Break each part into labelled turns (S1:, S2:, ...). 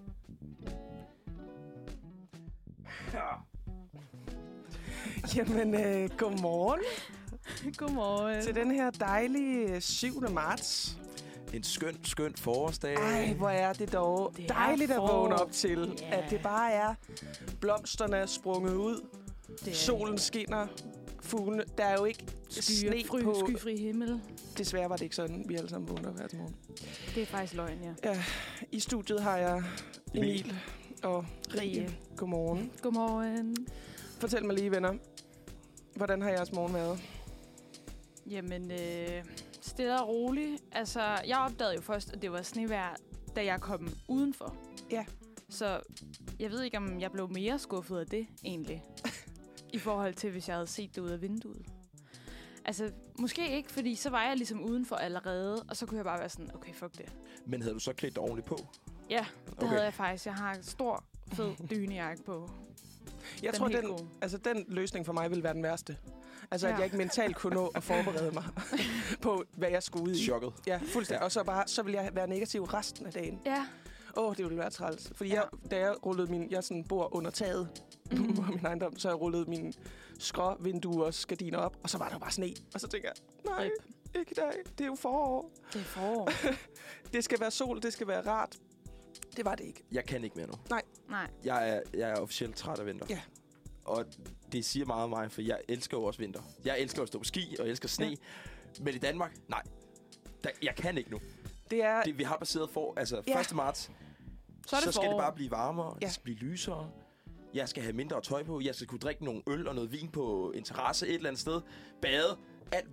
S1: Jamen, øh, godmorgen
S2: Godmorgen.
S1: til den her dejlige øh, 7. marts.
S3: En skøn, skøn forårsdag.
S1: Ej, hvor er det dog
S2: Det er
S1: dejligt at vågne
S2: forår.
S1: op til,
S2: Ja.
S1: at det bare er blomsterne er sprunget ud,
S2: Det er
S1: solen skinner, fuglene. Der er jo ikke
S2: skyer,
S1: sne
S2: fry,
S1: på.
S2: skyfri himmel.
S1: Desværre var det ikke sådan, vi alle sammen vågner hver morgen.
S2: Det er faktisk løgn, ja.
S1: I studiet har jeg Emil og Rie.
S2: Rie.
S1: Godmorgen.
S2: Godmorgen.
S1: Fortæl mig lige, venner. Hvordan har jeres morgen været?
S2: Jamen, øh, stille og roligt. Altså, jeg opdagede jo først, at det var snevejr, da jeg kom udenfor.
S1: Ja.
S2: Så jeg ved ikke, om jeg blev mere skuffet af det, egentlig. I forhold til, hvis jeg havde set det ud af vinduet. Altså, måske ikke, fordi så var jeg ligesom udenfor allerede, og så kunne jeg bare være sådan, okay, fuck det.
S3: Men havde du så klædt dig ordentligt på?
S2: Ja, det
S3: Okay.
S2: okay. havde jeg faktisk. Jeg har en stor, fed dynejakke på.
S1: Jeg
S2: Den
S1: den tror,
S2: er helt
S1: den,
S2: god.
S1: altså, den løsning for mig ville være den værste. Altså, ja.
S2: Ja.
S1: at jeg ikke mentalt kunne nå at forberede mig på, hvad jeg skulle ud i.
S3: Chokket.
S1: Ja, fuldstændig. Og så, bare, så ville jeg være negativ resten af dagen.
S2: Ja,
S1: Åh, oh, det ville være træls. Fordi
S2: Ja.
S1: ja. Mm. jeg, da jeg rullede min... Jeg sådan bor under taget
S2: Mhm.
S1: på min ejendom, så jeg rullede mine skråvinduers gardiner op, og så var der jo bare sne. Og så tænker jeg, nej,
S2: Rip.
S1: ikke i dag. Det er jo forår.
S2: det er forår.
S1: Det skal være sol, det skal være rart. Det var det ikke.
S3: Jeg kan ikke mere nu.
S2: Nej,
S3: Jeg er, jeg er officielt træt af vinter.
S1: Ja.
S3: Og det siger meget om mig, for jeg elsker jo også vinter. Jeg elsker at stå på ski, og jeg elsker sne.
S1: Ja.
S3: Ja. Men i Danmark, nej. Der, jeg kan ikke nu.
S1: Det er...
S3: Det, vi har baseret for, altså
S1: Ja.
S3: ja. 1. marts,
S2: så er det
S3: så skal
S2: forår.
S3: det bare blive varmere,
S1: Ja.
S3: ja. det skal blive lysere. Jeg skal have mindre tøj på, jeg skal kunne drikke nogle øl og noget vin på en terrasse et eller andet sted. Bade, alt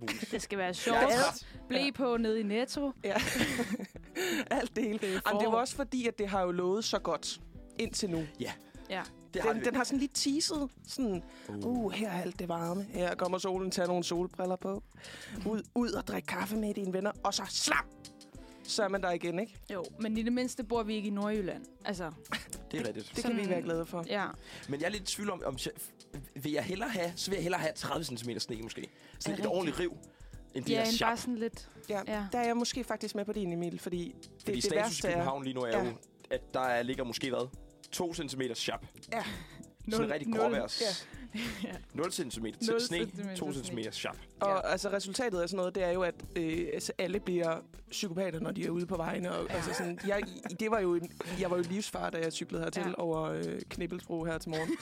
S3: muligt.
S2: Det skal være
S3: Jeg er
S2: sjovt.
S3: træt.
S2: Blæ på nede i Netto.
S1: Ja. Alt det hele.
S2: Det er
S1: Det, Jamen,
S2: forår.
S1: det var også fordi, at det har jo lovet så godt indtil nu.
S3: Ja,
S2: Ja.
S3: det har
S1: Den,
S3: det.
S1: den har sådan lige teaset. Sådan,
S3: Uh.
S1: uh, her er alt det varme. Her kommer solen, tag nogle solbriller på. Ud, ud og drik kaffe med dine venner. Og så slap! Så er man der igen, ikke?
S2: Jo, men i det mindste bor vi ikke i Nordjylland. Altså,
S3: Det er rigtigt.
S1: Det kan vi
S2: Sådan-
S1: være glade for.
S2: ja.
S3: Men jeg er lidt i tvivl om, om jeg, vil jeg hellere have, så vil jeg hellere have 30 cm sne måske.
S2: Er
S3: Sådan
S2: det
S3: et ordentligt riv, end de
S2: ja,
S3: her
S2: en
S3: sjap.
S2: bare sådan lidt.
S1: Ja,
S2: Ja.
S1: der er jeg måske faktisk med på din, Emil, fordi det,
S3: Fordi
S1: det
S3: status i
S1: værste er...
S3: København lige nu er
S1: Ja.
S3: jo, at der er, ligger måske hvad? 2 cm sjap.
S1: Ja.
S3: Sådan
S2: Nul-
S3: en rigtig
S2: nul-
S3: gråværs.
S1: ja.
S2: Ja.
S3: 0 cm
S2: Nul
S3: til sne,
S2: centimeter
S3: 2
S2: sne.
S3: cm sjap.
S1: Og
S2: Ja.
S1: altså, resultatet af sådan noget, det er jo, at øh, altså, alle bliver psykopater, når de er ude på vejene. Og, altså, sådan, jeg, i- det var jo en, jeg var jo i livsfar, da jeg cyklede hertil
S2: Ja.
S1: ja. over øh, Knibbelsbro her til morgen.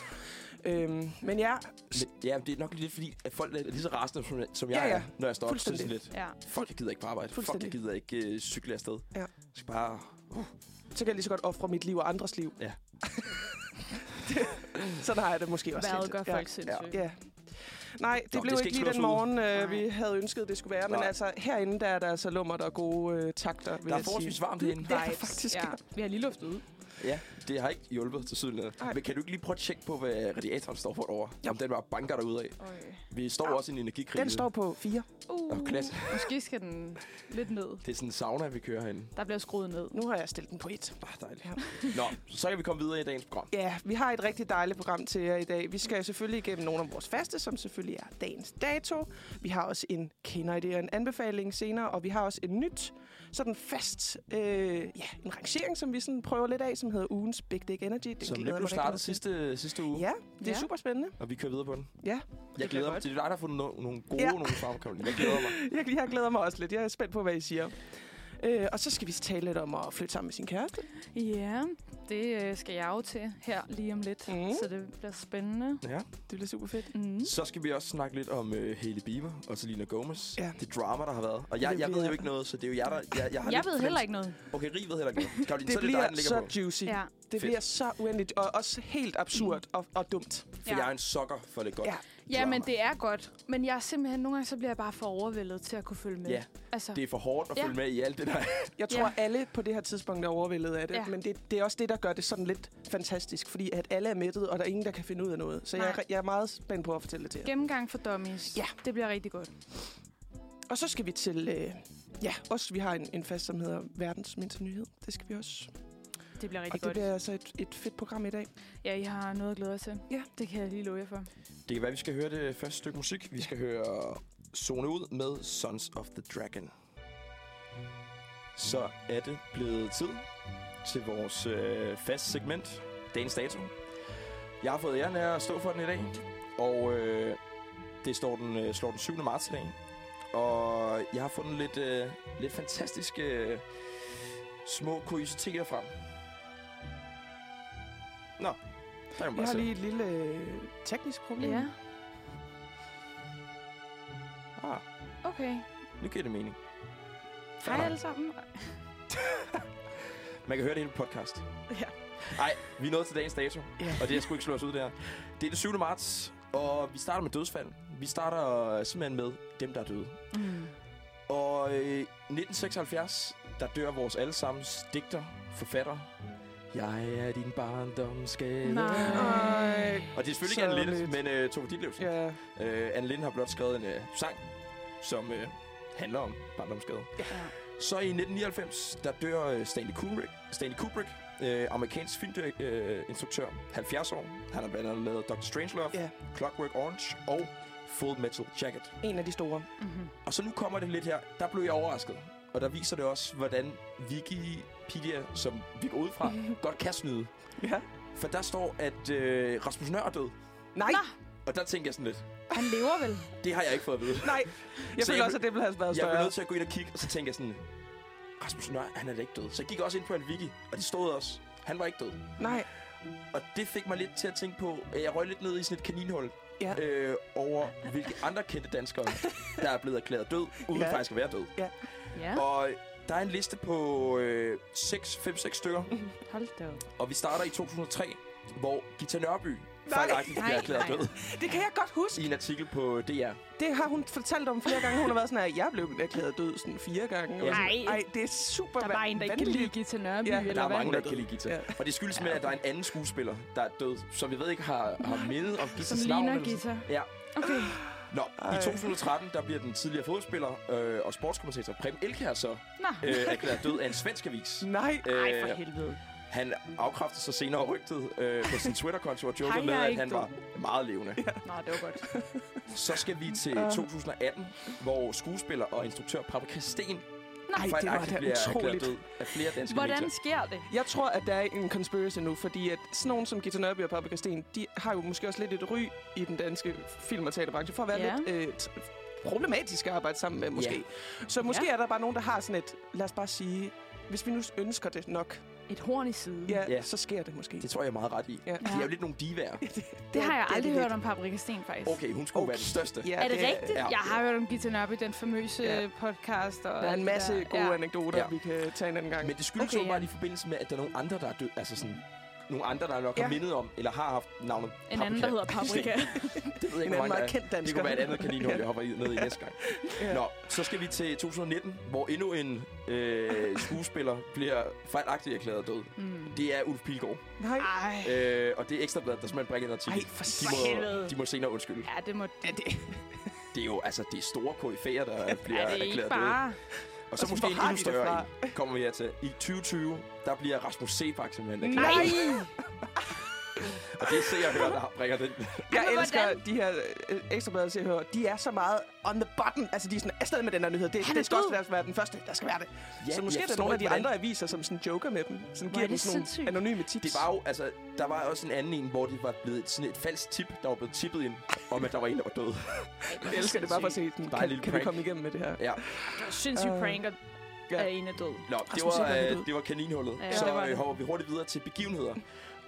S1: øhm, men ja,
S3: Men, ja, det er nok lidt fordi, at folk er lige så rasende, som, som jeg
S1: Ja, ja.
S3: er, når jeg står op. Så er det sådan lidt,
S2: Ja.
S3: fuck, jeg gider ikke på arbejde. Fuck,
S1: Fuldstændig.
S3: jeg gider ikke øh, cykle afsted.
S1: Ja.
S3: Jeg skal bare...
S1: så kan jeg lige så godt ofre mit liv og andres liv.
S3: Ja.
S1: sådan har jeg det måske også
S2: Vejret
S1: lidt.
S2: gør folk sindssyge.
S1: Ja. Nej, det
S3: Nå,
S1: Nå,
S3: det
S1: blev
S3: skal
S1: ikke
S3: ikke
S1: lige
S3: slås
S1: den
S3: ud.
S1: morgen, øh,
S2: Nej.
S1: vi havde ønsket, det skulle være. Men
S3: Nej.
S1: altså, herinde, der er der altså lummer, der er gode øh, takter, vil
S3: Der er
S1: jeg
S3: forholdsvis
S1: sige.
S3: varmt herinde.
S1: Det er der
S2: Vibes.
S1: faktisk.
S2: Mm, Ja. Vi har lige luftet ud.
S3: Ja, det har ikke hjulpet til syden.
S1: Nej.
S3: Men kan du ikke lige prøve at tjekke på, hvad radiatoren står for derovre?
S1: Jo.
S3: Om den bare banker derude af. Vi står
S1: Ja.
S3: også i en energikrise.
S1: Den står på fire.
S2: Uh,
S3: Åh, klat.
S2: måske skal den lidt ned.
S3: Det er sådan en sauna, vi kører herinde.
S2: Der bliver skruet ned.
S1: Nu har jeg stillet den på et.
S3: Ah, dejligt.
S1: Ja.
S3: Nå, så kan vi komme videre i dagens program.
S1: Ja, vi har et rigtig dejligt program til jer i dag. Vi skal jo selvfølgelig igennem nogle af vores faste, som selvfølgelig er dagens dato. Vi har også en kenderidé og en anbefaling senere, og vi har også en nyt, sådan fast, øh, ja, en rangering, som vi sådan prøver lidt af, som hedder ugens Big Dick Energy. Den glæder
S3: Som
S1: jeg
S3: lige
S1: mig
S3: blev
S1: rigtig
S3: startet
S1: meget til.
S3: sidste, sidste uge, ja.
S1: Ja, det er
S2: Ja.
S1: ja. super spændende.
S3: og vi kører videre på den.
S1: Ja.
S3: Jeg glæder mig. Det er dig, der har fundet no- nogle gode,
S1: Ja.
S3: ja. nogle frem, Karoline. Jeg glæder mig.
S1: Jeg, jeg glæder mig også lidt. Jeg er spændt på, hvad I siger. Øh, og så skal vi tale lidt om at flytte sammen med sin kæreste.
S2: Ja, det øh, skal jeg jo til her lige om lidt.
S1: Mm.
S2: Så det bliver spændende.
S3: Ja.
S1: Det bliver super fedt.
S2: Mm.
S3: Så skal vi også snakke lidt om uh, Hailey Bieber og Selena Gomez.
S1: Ja.
S3: Det drama, der har været. Og
S1: Det
S3: jeg, jeg
S1: bliver-
S3: ved jo ikke noget, så det er jo jer, der... Jeg, jeg, har
S2: Jeg
S3: lidt
S2: ved
S3: fornemmelse-
S2: heller ikke noget.
S3: Okay, Rie ved heller ikke noget. Karoline,
S1: Det
S3: så er det dig,
S1: bliver
S3: den ligger
S1: så
S3: på.
S1: juicy.
S2: Ja.
S1: Det
S3: Fedt.
S1: bliver så uendeligt, og også helt absurd og, og dumt.
S3: For ja. jeg er en sokker for det godt.
S1: Ja.
S3: Ja.
S2: Ja, men det er godt. Men jeg er simpelthen, nogle gange så bliver jeg bare for overvældet til at kunne følge med.
S3: Ja,
S2: altså,
S3: Det er for hårdt at
S2: Ja.
S3: ja. følge med i alt det der.
S1: Jeg
S2: Ja.
S1: tror, ja. alle på det her tidspunkt er overvældet af det,
S2: Ja.
S1: ja. men det, det er også det, der gør det sådan lidt fantastisk, fordi at alle er mættet, og der er ingen, der kan finde ud af noget. Så jeg,
S2: Nej.
S1: er- jeg er meget spændt på at fortælle det til jer.
S2: Gennemgang for dummies.
S1: Ja.
S2: Det bliver rigtig godt.
S1: Og så skal vi til, øh, ja, også vi har en, en fast, som hedder Verdens Mindste Nyhed. Det skal vi også.
S2: Det bliver
S1: og
S2: rigtig
S1: det
S2: godt.
S1: bliver altså et, et fedt program i dag.
S2: Ja, I har noget at glæde jer til.
S1: Ja.
S2: Det kan jeg lige love jer for.
S3: Det kan være, vi skal høre det første stykke musik. Vi skal høre Zone ud med Sons of the Dragon. Så er det blevet tid til vores øh, fast segment, dagens dato. Jeg har fået æren af at stå for den i dag, Og øh, det står den, øh, slår den 7. marts i dag. Og jeg har fundet lidt, øh, lidt fantastiske øh, små kuriositeter frem. Nå, der kan man
S1: Vi
S3: bare
S1: har
S3: se.
S1: lige et lille øh, teknisk problem.
S2: Ja,
S3: Ah,
S2: okay.
S3: nu giver det mening.
S2: Hej
S3: Nå.
S2: alle sammen.
S3: Man kan høre det hele på podcast.
S2: Ja.
S3: Nej, vi er nået til dagens dato,
S1: Ja.
S3: og det er sgu ikke slå os ud der. Det er den 7. marts, og vi starter med dødsfald. Vi starter øh, simpelthen med dem, der er døde.
S2: Mm.
S3: Og øh, 1976, der dør vores allesammens digter, forfatter. Jeg er din barndomsgave.
S1: Ej.
S2: Nej.
S3: Og det er selvfølgelig
S1: Så
S3: ikke Anne Linde,
S1: lidt.
S3: men øh, Tove Ditlevsen.
S1: Øh, Ja.
S3: Øh, Anne Linde har blot skrevet en øh, sang, som øh, handler om barndomsskade.
S1: Ja.
S3: Så i 1999, der dør øh, Stanley Kubrick, Stanley Kubrick øh, amerikansk filminstruktør, øh, instruktør, 70 år. Han har blandt andet lavet Dr. Strangelove,
S1: Ja.
S3: Clockwork Orange og Full Metal Jacket.
S1: En af de store.
S2: Mm-hmm.
S3: Og så nu kommer det lidt her. Der blev jeg overrasket. Og der viser det også, hvordan Wikipedia, som vi går ud fra, godt kan snyde.
S1: Ja.
S3: For der står, at øh, Rasmus Nør er død.
S1: Nej,
S2: Nå.
S3: Og der tænker jeg sådan lidt,
S2: Han lever vel?
S3: det har jeg ikke fået at vide.
S1: nej. Jeg
S3: Så
S1: føler
S3: jeg
S1: også, at det ville have været
S3: Jeg blev
S1: større.
S3: nødt til at gå ind og kigge, og så tænkte jeg sådan, Rasmus Nør, han er da ikke død. Så jeg gik også ind på en wiki, og det stod også, han var ikke død.
S1: Nej,
S3: Og det fik mig lidt til at tænke på, at jeg røg lidt ned i sådan et kaninhul.
S1: Ja.
S3: Øh, over hvilke andre kendte danskere, der er blevet erklæret død, uden
S1: Ja.
S3: ja. faktisk at være død.
S2: Ja,
S3: Og øh, der er en liste på øh, 6-5-6 stykker,
S2: hold da op.
S3: og vi starter i 2003, hvor Gita Nørby
S1: Nej.
S3: fejlagtigt bliver
S2: Nej,
S3: erklæret
S2: nej.
S3: død
S1: det kan jeg godt huske.
S3: i en artikel på DR.
S1: Det har hun fortalt om flere gange. Hun har været sådan, at jeg blev erklæret død sådan fire gange.
S3: Ja.
S1: Nej.
S2: Ej.
S1: Ej, det er super
S2: Der var en, der ikke kan lide
S1: vanvittigt.
S2: Gita Nørby,
S1: Ja,
S2: ja, eller
S3: Der er
S2: hvad?
S3: mange, der
S1: er
S3: ikke kan
S1: død?
S3: lide Gita.
S1: Ja.
S3: Og det skyldes med, at der er en anden skuespiller, der er død, som vi ved ikke har, har mindet om
S2: Som
S3: Gitas navn.
S2: ligner
S3: eller sådan.
S2: Gita.
S3: Ja.
S2: Okay.
S3: Nå,
S1: Ej.
S3: i 2013, der bliver den tidligere fodspiller øh, og sportskommentator Preben Elkjær så
S2: Nå.
S3: øh, erklæret død af en svensk avis.
S1: Nej,
S2: Ej, for
S3: Øh,
S2: helvede.
S3: Han afkræftede sig senere rygtet øh, på sin Twitter-konto og
S2: Han
S3: jokede med,
S2: er
S3: at
S2: ikke
S3: han
S2: død.
S3: var meget levende.
S2: Nå, det var godt.
S3: Så skal vi til
S2: Øh.
S3: 2018, hvor skuespiller og instruktør Paprika Sten
S1: nej, det var da
S3: bliver erklæret
S1: utroligt.
S3: død af flere danske
S2: Hvordan
S3: medier.
S2: sker det?
S1: Jeg tror, at der er en conspiracy nu, fordi at sådan nogen som Gita Nørby og Paprika Sten, de har jo måske også lidt et ry i den danske film- og teaterbranche, for at være
S2: Ja.
S1: lidt øh, t- problematisk at arbejde sammen med, måske. Så måske
S2: Ja.
S1: er der bare nogen, der har sådan et, lad os bare sige, hvis vi nu ønsker det nok,
S2: Et horn i siden.
S1: ja,
S3: Ja.
S1: så sker det måske.
S3: Det tror jeg er meget ret i.
S1: Ja.
S3: De er jo lidt nogle divaer.
S2: Det har jeg
S1: det er
S2: aldrig
S1: det
S2: hørt om Paprika Sten, faktisk.
S3: Okay, hun skulle okay. være den største.
S1: Ja,
S2: Er det rigtigt?
S3: ja.
S2: Jeg har hørt om Gita Nørby, den famøse
S1: Ja.
S2: podcast. Og
S1: Der er en
S2: alt
S1: masse
S2: det der.
S1: gode
S2: Ja.
S1: anekdoter,
S3: Ja.
S1: vi kan tage en anden gang.
S3: Men det skyldes
S2: Okay,
S3: okay, bare
S2: ja.
S3: i forbindelse med, at der er nogle andre, der er død. Altså sådan, nogle andre, der nok
S1: Ja.
S3: har mindet om, eller har haft navnet
S2: En anden, der hedder Paprika.
S3: Det ved jeg
S1: en
S3: ikke,
S1: anden
S3: hvor mange der
S1: meget
S3: er.
S1: kendt dansker.
S3: Det kunne være et andet kaninhul, jeg hopper i- ned i næste gang.
S1: Ja.
S3: Nå, så skal vi til 2019, hvor endnu en øh, skuespiller bliver fejlagtigt erklæret død.
S2: mm.
S3: Det er Ulf Pilgaard.
S1: Nej,
S2: Ej.
S3: Øh, og det er Ekstrabladet, der simpelthen bringer en artikel.
S1: Ej, for
S3: de må,
S2: helvede.
S3: de må senere undskylde.
S2: Ja, det må
S1: er det,
S3: Det er jo altså, det er store koryfæer, der bliver
S2: er det ikke
S3: erklæret døde.
S2: bare...
S3: Og så
S1: Altså,
S3: måske
S1: hvor
S3: en
S1: har
S3: endnu
S1: de det
S3: større
S1: fra?
S3: en, kommer vi her til. I 2020, der bliver Rasmus Sebak simpelthen erklæret.
S1: Nej.
S3: Og det ser jeg hører, der bringer den.
S1: jeg
S2: Men
S1: elsker
S2: hvordan?
S1: de her øh, ekstrabladet, jeg hører. De er så meget on the button. Altså, de er sådan, afsted med den her nyhed. Det,
S2: Han er
S1: det skal
S2: død.
S1: også være- være den første, der skal være det. Ja, så
S3: jeg
S1: måske er der
S3: forstår
S1: nogle af
S3: ikke,
S1: de
S3: hvordan-
S1: andre aviser, som sådan joker med dem. Sådan
S2: Hvor er
S1: giver dem
S2: det
S1: sådan nogle
S2: sindssygt.
S1: anonyme tips.
S3: Det var jo, altså, der var også en anden en, hvor det var blevet sådan et falsk tip, der var blevet tippet ind, om at der var en, der var død.
S1: jeg elsker det bare for at se, den,
S3: Bare en
S1: kan,
S3: lille
S1: kan vi
S3: prank.
S1: komme igennem med det her.
S3: Ja.
S2: Sindssygt
S1: Øh,
S2: pranker
S1: ja.
S2: af en er død.
S3: Nå, det
S1: Rasmus Sebak
S3: var,
S1: er død.
S3: øh, det var kaninhullet.
S2: Ja,
S3: Ja, så
S2: det var
S3: øh,
S2: det.
S3: hopper vi hurtigt videre til begivenheder.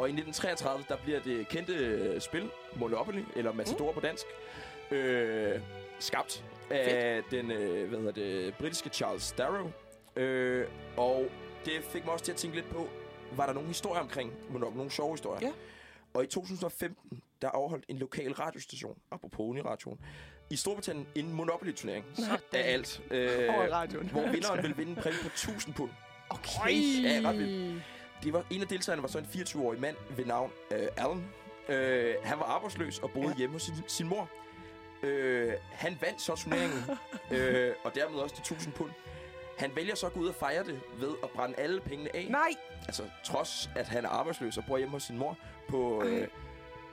S3: Og i 1933, der bliver det kendte øh, spil, Monopoly,
S2: Mm.
S3: eller Matador på dansk, øh, skabt af den, øh, hvad hedder det, britiske Charles Darrow. Øh, og det fik mig også til at tænke lidt på, var der nogle historier omkring Monopoly, nogle sjove historier?
S1: Ja.
S3: Og i 2015, der afholdt en lokal radiostation, apropos Uniradioen, i Storbritannien en Monopoly-turnering af alt. Øh,
S1: Over i radioen.
S3: hvor vinderen ville vinde en præmie på 1000 pund.
S1: Okay.
S3: Ja, ret vildt. Det var, en af deltagerne var så en 24-årig mand ved navn øh, Allen. Øh, han var arbejdsløs og boede
S1: Ja.
S3: ja. hjemme hos sin, sin mor. Øh, han vandt så turneringen, øh, og dermed også de 1000 pund. Han vælger så at gå ud og fejre det ved at brænde alle pengene af.
S1: Nej,
S3: Altså trods, at han er arbejdsløs og bor hjemme hos sin mor på
S1: Ej.
S3: øh,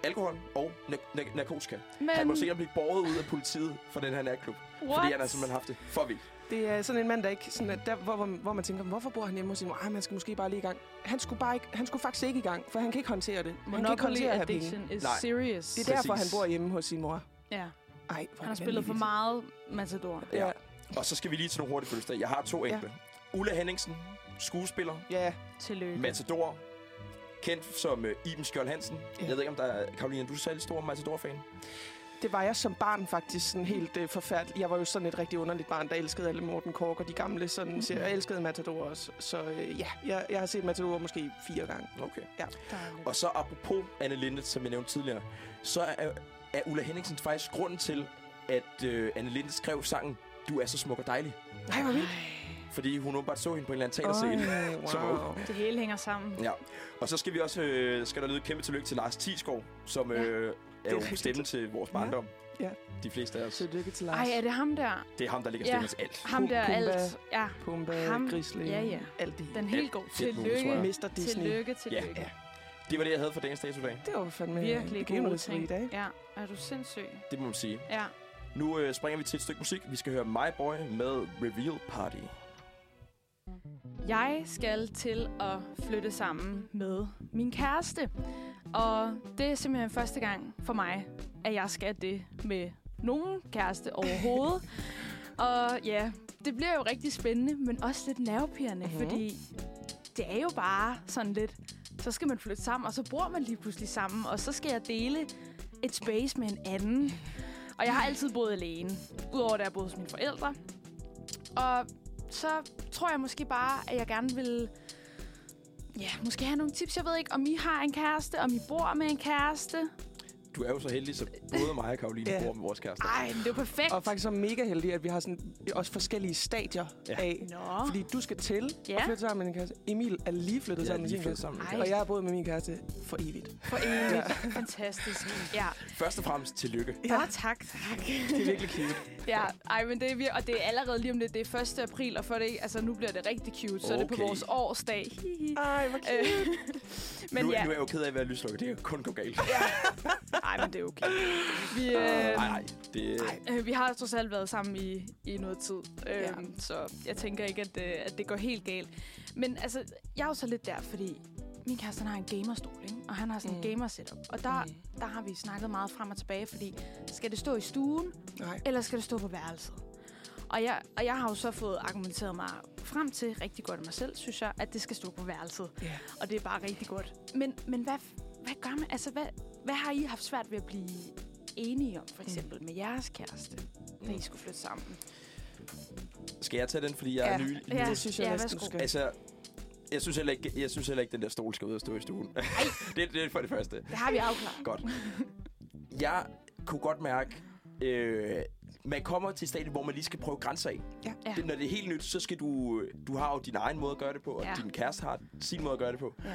S3: alkohol og na- na- narkotika.
S2: Men,
S3: Han må senere blive borget ud af politiet for den her natklub.
S2: what?
S3: Fordi han har simpelthen haft det for vildt.
S1: Det er sådan en mand, der ikke... Sådan, at der, hvor, hvor, hvor man tænker, hvorfor bor han hjemme hos sin mor? Ej, man skal måske bare lige i gang. Han skulle, bare ikke, han skulle faktisk ikke i gang, for han kan ikke håndtere det. han kan ikke
S2: Monopoly
S1: håndtere at have penge.
S2: addiction is
S3: Nej.
S2: serious.
S1: Det er derfor, han
S3: Præcis.
S1: bor hjemme hos sin mor.
S2: Ja,
S1: Ej, hvor
S2: han har spillet for meget Matador.
S3: Ja.
S1: Ja.
S3: Og så skal vi lige til nogle hurtige fødselsdage. Jeg har to enkle. Ja. Ulla Henningsen, skuespiller,
S1: Ja, Mm.
S2: Tillykke.
S3: Matador, kendt som uh, Iben Skjold Hansen.
S1: Ja.
S3: Jeg ved ikke, om der er... Karoline, du er særlig stor Matador-fan.
S1: det var jeg som barn faktisk sådan helt øh, forfærdelig. Jeg var jo sådan et rigtig underligt barn, der elskede alle Morten Kork og de gamle
S2: Mm.
S1: sådan serier. Jeg elskede Matador også. Så øh, ja, jeg, jeg har set Matador måske fire gange.
S3: Okay.
S2: Dejligt.
S3: Og så apropos Anne Linde, som jeg nævnte tidligere, så er, er Ulla Henningsen faktisk grunden til, at øh, Anne Linde skrev sangen Du er så smuk og dejlig.
S1: Nej, hvor vildt.
S3: Fordi hun åbenbart så hende på en eller anden teaterscene.
S1: Ej,
S3: som er
S1: wow.
S2: Det hele hænger sammen.
S3: Ja. Og så skal vi også øh, skal der lyde et kæmpe tillykke til Lars Tisgaard, som
S2: Ja,
S3: øh, er jo
S1: rigtigt.
S3: stemmen til vores barndom.
S1: Ja.
S3: De fleste af os.
S1: Tillykke til Lars.
S2: Ej, er det ham der?
S3: Det er ham, der ligger
S2: Ja.
S3: stemmen til alt.
S2: Ham der
S1: Kumba.
S2: alt. Ja,
S1: Pumba,
S2: Ham-
S1: Grisling,
S2: ja, ja.
S1: alt det.
S2: den helt god.
S3: fedt nu, tror
S2: Tillykke.
S3: jeg.
S1: Mister Disney.
S2: Tillykke, tillykke.
S3: Ja. Det var det, jeg havde for dagens dato i dag.
S1: Øh, Det var fandme
S2: Virkelig gode
S1: begivenhedsrig
S2: ting.
S1: i dag.
S2: Ja, er du sindssyg?
S3: Det må man sige.
S2: Ja.
S3: Nu øh, springer vi til et stykke musik. Vi skal høre My Boy med Reveal Party.
S2: Jeg skal til at flytte sammen med min kæreste. Og det er simpelthen første gang for mig, at jeg skal det med nogen kæreste overhovedet. og ja, det bliver jo rigtig spændende, men også lidt nervepirrende,
S1: Mhm.
S2: mm-hmm. fordi det er jo bare sådan lidt, så skal man flytte sammen, og så bor man lige pludselig sammen, og så skal jeg dele et space med en anden. Og jeg har altid boet alene, udover da jeg boede hos mine forældre. Og så tror jeg måske bare, at jeg gerne vil ja, måske have nogle tips. Jeg ved ikke, om I har en kæreste, om I bor med en kæreste.
S3: Du er jo så heldig, så både mig og Karoline
S1: Ja.
S3: bor med vores kærester.
S2: Ej, men det er jo perfekt.
S1: Og faktisk så mega heldig, at vi har sådan, også forskellige stadier
S3: Ja.
S1: ja. af.
S2: Nå.
S1: Fordi du skal til
S2: Ja.
S1: ja. og flytte sammen med din kæreste. Emil er lige flyttet
S3: Jeg er
S1: sammen med
S3: lige
S1: sin
S3: flyttet
S1: kæreste.
S3: sammen.
S2: Ej.
S1: Og jeg har boet med min kæreste for evigt.
S2: For evigt. Fantastisk. Ja.
S3: Først og fremmest tillykke.
S2: ja. Oh, tak, tak.
S1: Det er virkelig cute.
S2: ja, ej, men det er vir- og det er allerede lige om lidt. Det er 1. april, og for det, altså, nu bliver det rigtig cute. Så er det på
S3: Okay.
S2: vores årsdag. Hihi.
S1: Ej, hvor
S2: Øh, men
S3: nu,
S2: ja,
S3: nu er jeg jo ked af at være lyslukket. Det kan kun gå galt.
S1: Øhm.
S2: ej, men det er okay. Vi, øh,
S3: Nej, nej. Det,
S1: Ej.
S2: Øh, vi har trods alt været sammen i, i noget tid, øh,
S1: Ja.
S2: så jeg tænker ikke, at, øh, at det går helt galt. Men altså, jeg er jo så lidt der, fordi min kæreste han har en gamerstol, ikke? og han har sådan en
S1: Mm.
S2: gamer-setup. Og der,
S1: Mm.
S2: der har vi snakket meget frem og tilbage, fordi skal det stå i stuen,
S1: Nej.
S2: eller skal det stå på værelset? Og jeg, og jeg har jo så fået argumenteret mig frem til rigtig godt af mig selv, synes jeg, at det skal stå på værelset.
S1: Ja.
S2: Og det er bare rigtig godt. Men, men hvad, hvad gør man? Altså, hvad, hvad har I haft svært ved at blive enige om, for eksempel med jeres kæreste, da I skulle flytte sammen?
S3: skal jeg tage den, fordi jeg er
S1: Ja.
S3: ny?
S1: Ja. det synes jeg
S2: ja,
S1: næsten, du
S2: værsgo.
S1: skal.
S3: Altså, jeg synes, heller ikke, jeg synes heller ikke, den der stol skal ud og stå i stuen. det, det er for det første.
S2: Det har vi afklaret.
S3: Godt. Jeg kunne godt mærke, øh, man kommer til et stadie, hvor man lige skal prøve grænser af.
S1: Ja.
S2: Ja.
S3: Det, når det er helt nyt, så skal du... Du har jo din egen måde at gøre det på, og
S2: Ja.
S3: ja. din kæreste har sin måde at gøre det på.
S2: Ja.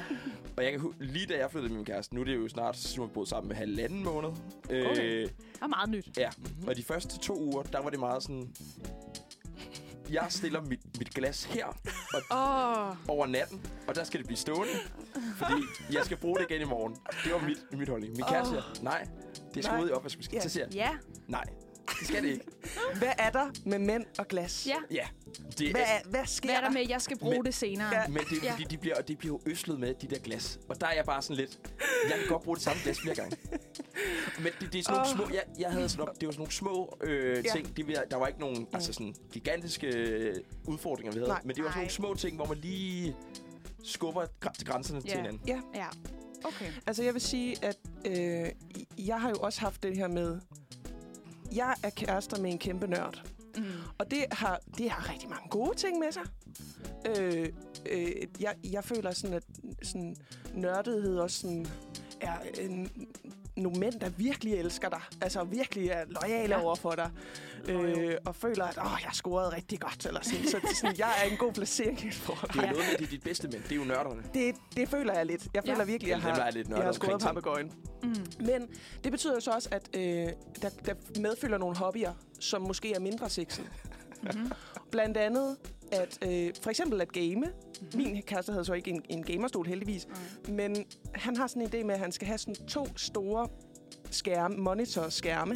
S3: Og jeg kan hu- lige da jeg flyttede med min kæreste, nu er det jo snart, så vi boet sammen med halvanden måned.
S2: Okay.
S3: Øh,
S2: Det er meget nyt.
S3: ja, og de første to uger, der var det meget sådan... Jeg stiller mit, mit glas her og
S2: Åh, oh,
S3: over natten, og der skal det blive stående, fordi jeg skal bruge det igen i morgen. Det var mit, mit holdning. Min kæreste siger, nej, det skal
S1: Nej.
S3: ud i opvaskemaskinen.
S1: Ja.
S3: Så siger jeg,
S2: ja.
S3: nej, det skal det ikke.
S1: Hvad er der med mænd og glas?
S2: ja.
S3: Ja, det
S1: Hvad,
S3: er,
S1: er, hvad sker
S2: Hvad er der
S1: der?
S2: med, at jeg skal bruge
S3: Men-
S2: det senere?
S1: Ja.
S2: Ja.
S3: men det er
S2: Ja.
S3: fordi, de bliver, de bliver jo øslet med, de der glas. Og der er jeg bare sådan lidt, jeg kan godt bruge det samme glas flere gange. Men det, det er sådan nogle små, jeg, jeg havde sådan op, det var sådan nogle små øh,
S1: Ja. Mm.
S3: ting. Det, var- der var ikke nogen altså sådan, gigantiske øh, udfordringer, vi havde.
S1: Nej.
S3: Men det var sådan
S2: Nej.
S3: nogle små ting, hvor man lige skubber gr- til grænserne
S2: Ja.
S3: til hinanden.
S1: Ja,
S2: ja. Okay.
S1: altså jeg vil sige, at øh, jeg har jo også haft det her med... Jeg er kærester med en kæmpe nørd.
S2: Mm.
S1: Og det har, det har rigtig mange gode ting med sig. Øh, øh, jeg, jeg føler sådan, at sådan, nørdethed også sådan, er en, nogle mænd, der virkelig elsker dig. Altså virkelig er lojale
S2: Ja.
S1: ja. over for dig.
S2: Loyal.
S1: Øh, og føler, at Åh, jeg scorede rigtig godt. Eller sådan. Så det er sådan, jeg er en god placering i et forhold.
S3: Det er
S2: Ja.
S3: jo noget med, det er dit bedste mænd. Det er jo nørderne.
S1: Det, det føler jeg lidt. Jeg
S2: Ja.
S1: føler virkelig, jeg
S3: Dem- dem, der er
S1: har,
S3: lidt
S1: jeg
S3: nørdet
S1: har scoret
S3: omkring
S1: papegøjen.
S3: ting.
S2: Mm.
S1: Men det betyder jo så også, at øh, der, der medfølger nogle hobbyer, som måske er mindre sexede.
S2: Mm-hmm.
S1: Blandt andet, at øh, for eksempel at game. Min kæreste havde så ikke en, en gamerstol heldigvis, men han har sådan en idé med, at han skal have sådan to store skærme, monitorskærme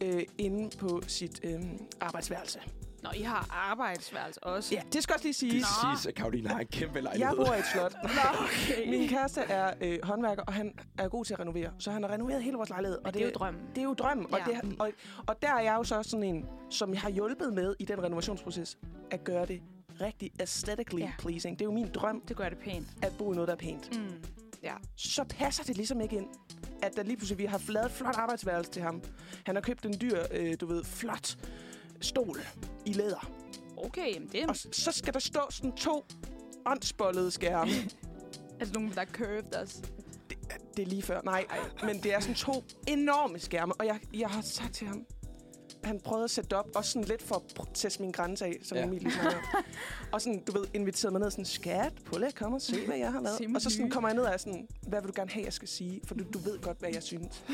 S1: øh, inde på sit øh, arbejdsværelse.
S2: Nå, I har arbejdsværelse også.
S1: Ja, det skal også lige
S3: Det
S1: siges.
S3: siges, at Karoline har en kæmpe lejlighed.
S1: Jeg bor i et slot.
S2: Nå, okay.
S1: Min kæreste er øh, håndværker, og han er god til at renovere. Så han har renoveret hele vores lejlighed. Og
S2: det er jo drømmen.
S1: Det er jo drømmen. Og,
S2: Ja.
S1: det, og, og der er jeg jo så sådan en, som jeg har hjulpet med i den renovationsproces, at gøre det rigtig aesthetically
S2: Ja.
S1: pleasing. Det er jo min drøm,
S2: Det gør det pænt.
S1: at bo i noget, der er pænt.
S2: Mm. Ja.
S1: Så passer det ligesom ikke ind, at der lige pludselig vi har lavet et flot arbejdsværelse til ham. Han har købt en dyr, øh, du ved, flot stol i læder.
S2: Okay, jamen det er,
S1: Og s- så skal der stå sådan to åndsbollede skærme.
S2: er det altså nogen, der er curved også.
S1: Det er lige før. Nej, men det er sådan to enorme skærme. Og jeg, jeg har sagt til ham, han prøvede at sætte det op, også sådan lidt for at pr- teste min grænse af, som
S3: Ja.
S1: ja. Emilie snakker om. Og sådan, du ved, inviterede mig ned sådan, skat, prøv lige at komme og se, hvad jeg har
S2: Se
S1: lavet.
S2: mit
S1: Og så sådan
S2: nye.
S1: kommer jeg ned og er sådan, hvad vil du gerne have, jeg skal sige? For du, du ved godt, hvad jeg synes.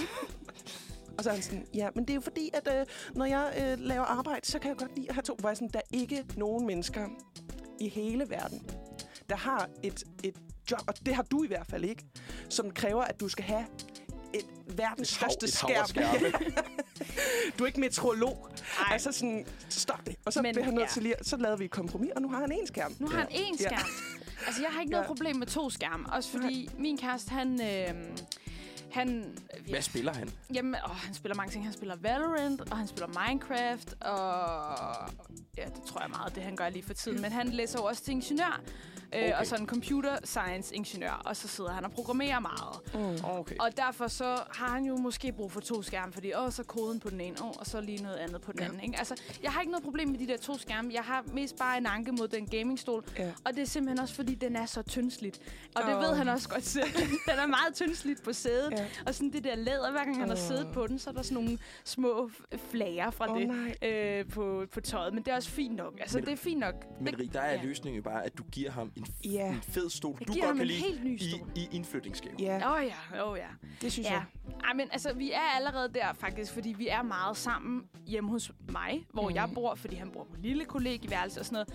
S1: Og så er han sådan, ja, men det er jo fordi, at øh, når jeg øh, laver arbejde, så kan jeg godt lide at have to. Hvor jeg sådan, der er ikke nogen mennesker i hele verden, der har et, et job, og det har du i hvert fald ikke, som kræver, at du skal have et verdens
S3: hav-
S1: største
S3: et hav af
S1: skærm.
S3: skærme.
S1: du er ikke meteorolog. Ej. Altså sådan, stop det. Og så
S2: Men-
S1: Men, blev han nødt
S2: ja.
S1: ja. til lige, at- så lavede vi et kompromis, og nu har han en skærm.
S2: Nu har han én
S1: Ja.
S2: skærm. Altså, jeg har ikke noget
S1: Ja.
S2: problem med to skærme. Også fordi min kæreste, han... Øh, han,
S3: Hvad spiller han?
S2: Jamen, åh, han spiller mange ting. Han spiller Valorant, og han spiller Minecraft, og... Ja, det tror jeg meget, det han gør lige for tiden. Men han læser jo også til ingeniør, okay. øh,
S3: Okay.
S2: og sådan computer science ingeniør, og så sidder han og programmerer meget.
S1: Mm.
S3: Okay.
S2: Og derfor så har han jo måske brug for to skærme, fordi åh, så koden på den ene, åh, og så lige noget andet på den anden. Ikke? Altså, jeg har ikke noget problem med de der to skærme. Jeg har mest bare en anke mod den gamingstol.
S1: Ja.
S2: Og det er simpelthen også, fordi den er så tyndsligt. Og det
S1: Åh.
S2: ved han også godt selv. den er meget tyndsligt på sædet.
S1: Ja.
S2: Og sådan det der læder, hver gang han har siddet på den, så er der sådan nogle små f- flager fra
S1: Åh,
S2: det
S1: nej.
S2: øh, på, på tøjet. Men det er også fint nok. Altså,
S3: Men-
S2: det er fint nok.
S3: Men
S2: det,
S3: Rik, der er
S2: ja.
S3: løsningen jo bare, at du giver ham en, f-
S1: Ja.
S3: en fed stol,
S2: Jeg
S3: du
S2: giver ham
S3: godt kan
S2: en
S3: lide
S2: helt ny
S3: i,
S2: stol.
S3: i indflytningsgave.
S1: Ja,
S2: Åh oh, ja, åh oh, ja.
S1: det synes
S2: Ja.
S1: jeg.
S2: Ej, men altså, vi er allerede der faktisk, fordi vi er meget sammen hjemme hos mig, hvor mm. jeg bor, fordi han bor på et lille kollegieværelse og sådan noget.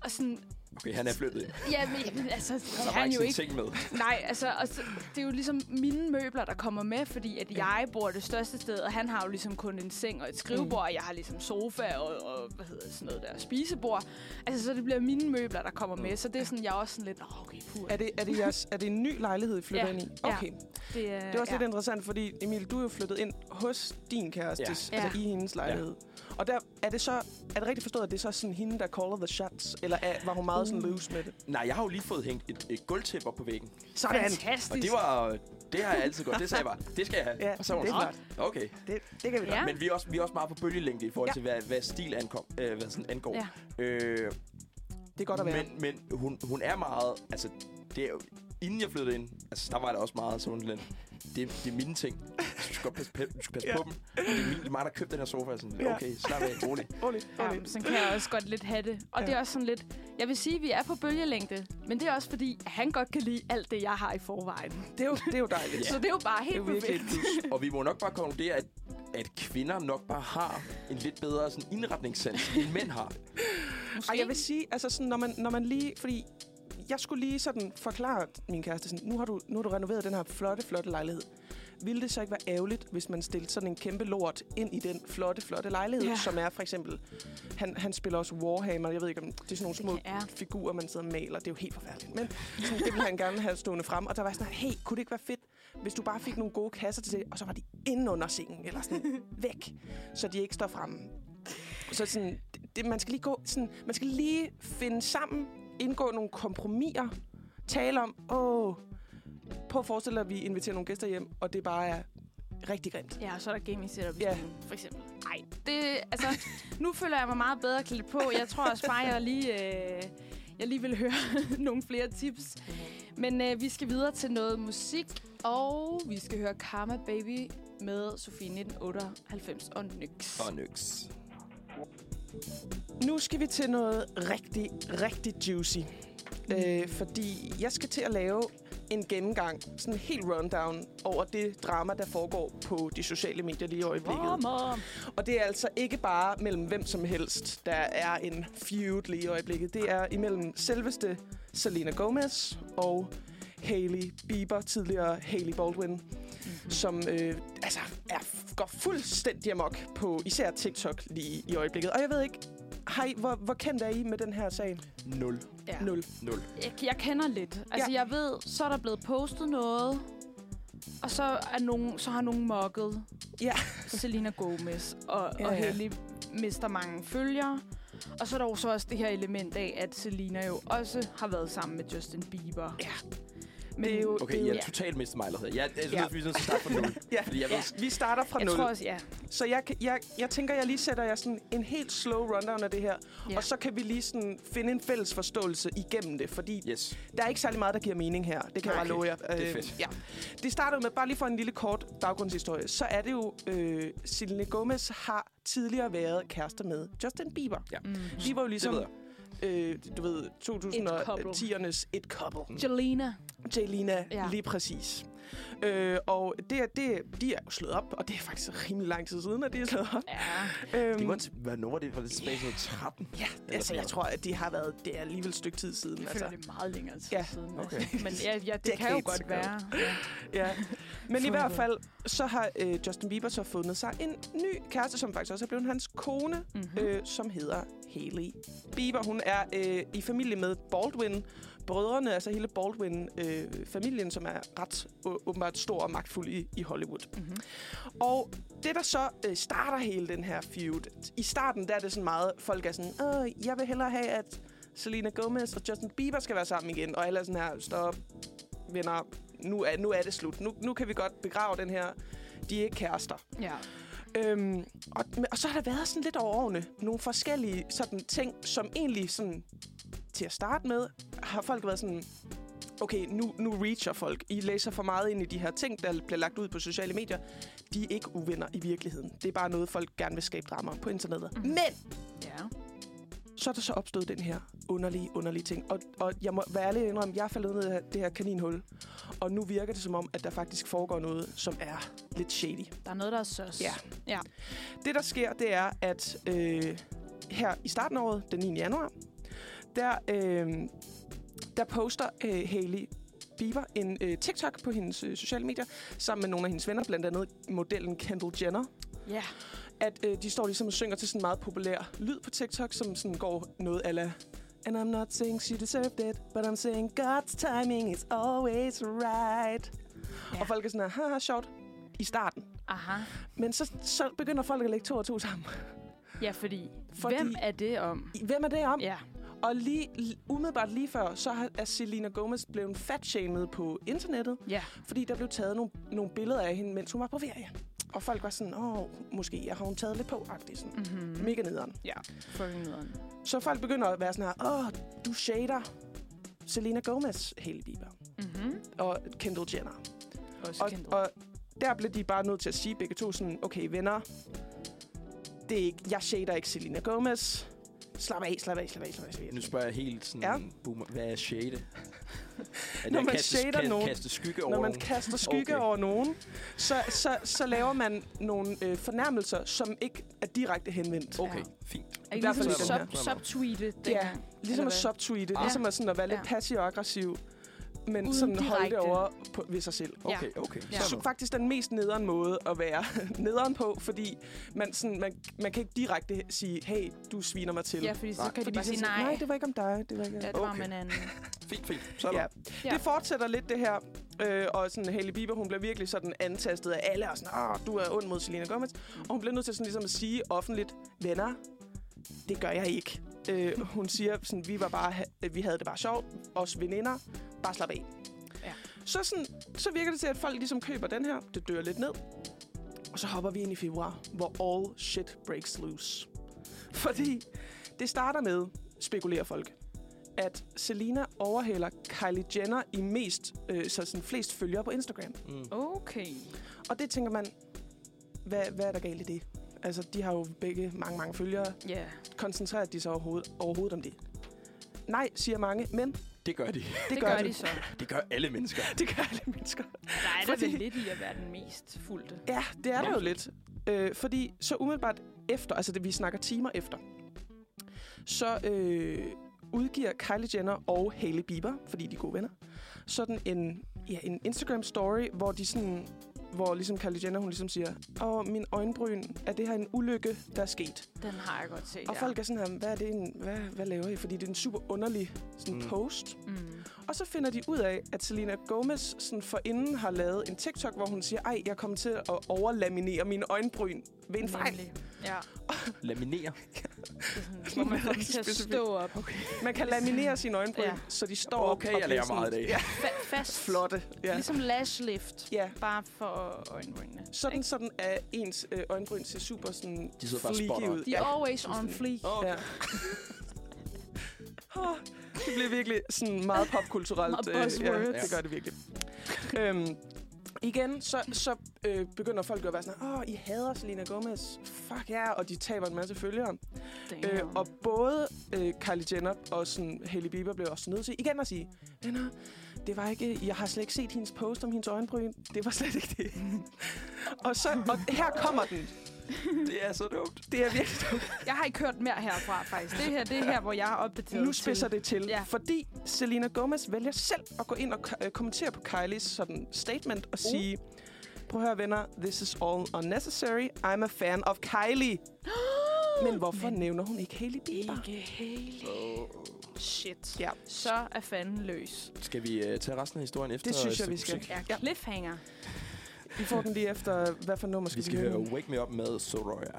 S2: Og sådan,
S3: Okay, han er flyttet ind.
S2: ja, men, altså,
S3: Så
S2: så
S3: har
S2: han jo
S3: ikke
S2: ikke.
S3: sådan en ting med.
S2: Nej, altså, og så, det er jo ligesom mine møbler, der kommer med, fordi at jeg bor det største sted, og han har jo ligesom kun en seng og et skrivebord, og jeg har ligesom sofa og, og hvad hedder sådan noget der, spisebord. Altså, så det bliver mine møbler, der kommer med, så det er sådan, jeg er også sådan lidt, "Nå, okay, puh.
S1: Er det, er, det jeres, er det en ny lejlighed, I flytter
S2: Ja,
S1: ind i?
S2: ja.
S1: Okay.
S2: det, øh,
S1: Det var også ja. lidt interessant, fordi Emil, du er jo flyttet ind hos din kæreste,
S3: Ja.
S1: ja. altså
S2: Ja.
S1: i hendes lejlighed. Ja. Og der er det så, er det rigtigt forstået, at det er så sådan hende, der caller the shots? Eller er, var hun
S2: Uh.
S1: meget sådan loose med det?
S3: Nej, jeg har jo lige fået hængt et, et gulvtæppe op på væggen.
S1: Sådan!
S2: fantastisk.
S3: Og det var... Det har jeg altid godt. Det sagde jeg bare. Det skal jeg have.
S1: Ja,
S3: og så var
S1: det
S3: hun
S1: er
S3: sådan, Okay.
S1: Det, det kan vi
S2: Ja.
S1: ja.
S3: Men vi er, også, vi er også meget på bølgelængde i forhold
S1: Ja.
S3: til, hvad, hvad stil ankom, øh, hvad sådan angår.
S2: Ja.
S3: Øh,
S1: Det er godt at være. Men,
S3: men men hun, hun er meget... Altså, det er jo, inden jeg flyttede ind, altså, der var det også meget sådan lidt... Det, det er mine ting. Du skal godt passe, pe- du skal passe ja.
S1: Ja.
S3: på dem. Og det er, min, det er mig, der købte den her sofa. Jeg er Sådan,
S1: Ja.
S3: okay, slap af. Rolig.
S1: roligt,
S2: Ja,
S1: roligt.
S2: men sådan kan jeg også godt lidt have det. Og ja. det er også sådan lidt... Jeg vil sige, at vi er på bølgelængde, men det er også fordi, at han godt kan lide alt det, jeg har i forvejen.
S1: Det, er jo, det er jo dejligt.
S2: Ja. Så det er jo bare helt
S1: Det er virkelig
S2: perfekt.
S1: et
S3: Og vi må nok bare konkludere, at, at kvinder nok bare har en lidt bedre sådan, indretningssans, end mænd har.
S2: Måske.
S1: Ej, jeg vil sige, altså sådan, når man, når man lige, fordi jeg skulle lige sådan forklare min kæreste, sådan, nu, har du, nu har du renoveret den her flotte, flotte lejlighed. Ville det så ikke være ærgerligt, hvis man stillede sådan en kæmpe lort ind i den flotte, flotte lejlighed,
S2: Ja.
S1: ja. som er for eksempel, han, han spiller også Warhammer, jeg ved ikke om, det er sådan nogle små
S2: Ja.
S1: figurer, man sidder og maler, det er jo helt forfærdeligt, men sådan, det ville han gerne have stående frem, og der var sådan, hey, kunne det ikke være fedt, hvis du bare fik nogle gode kasser til det, og så var de inde under sengen, eller sådan, væk, så de ikke står fremme. Så sådan, det, man skal lige gå sådan, man skal lige finde sammen, indgå nogle kompromiser, tale om, åh, prøv at forestille dig, at vi inviterer nogle gæster hjem, og det bare er rigtig grimt.
S2: Ja, og så er der gaming setup i
S1: Ja.
S2: stuen, for eksempel. Nej, det... Altså, nu føler jeg mig meget bedre klædt på. Jeg tror også bare, jeg lige... Øh, jeg lige vil høre nogle flere tips. Men øh, vi skal videre til noget musik, og vi skal høre Karma Baby med Sofie 1998 og Nyx.
S3: Og nøks.
S1: Nu skal vi til noget rigtig, rigtig juicy. Øh, fordi jeg skal til at lave en gennemgang, sådan en helt rundown over det drama, der foregår på de sociale medier lige i øjeblikket.
S2: Warmer.
S1: Og det er altså ikke bare mellem hvem som helst, der er en feud lige i øjeblikket. Det er imellem selveste Selena Gomez og Hailey Bieber, tidligere Hailey Baldwin, mm-hmm.
S2: Mhm.
S1: som øh, altså er, går fuldstændig amok på især TikTok lige i øjeblikket. Og jeg ved ikke, har I, hvor, hvor kendt er I med den her sag?
S3: 0.
S2: Ja.
S1: Nul.
S3: 0.
S2: Jeg, jeg kender lidt. Altså, ja. jeg ved, så er der blevet postet noget, og så, er nogen, så har nogen mokket
S1: Ja.
S2: Selena Gomez, og,
S1: Ja,
S2: ja, og
S1: ja.
S2: Hailey mister mange følgere. Og så er der jo så også det her element af, at Selena jo også har været sammen med Justin Bieber.
S1: Ja.
S2: Men
S1: Det er jo-
S3: Okay,
S1: Det-
S3: jeg
S2: ja.
S3: er totalt mistet mig allerede. Jeg, jeg synes,
S1: Ja.
S3: ja. vi er nødt til at starte fra 0.
S1: Ja.
S3: Fordi jeg ved,
S1: Vi starter fra
S2: Jeg
S1: nul.
S2: tror også, ja.
S1: Så jeg, kan- jeg, jeg tænker, jeg lige sætter jer sådan en helt slow rundown af det her.
S2: Ja.
S1: Og så kan vi lige sådan finde en fælles forståelse igennem det, fordi
S3: yes.
S1: Der er ikke særlig meget, der giver mening her. Det kan jeg bare
S3: Okay.
S1: love jer.
S3: er
S1: Øh,
S3: fedt.
S1: Ja. Det starter jo med, bare lige for en lille kort baggrundshistorie, så er det jo, øh, Selena Gomez har tidligere været kærester med Justin Bieber.
S3: Ja.
S2: Mm.
S1: De var jo ligesom,
S3: Det ved
S1: øh, du ved,
S2: couple.
S1: 2010'ernes et couple.
S2: Jelena.
S1: Jelena, ja.
S2: Ja.
S1: lige præcis. Øh, og det, er- det, de er jo slået op, og det er faktisk rimelig lang tid siden, at de er slået op.
S2: Ja.
S1: Øhm,
S3: De må, hvornår var det? Var det tilbage i 13?
S1: ja, altså, jeg tror, at de har været det er alligevel et stykke tid siden.
S2: Jeg
S1: altså.
S2: føler, det er meget længere tid
S1: Ja.
S2: ja. siden.
S3: Okay.
S2: Altså. Men ja, ja, det kan jo
S1: Decades
S2: godt
S1: ago.
S2: være. Ja.
S1: Ja. Men i
S2: For
S1: hvert
S2: helvede.
S1: fald, så har øh, Justin Bieber så fundet sig en ny kæreste, som faktisk også er blevet hans kone,
S2: Mm-hmm.
S1: øh, som hedder Hailey Bieber. Hun er øh, i familie med Baldwin. Brødrene, altså hele Baldwin-familien, øh, familien, som er ret å- åbenbart stor og magtfuld i, i Hollywood.
S2: Mm-hmm.
S1: Og det, der så øh, starter hele den her feud, i starten der er det sådan meget, folk er sådan, Åh, jeg vil hellere have, at Selena Gomez og Justin Bieber skal være sammen igen, og alle er sådan her, stop, venner, nu er, nu er det slut. Nu, nu kan vi godt begrave den her, de er ikke kærester.
S2: Ja.
S1: Øhm, og, men- og så har der været sådan lidt over årene nogle forskellige sådan ting, som egentlig sådan til at starte med, har folk været sådan, okay, nu, nu reacher folk. I læser for meget ind i de her ting, der bliver lagt ud på sociale medier. De er ikke uvenner i virkeligheden. Det er bare noget, folk gerne vil skabe drama om på internettet. Mm.
S2: Mhm.
S1: Men
S2: Ja.
S1: så er der så opstået den her underlige, underlige ting. Og, og jeg må være ærlig og indrømme, jeg er faldet ned i det her- det her kaninhul. Og nu virker det som om, at der faktisk foregår noget, som er lidt shady.
S2: Der er noget, der er søs.
S1: Ja.
S2: Ja.
S1: Det, der sker, det er, at øh, her i starten af året, den 9. januar, der, øh, der poster øh, Hailey Bieber en øh, TikTok på hendes øh, sociale medier, sammen med nogle af hendes venner, blandt andet modellen Kendall Jenner,
S2: Ja.
S1: at øh, de står ligesom og synger til sådan en meget populær lyd på TikTok, som sådan går noget ala... And I'm not saying she deserved it, but I'm saying God's timing is always right.
S2: Ja.
S1: Ja. Og folk er sådan, her, haha, sjovt, i starten.
S2: Aha.
S1: Men så, så begynder folk at lægge to og to sammen.
S2: Ja, fordi,
S1: Fordi-
S2: fordi... Hvem er det om?
S1: Hvem er det om?
S2: Ja.
S1: Og lige, l- umiddelbart lige før, så har- er Selena Gomez blevet fatshamed på internettet,
S2: Ja.
S1: fordi der blev taget nogle, nogle billeder af hende, mens hun var på ferie. Og folk var sådan, åh, måske har hun taget lidt på, agtigt sådan.
S2: Mm-hmm.
S1: Mega nederen.
S2: Ja. Fucking nederen.
S1: Så folk begynder at være sådan her, åh, du shader Selena Gomez, Hailey Bieber
S2: Mm-hmm.
S1: og Kendall Jenner.
S2: Også
S1: Og,
S2: kendt.
S1: og der blev de bare nødt til at sige begge to sådan, okay venner, det er ikke, jeg shader ikke Selena Gomez. Slap af, slap af, slap af, slap af. Slap af.
S3: Nu spørger jeg helt sådan,
S1: Ja.
S3: ja. boomer, hvad er shade? Er det
S1: Når
S3: at
S1: man
S3: kaste,
S1: shader
S3: ka-
S1: nogen-
S3: Kaste skygge over
S1: Når man
S3: nogen?
S1: kaster skygge okay.
S3: Okay.
S1: over nogen, så, så, så laver man nogle øh, fornærmelser, som ikke er direkte henvendt.
S3: Okay,
S2: Ja.
S3: fint.
S2: Er I
S1: i hvert
S2: ligesom
S1: fald i
S2: sub,
S1: den
S3: her.
S2: subtweete
S1: Ja,
S2: dengang?
S1: ligesom
S2: Eller
S1: at
S2: hvad?
S1: subtweete,
S2: Ah.
S1: ligesom at, sådan at være lidt
S2: Ja.
S1: passiv og aggressiv, men
S2: Uden
S1: sådan holde det
S2: direkte.
S1: over på, ved sig selv.
S2: Ja.
S3: Okay, okay.
S2: Ja.
S1: Så faktisk den mest nederen måde at være nederen på, fordi man, sådan, man, man kan ikke direkte sige, hey, du sviner mig til.
S2: Ja, fordi så
S3: Nej.
S2: kan de
S1: fordi
S2: bare
S1: så
S2: sige
S1: siger
S2: nej.
S1: nej, det var ikke om dig. Det var ikke om
S2: Ja, det var
S3: Okay.
S2: man anden.
S3: Fint, fint. Så er
S1: Ja.
S3: ja.
S2: Ja.
S1: Det fortsætter lidt, det her. Øh, og sådan, Hailey Bieber, hun bliver virkelig sådan antastet af alle, og sådan, Åh, du er ond mod Selena Gomez. Og hun bliver nødt til sådan, ligesom at sige offentligt, venner, det gør jeg ikke. Øh, hun siger, sådan, vi, var bare, ha- vi havde det bare sjovt, os veninder, bare slap af.
S2: Ja.
S1: Så, sådan, så virker det til, at folk ligesom køber den her, det dør lidt ned. Og så hopper vi ind i februar, hvor all shit breaks loose. Fordi det starter med, spekulerer folk, at Selena overhaler Kylie Jenner i mest, øh, så sådan flest følgere på Instagram.
S3: Mm.
S2: Okay.
S1: Og det tænker man, hvad, hvad er der galt i det? Altså, de har jo begge mange, mange følgere.
S2: Ja.
S1: Koncentrerer de sig overhovedet, overhovedet om det? Nej, siger mange, men det,
S3: Det gør de.
S2: Det,
S1: gør,
S2: gør
S1: de.
S2: de så.
S3: Det gør alle mennesker.
S1: Det gør alle mennesker.
S2: Der er der
S1: Fordi-
S2: vel lidt i at være den mest fulde.
S1: Ja, det er der
S2: Ja.
S1: jo lidt. Øh, fordi så umiddelbart efter, altså det vi snakker timer efter, så øh, udgiver Kylie Jenner og Hailey Bieber, fordi de er gode venner, sådan en, ja, en Instagram-story, hvor de sådan hvor ligesom Kylie Jenner, hun ligesom siger, åh, min øjenbryn, er det her en ulykke, der er sket?
S2: Den har jeg godt set,
S1: Og folk er sådan her, hvad er det en, hvad, hvad laver I? Fordi det er en super underlig sådan
S3: Mm.
S1: mm. post.
S2: Mm.
S1: Og så finder de ud af, at Selena Gomez sådan forinden har lavet en TikTok, hvor hun siger, ej, jeg kom til at overlaminere mine øjenbryn ved en fejl.
S2: Nemlig. Ja.
S3: Laminere.
S2: Det er sådan, hvor man får dem til at
S1: Specifikt.
S2: stå op. Okay.
S1: Man kan laminere sine øjenbryn,
S2: Ja.
S1: ja. så de står op
S3: Okay,
S1: og bliver
S3: jeg lærer meget i
S1: sådan
S3: dag.
S1: Ja.
S2: Fa- fast.
S1: flotte. Ja.
S2: Ligesom lash lift.
S1: ja.
S2: Bare for øjenbrynene.
S1: Sådan,
S2: Ikke?
S1: sådan at ens øh, øjenbryn ser super sådan
S3: De sidder bare
S1: fleeky
S3: spot on.
S1: ud.
S2: De er always on fleek.
S3: Okay.
S1: Ja. Åh, det bliver virkelig sådan meget popkulturelt.
S2: Meget
S1: øh, ja,
S2: buzzwords.
S1: det gør det virkelig. øhm, igen, så, så øh, begynder folk jo at være sådan, åh, I hader Selena Gomez. Fuck ja, yeah. og de taber en masse følgere.
S2: Damn.
S1: Øh, og både øh, Kylie Jenner og sådan, Hailey Bieber blev også nødt til igen at sige, venner, det var ikke, jeg har slet ikke set hendes post om hendes øjenbryn. Det var slet ikke det. og, så, og her kommer den.
S3: Det er så dumt.
S1: Det er virkelig
S2: Jeg har ikke hørt mere herfra, faktisk. Det her, det er her, hvor jeg har opdateret
S1: Nu spidser det til,
S2: Ja.
S1: ja. fordi Selena Gomez vælger selv at gå ind og k- øh, kommentere på Kylies sådan statement og uh. sige, prøv at høre venner, this is all unnecessary, I'm a fan of Kylie. Men hvorfor Men. nævner hun ikke Hailey Bieber?
S2: Ikke Hailey. Shit.
S1: Ja.
S2: Så er fanden løs.
S3: Skal vi øh, tage resten af historien efter?
S1: Det synes jeg,
S3: et
S1: vi
S3: stykke
S1: skal.
S3: musik?
S2: Ja,
S1: Ja.
S2: cliffhanger.
S1: Vi får den lige efter, hvad for nummer skal
S3: Vi
S1: vi,
S3: skal høre Wake Me Up med Soraya.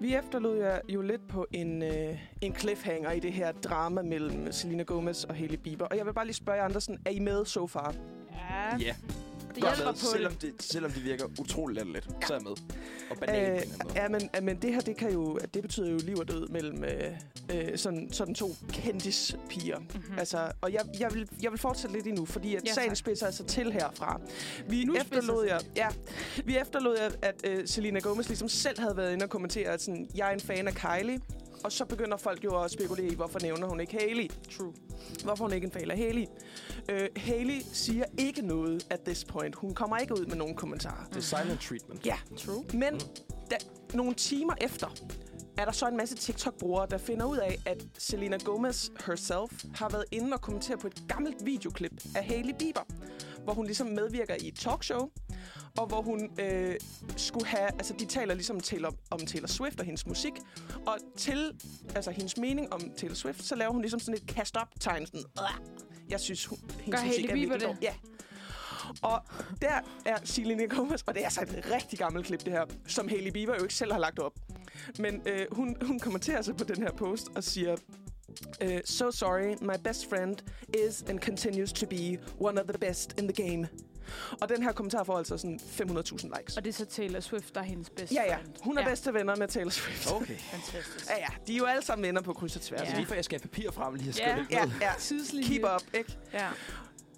S1: Vi efterlod jer jo lidt på en, øh, en cliffhanger i det her drama mellem Selena Gomez og Hailey Bieber. Og jeg vil bare lige spørge jer andre, sådan, er I med so far?
S2: Ja,
S3: Ja,
S2: det
S3: godt
S2: hjælper
S3: med.
S2: på
S3: selvom
S2: det.
S3: det. Selvom det virker utrolig latterligt, så er jeg med. Og banalt øh, på en eller anden måde.
S1: ja, men, ja, men det her, det, kan jo, det betyder jo liv og død mellem øh, øh, sådan, sådan to kendispiger.
S2: Mhm.
S1: Mm. Altså, og jeg, jeg, vil, jeg vil fortsætte lidt endnu, fordi at
S2: Ja,
S1: ja,
S2: tak.
S1: sagen spidser altså til herfra. Vi
S2: Nu
S1: nu
S2: spidser
S1: efterlod
S2: sig
S1: jer, ja, vi efterlod jer, at øh, Selena Gomez ligesom selv havde været inde og kommentere, at sådan, jeg er en fan af Kylie. Og så begynder folk jo at spekulere i, hvorfor nævner hun ikke Hailey. True. Hvorfor hun ikke en fan af Hailey. Øh, Hailey siger ikke noget at this point. Hun kommer ikke ud med nogen kommentarer.
S3: Det er silent treatment.
S1: Ja,
S2: True.
S1: men da, nogle timer efter er der så en masse TikTok-brugere, der finder ud af, at Selena Gomez herself har været inde og kommentere på et gammelt videoklip af Hailey Bieber, hvor hun ligesom medvirker i et talkshow, og hvor hun øh, skulle have, altså de taler ligesom til om, om Taylor Swift og hendes musik, og til altså hendes mening om Taylor Swift, så laver hun ligesom sådan et kast op tegn sådan, "Uah." jeg synes, hun, hendes
S2: Gør
S1: musik
S2: Hailey
S1: er
S2: Bieber
S1: virkelig
S2: det?
S1: dårlig. Ja. Og der er Selena Gomez, og det er altså et rigtig gammelt klip, det her, som Hailey Bieber jo ikke selv har lagt op. Men øh, hun, hun kommenterer så på den her post og siger, øh, So sorry, my best friend is and continues to be one of the best in the game. Og den her kommentar får altså sådan 500.000 likes.
S2: Og det er så Taylor Swift, der er hendes bedste
S1: Ja, ja.
S2: friend.
S1: Hun er
S2: Ja.
S1: bedste venner med Taylor Swift.
S3: Okay.
S2: Fantastisk.
S1: Ja, ja. De er jo alle sammen venner på kryds og
S3: Ja.
S1: tværs.
S3: Det er lige for, jeg skal have papir frem lige og skrive
S2: Ja.
S3: lidt
S1: Ja,
S3: ned.
S1: ja.
S2: Tidslinje.
S1: Keep up, ikke?
S2: Ja.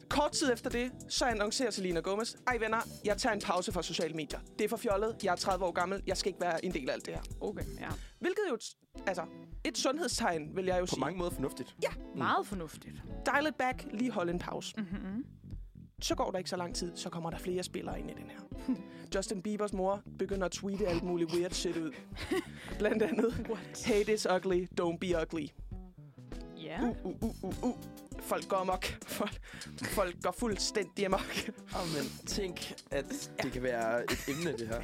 S1: Kort tid efter det, så annoncerer Selena Gomez, ej venner, jeg tager en pause fra sociale medier. Det er for fjollet, jeg er 30 år gammel, jeg skal ikke være en del af alt det her.
S2: Okay, ja.
S1: Hvilket jo, t- altså, et sundhedstegn, vil jeg jo
S3: På
S1: sige.
S3: mange måder fornuftigt.
S2: Meget fornuftigt.
S1: Dial it back, lige hold en pause.
S2: Mm-hmm.
S1: Så går der ikke så lang tid, så kommer der flere spillere ind i den her. Justin Biebers mor begynder at tweete alt muligt weird shit ud. Blandt andet,
S2: What?
S1: hate is ugly, don't be ugly.
S2: Ja.
S1: Uh, uh, uh, uh, uh. Folk går amok. Folk, folk går fuldstændig amok.
S3: Oh, men tænk, at det kan være et emne, det her.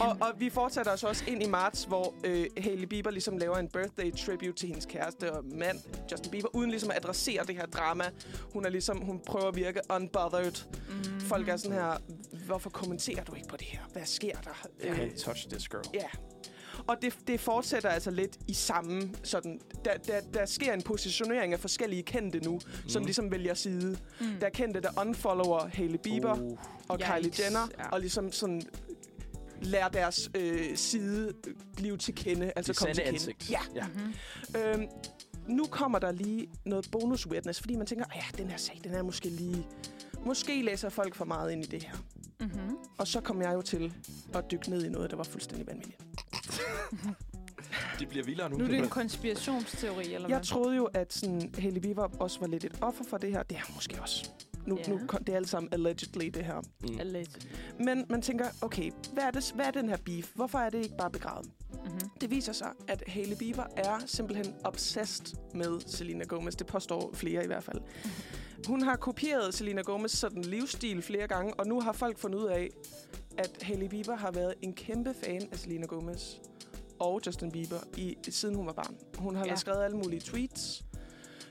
S1: Og, og vi fortsætter os også ind i marts, hvor øh, Hailey Bieber ligesom laver en birthday tribute til hendes kæreste og mand, Justin Bieber, uden ligesom at adressere det her drama. Hun er ligesom, hun prøver at virke unbothered.
S2: Mm.
S1: Folk er sådan her, hvorfor kommenterer du ikke på det her? Hvad sker der?
S3: You
S1: Øh,
S3: can't touch this girl.
S1: Ja. Og det, det fortsætter altså lidt i samme sådan... Der, der, der sker en positionering af forskellige kendte nu, mm. som ligesom vælger side.
S2: Mm.
S1: Der er kendte, der unfollower Hailey Bieber
S3: Uh,
S1: og
S2: Yikes,
S1: Kylie Jenner,
S2: ja.
S1: og ligesom sådan lærer deres øh, side øh, blive til kende. Altså
S3: det
S1: komme
S3: sande
S1: til
S3: ansigt.
S1: Kende.
S3: ja.
S2: Mm-hmm.
S1: Ja. Øhm, nu kommer der lige noget bonus weirdness, fordi man tænker, "Åh ja, den her sag, den er måske lige... Måske læser folk for meget ind i det her.
S2: Mm-hmm.
S1: Og så kom jeg jo til at dykke ned i noget, der var fuldstændig vanvittigt.
S3: Det bliver vildere nu.
S2: Nu er det en konspirationsteori, eller
S1: Jeg
S2: hvad?
S1: troede jo, at sådan, Hailey Bieber også var lidt et offer for det her. Det er hun måske også. Nu,
S2: Ja.
S1: yeah. nu kom det er alt sammen allegedly, det her.
S3: Mm.
S2: Allegedly.
S1: Men man tænker, okay, hvad er, det, hvad er den her beef? Hvorfor er det ikke bare begravet?
S2: Mm-hmm.
S1: Det viser sig, at Hailey Bieber er simpelthen obsessed med Selena Gomez. Det påstår flere i hvert fald. Hun har kopieret Selena Gomez sådan livsstil flere gange, og nu har folk fundet ud af, at Hailey Bieber har været en kæmpe fan af Selena Gomez og Justin Bieber, i, siden hun var barn. Hun har
S2: Ja.
S1: ja. skrevet alle mulige tweets,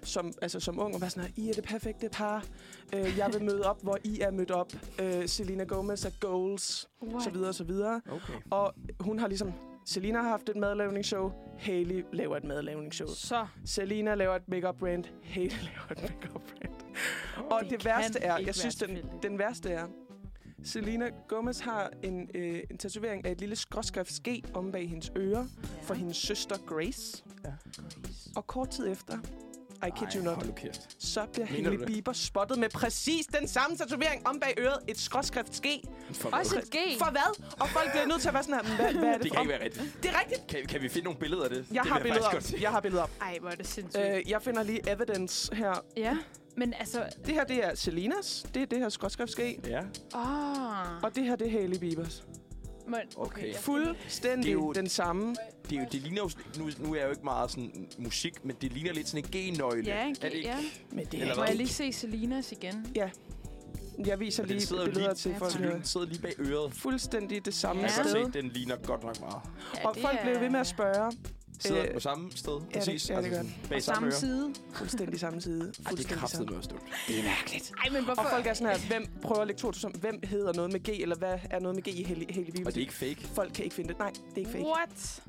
S1: som, altså, som ung, og var sådan her, I er det perfekte par. Øh, jeg vil møde op, hvor I er mødt op. Øh, Selena Gomez er goals,
S2: What?
S1: så videre, så videre.
S3: Okay.
S1: Og hun har ligesom... Selina har haft et madlavningsshow. Haley laver et madlavningsshow.
S2: Så
S1: Selina laver et makeup brand. Haley laver et makeup brand. Og det,
S2: kan
S1: det værste er,
S2: ikke være
S1: jeg synes, den,
S2: tilfældigt.
S1: den værste er, Selina Gomez har en, øh, en tatovering af et lille skråskrift G om bag hendes ører
S2: ja.
S1: for hendes søster Grace.
S2: hendes.
S1: Og kort tid efter, I kid you not,
S3: Hold nu kæft.
S1: så bliver
S3: Mener du
S1: Hailey
S3: det?
S1: Bieber spottet med præcis den samme tatovering om bag øret. Et skråskrift G.
S3: For
S2: Også
S3: hvad?
S2: et G.
S1: For hvad? Og folk bliver nødt til at være sådan her, "Men hvad, hvad er det,
S3: det
S1: for?
S3: kan ikke være rigtigt.
S1: Det er rigtigt.
S3: Kan, kan vi finde nogle billeder af det?
S1: Jeg
S3: det
S1: har,
S3: vil
S1: billeder
S3: faktisk
S1: op.
S3: godt se.
S1: jeg har billeder op.
S2: Ej, hvor er det sindssygt. Øh.
S1: Øh, jeg finder lige evidence her.
S2: Ja, men altså...
S1: Det her, det er Selinas. Det er det her skråtskrift ske.
S3: Ja,
S2: Åh...
S1: Og det her, det er Hailey Bieber's.
S2: Men,
S3: okay. Det
S1: Fuldstændig
S3: er jo-
S1: den samme.
S3: Det, er jo, det ligner jo... sådan- Nu, nu er jeg jo ikke meget sådan musik, men det ligner lidt sådan en G-nøgle.
S2: Ja, en G,
S3: Er det ikke?
S2: ja.
S1: Men det
S3: Eller
S1: er
S2: Må jeg
S3: hvad?
S1: ikke.
S2: lige se Selinas igen?
S1: Jeg viser
S3: Og den
S1: lige
S3: sidder jo
S1: billeder
S3: lige
S1: til
S2: Ja,
S1: folk.
S2: tak.
S3: Så
S1: her.
S3: den sidder lige bag øret.
S1: Fuldstændig det samme
S2: Ja.
S3: Ja.
S1: ja.
S3: Jeg kan
S1: sted.
S3: se, den ligner godt nok meget.
S2: Ja,
S1: Og
S2: det
S1: folk bliver ved med at spørge.
S3: Sidder den
S1: Øh,
S3: på samme sted?
S1: det-
S3: Præcis. Altså
S1: ja, det gør
S3: sådan bag
S2: På samme
S3: samme øre.
S2: side.
S1: Fuldstændig samme side.
S3: Ej, det er
S1: Fuldstændig
S3: kraftet
S1: samme.
S3: med at stå.
S1: Det er mærkeligt.
S2: Ej, men hvorfor?
S1: Og folk er sådan her, hvem prøver at lægge to til som, hvem hedder noget med G, eller hvad er noget med G i Hailey, Hailey Bieber?
S3: Og det er ikke fake.
S1: Folk kan ikke finde det. Nej, det er ikke fake.
S2: What?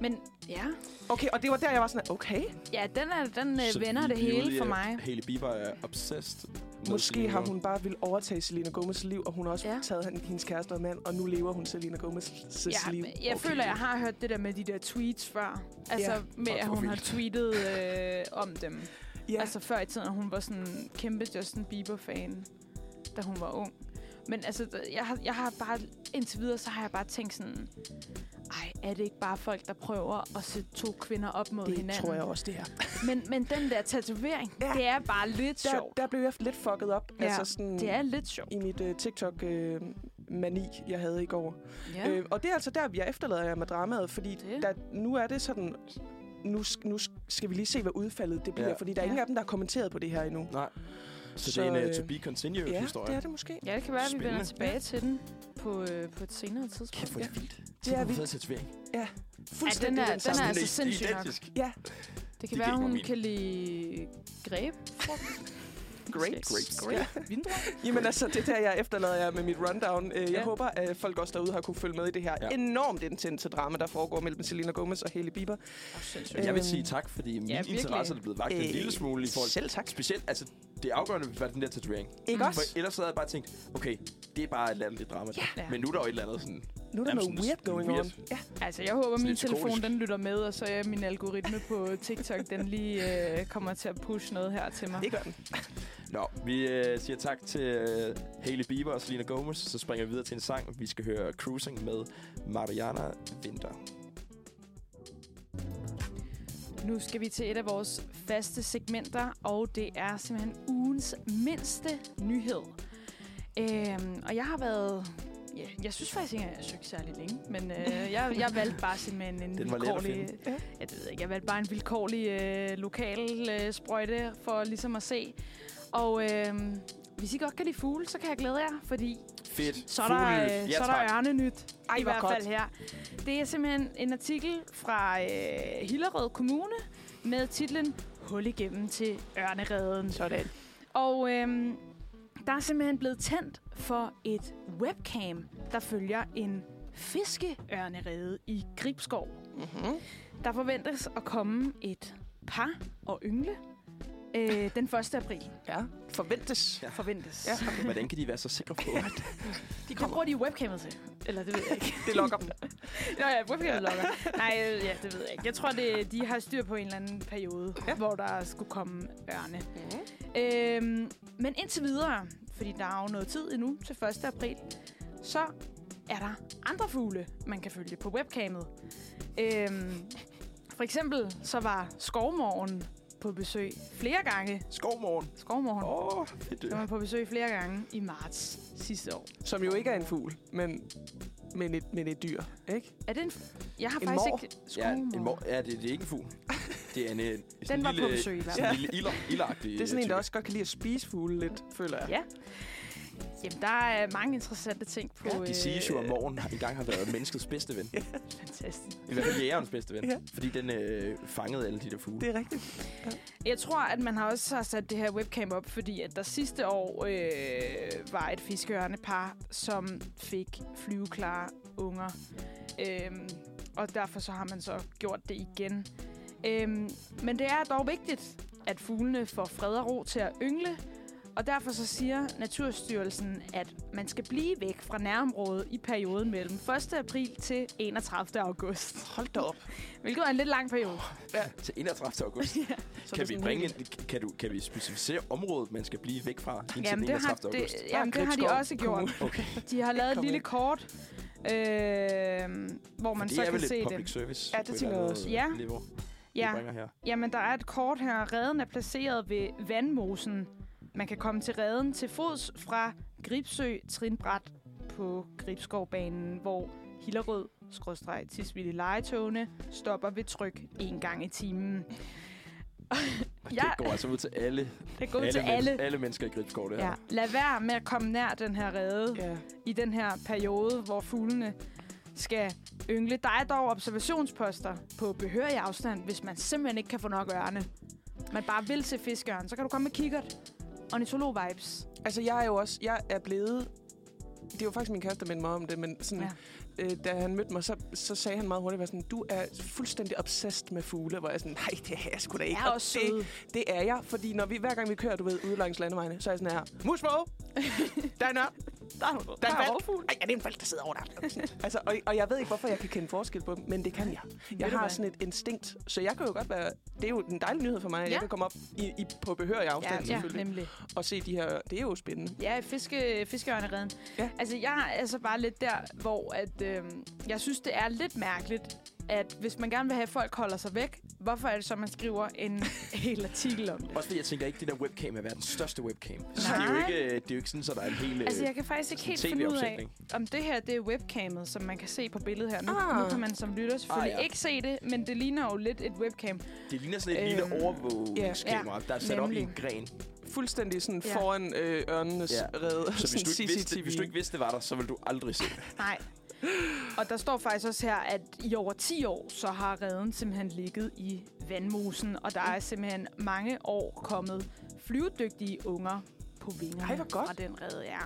S2: Men ja,
S1: Okay, og det var der, jeg var sådan her, okay.
S2: ja den, er, den
S3: Så
S2: øh, vender
S3: vi-
S2: det
S3: vi er ude
S2: hele
S3: i,
S2: for
S3: at
S2: mig.
S3: Hailey Bieber er obsessed. med
S1: Måske
S3: Selena
S1: har
S3: Gomez.
S1: hun bare vil overtage Selena Gomez' liv, og hun har også
S2: Ja.
S1: ja. taget hen- hendes kæreste og mand, og nu lever hun Selena Gomez'
S2: Ja,
S1: liv.
S2: men jeg okay. føler, jeg har hørt det der med de der tweets før. Altså
S1: Ja.
S2: med,
S3: Fuck,
S2: at
S3: hvor
S2: hun har
S3: vildt.
S2: tweetet øh, om dem. Ja.
S1: Ja, altså,
S2: Altså før i tiden, at hun var sådan en kæmpe Justin Bieber-fan, da hun var ung. Men altså, d- jeg har, jeg har bare, indtil videre, så har jeg bare tænkt sådan, ej, er det ikke bare folk, der prøver at sætte to kvinder op mod
S1: det
S2: hinanden?
S1: tror jeg også, det er.
S2: Men, men den der tatovering, ja.
S1: Ja.
S2: det er bare lidt der,
S1: Der,
S2: sjovt.
S1: der blev jeg lidt fucket op
S2: Ja,
S1: ja. altså sådan,
S2: Det er lidt sjovt.
S1: i mit uh, TikTok-mani, jeg havde i går.
S2: Ja.
S1: Ja. Øh, og det er altså der, jeg efterlader jer med dramaet, fordi
S2: Det.
S1: der, nu er det sådan... Nu, sk- nu sk- skal vi lige se, hvad udfaldet det bliver,
S3: Ja.
S1: ja. fordi der er
S2: Ja.
S1: ingen af dem, der har kommenteret på det her endnu.
S3: Nej. Så,
S1: Så,
S3: det er en uh,
S1: øh,
S3: to be continued
S1: Ja,
S3: historie.
S1: det er det måske.
S2: ja, det kan være, at vi vender
S3: Spændende.
S2: tilbage til den på, øh, på et senere tidspunkt.
S3: Kæft, hvor er det vildt.
S1: Det er
S3: vi.
S1: vildt.
S2: Ja, den
S1: Fuldstændig
S2: er-
S1: den,
S2: den
S1: samme.
S2: er altså sindssyg
S1: Ja.
S2: nok. Det kan
S3: Det
S2: være,
S3: giver
S2: hun
S3: mening.
S2: kan lide greb.
S1: Grapes.
S2: Grape. Vindruer.
S1: Jamen altså, det er der, jeg efterlader jer med mit rundown. Øh, Jeg
S2: Ja.
S1: ja. håber, at folk også derude har kunne følge med i det her
S3: Ja.
S1: ja. enormt intense drama, der foregår mellem Selena Gomez og Hailey Bieber.
S2: Åh, sindssygt.
S1: Øh,
S3: Jeg vil sige tak, fordi min
S2: virkelig.
S3: interesse er blevet vagt en
S1: Øh,
S3: lille smule i forhold til...
S1: Selv tak.
S3: Specielt, altså, det afgørende var den der tatovering.
S1: Ikke
S2: Mm.
S1: også?
S3: For ellers så havde jeg bare tænkt, okay, det er bare et eller andet lidt drama.
S2: Ja.
S3: Men nu er der jo et eller andet sådan...
S1: Nu er der
S3: Jamen,
S1: noget
S3: sådan
S1: weird going
S3: weird.
S1: on. Ja.
S2: Altså, jeg håber, min
S3: lidt
S2: telefon
S3: psykotisk.
S2: den lytter med, og så er min algoritme på TikTok, den lige øh, kommer til at pushe noget her til mig.
S1: Det gør den.
S3: Nå, vi øh, siger tak til øh, Hailey Bieber og Selena Gomez. Så springer vi videre til en sang. Vi skal høre Cruising med Mariana Winter.
S2: Nu skal vi til et af vores faste segmenter, og det er simpelthen ugens mindste nyhed. Øhm, og jeg har været... Ja, jeg synes faktisk ikke, at jeg har søgt særlig længe, men øh, jeg, jeg valgte bare simpelthen en
S3: Den var let at
S2: vilkårlig...
S3: finde.
S1: Ja.
S2: Jeg, ved jeg ikke, jeg valgte bare en vilkårlig øh, lokal øh, sprøjte for ligesom at se. Og øh, hvis I godt kan lide fugle, så kan jeg glæde jer, fordi
S3: Fedt.
S2: så er der,
S3: Fuglelyt.
S2: øh,
S3: ja,
S2: så er
S3: tak.
S2: der ørnenyt,
S1: Ej,
S2: i
S1: hvor
S2: hvert fald
S1: godt.
S2: her. Det er simpelthen en artikel fra øh, Hillerød Kommune med titlen Hul igennem til ørnereden.
S1: Sådan.
S2: Og øhm, der er simpelthen blevet tændt for et webcam, der følger en fiskeørnerede i Gribskov.
S1: Mm-hmm.
S2: Der forventes at komme et par og yngle øh, den 1. april,
S1: Ja. Forventes. Ja.
S2: forventes.
S1: Ja.
S3: Hvordan kan de være så sikre på, at
S2: De kommer. Det bruger de webcamet til. Eller det ved jeg ikke.
S1: Det lokker dem.
S2: Nå ja, webcamet lokker. Nej, øh, ja, det ved jeg ikke. Jeg tror, det, de har styr på en eller anden periode, ja. hvor der skulle komme ørne.
S1: Mm-hmm.
S2: Øhm, men indtil videre, fordi der er jo noget tid endnu til 1. april, så er der andre fugle, man kan følge på webcamet. Øhm, for eksempel så var skovmorgen på besøg flere gange.
S3: skovmorgen...
S2: Skovmorgen oh.
S3: Åh, oh, fedt.
S2: var på besøg flere gange i marts sidste år.
S1: Som jo ikke er en fugl, men, men, et, men et dyr. Ikke?
S2: Er det en... f- Jeg har
S1: En
S2: faktisk
S1: mår?
S2: ikke...
S3: Ja,
S2: Skovmorgen.
S3: en mor- ja det, det er ikke en fugl. Det er en, øh, sådan
S2: Den
S3: en
S2: var
S3: lille,
S2: på besøg i hvert
S3: sådan
S2: fald.
S3: en lille ilder, ilderagtig øh,
S1: Det er sådan en,
S3: type.
S1: der også godt kan lide at spise fugle lidt, føler jeg.
S2: Ja. Jamen, der er mange interessante ting på... øh,
S3: De siges jo, at morgen engang har været menneskets bedste ven.
S2: Fantastisk.
S3: I hvert fald jægerens bedste ven.
S1: Ja.
S3: Ja. Fordi den øh, fangede alle de der fugle.
S1: Det
S3: Det.
S1: er rigtigt.
S2: Jeg tror, at man har også har sat det her webcam op, fordi at der sidste år øh, var et fiskehørende par, som fik flyveklare unger. Øhm, og derfor så har man så gjort det igen. Øhm, men det er dog vigtigt, at fuglene får fred og ro til at yngle, og derfor så siger Naturstyrelsen, at man skal blive væk fra nærområdet i perioden mellem 1. april til 31. august.
S1: Hold da op.
S2: Hvilket er en lidt lang periode.
S3: Til 31. august.
S1: Så er
S3: kan,
S1: det
S3: vi
S1: sådan
S3: bringe
S1: helt-
S3: en, kan, du, kan vi specificere området, man skal blive væk fra indtil
S2: Jamen,
S3: den
S2: det
S3: 31.
S2: har,
S3: august?
S2: det,
S1: Der er
S2: jamen, det har de
S1: Gribskov
S2: også gjort.
S3: Okay.
S2: De har lavet et
S1: Kom
S2: lille
S1: ind.
S2: kort, øh, hvor man
S3: det
S2: så
S3: er
S2: kan
S3: vel
S2: se
S3: et public
S2: det.
S3: service.
S1: Ja,
S3: på
S1: det
S3: et
S1: tænker jeg
S3: eller
S1: også.
S3: andet
S2: Ja.
S3: Niveau,
S2: Ja,
S3: Vi bringer her.
S2: jamen der er et kort her. Reden er placeret ved Vandmosen. Man kan komme til reden til fods fra Gribsø Trinbræt på Gribskovbanen, hvor Hillerød skråstreg Tisvilde legetogene stopper ved tryk en gang i timen.
S3: Ja. Det går altså ud til alle,
S2: Det går ud til alle.
S3: alle mennesker i Gribskov, det her.
S2: Ja, lad være med at komme nær den her rede.
S1: Ja.
S2: i den her periode, hvor fuglene skal yngle. Der er dog observationsposter på behørig afstand, hvis man simpelthen ikke kan få nok ørne. Man bare vil se fiskørn, så kan du komme med kikkert. Ornitolog-vibes.
S1: Altså, jeg er jo også... Jeg er blevet... Det var faktisk min kæreste, der mindte mig om det, men sådan, ja.
S2: Ja.
S1: øh, da han mødte mig, så, så sagde han meget hurtigt, var sådan, du er fuldstændig obsessed med fugle, hvor jeg sådan, nej, det er jeg sgu da ikke.
S2: Jeg er
S1: Og
S2: også
S1: det,
S2: søde.
S1: det er jeg, fordi når vi, hver gang vi kører, du ved, ude langs landevejene, så er jeg sådan her, musvåge, der er en ørn,
S2: Der er,
S1: der er en valg.
S2: rovfugl.
S1: Ej, ja, det er en valg, der sidder over der. altså, og, og jeg ved ikke, hvorfor jeg kan kende forskel på dem, men det kan jeg.
S2: Ved
S1: Jeg
S2: du
S1: har
S2: hvad?
S1: sådan et instinkt, så jeg kan jo godt være... Det er jo en dejlig nyhed for mig, at ja.
S2: Ja.
S1: jeg kan komme op i, i, på behørig afstand, ja,
S2: Ja, ja,
S1: selvfølgelig,
S2: nemlig.
S1: og se de her... Det er jo spændende.
S2: Ja, fiske, fiskeørnereden.
S1: Ja.
S2: Altså, jeg er altså bare lidt der, hvor at, øh, jeg synes, det er lidt mærkeligt, at hvis man gerne vil have, at folk holder sig væk, hvorfor er det så, man skriver en hel artikel om det?
S3: Også fordi jeg tænker ikke, det der webcam er verdens største webcam. Så det er jo
S2: Nej.
S3: ikke, øh, det er jo ikke sådan, så der er en hel...
S2: Altså,
S3: øh,
S2: jeg kan faktisk ikke
S3: sådan
S2: helt finde ud af,
S3: TV-opsætning.
S2: om det her det er webcamet, som man kan se på billedet her. Nu,
S1: Ah.
S2: ah. nu kan man som lytter selvfølgelig
S3: Ah,
S2: ah,
S3: ja.
S2: ja. ikke se det, men det ligner jo lidt et webcam.
S3: Det ligner sådan et
S2: Øhm,
S3: lille overvågningskamera, der er sat op i en
S2: nemlig.
S3: gren.
S1: Fuldstændig sådan
S2: Ja.
S1: foran øh, ørnenes
S3: Ja.
S1: ja. redde.
S3: Så hvis
S1: sådan
S3: du, ikke vidste,
S1: CCTV.
S3: hvis du ikke vidste, det var der, så ville du aldrig se det.
S2: Nej. Og der står faktisk også her, at i over 10 år, så har redden simpelthen ligget i vandmosen, og der er simpelthen mange år kommet flyvedygtige unger på vingerne
S1: Ej, hvor godt.
S2: fra den redde, ja.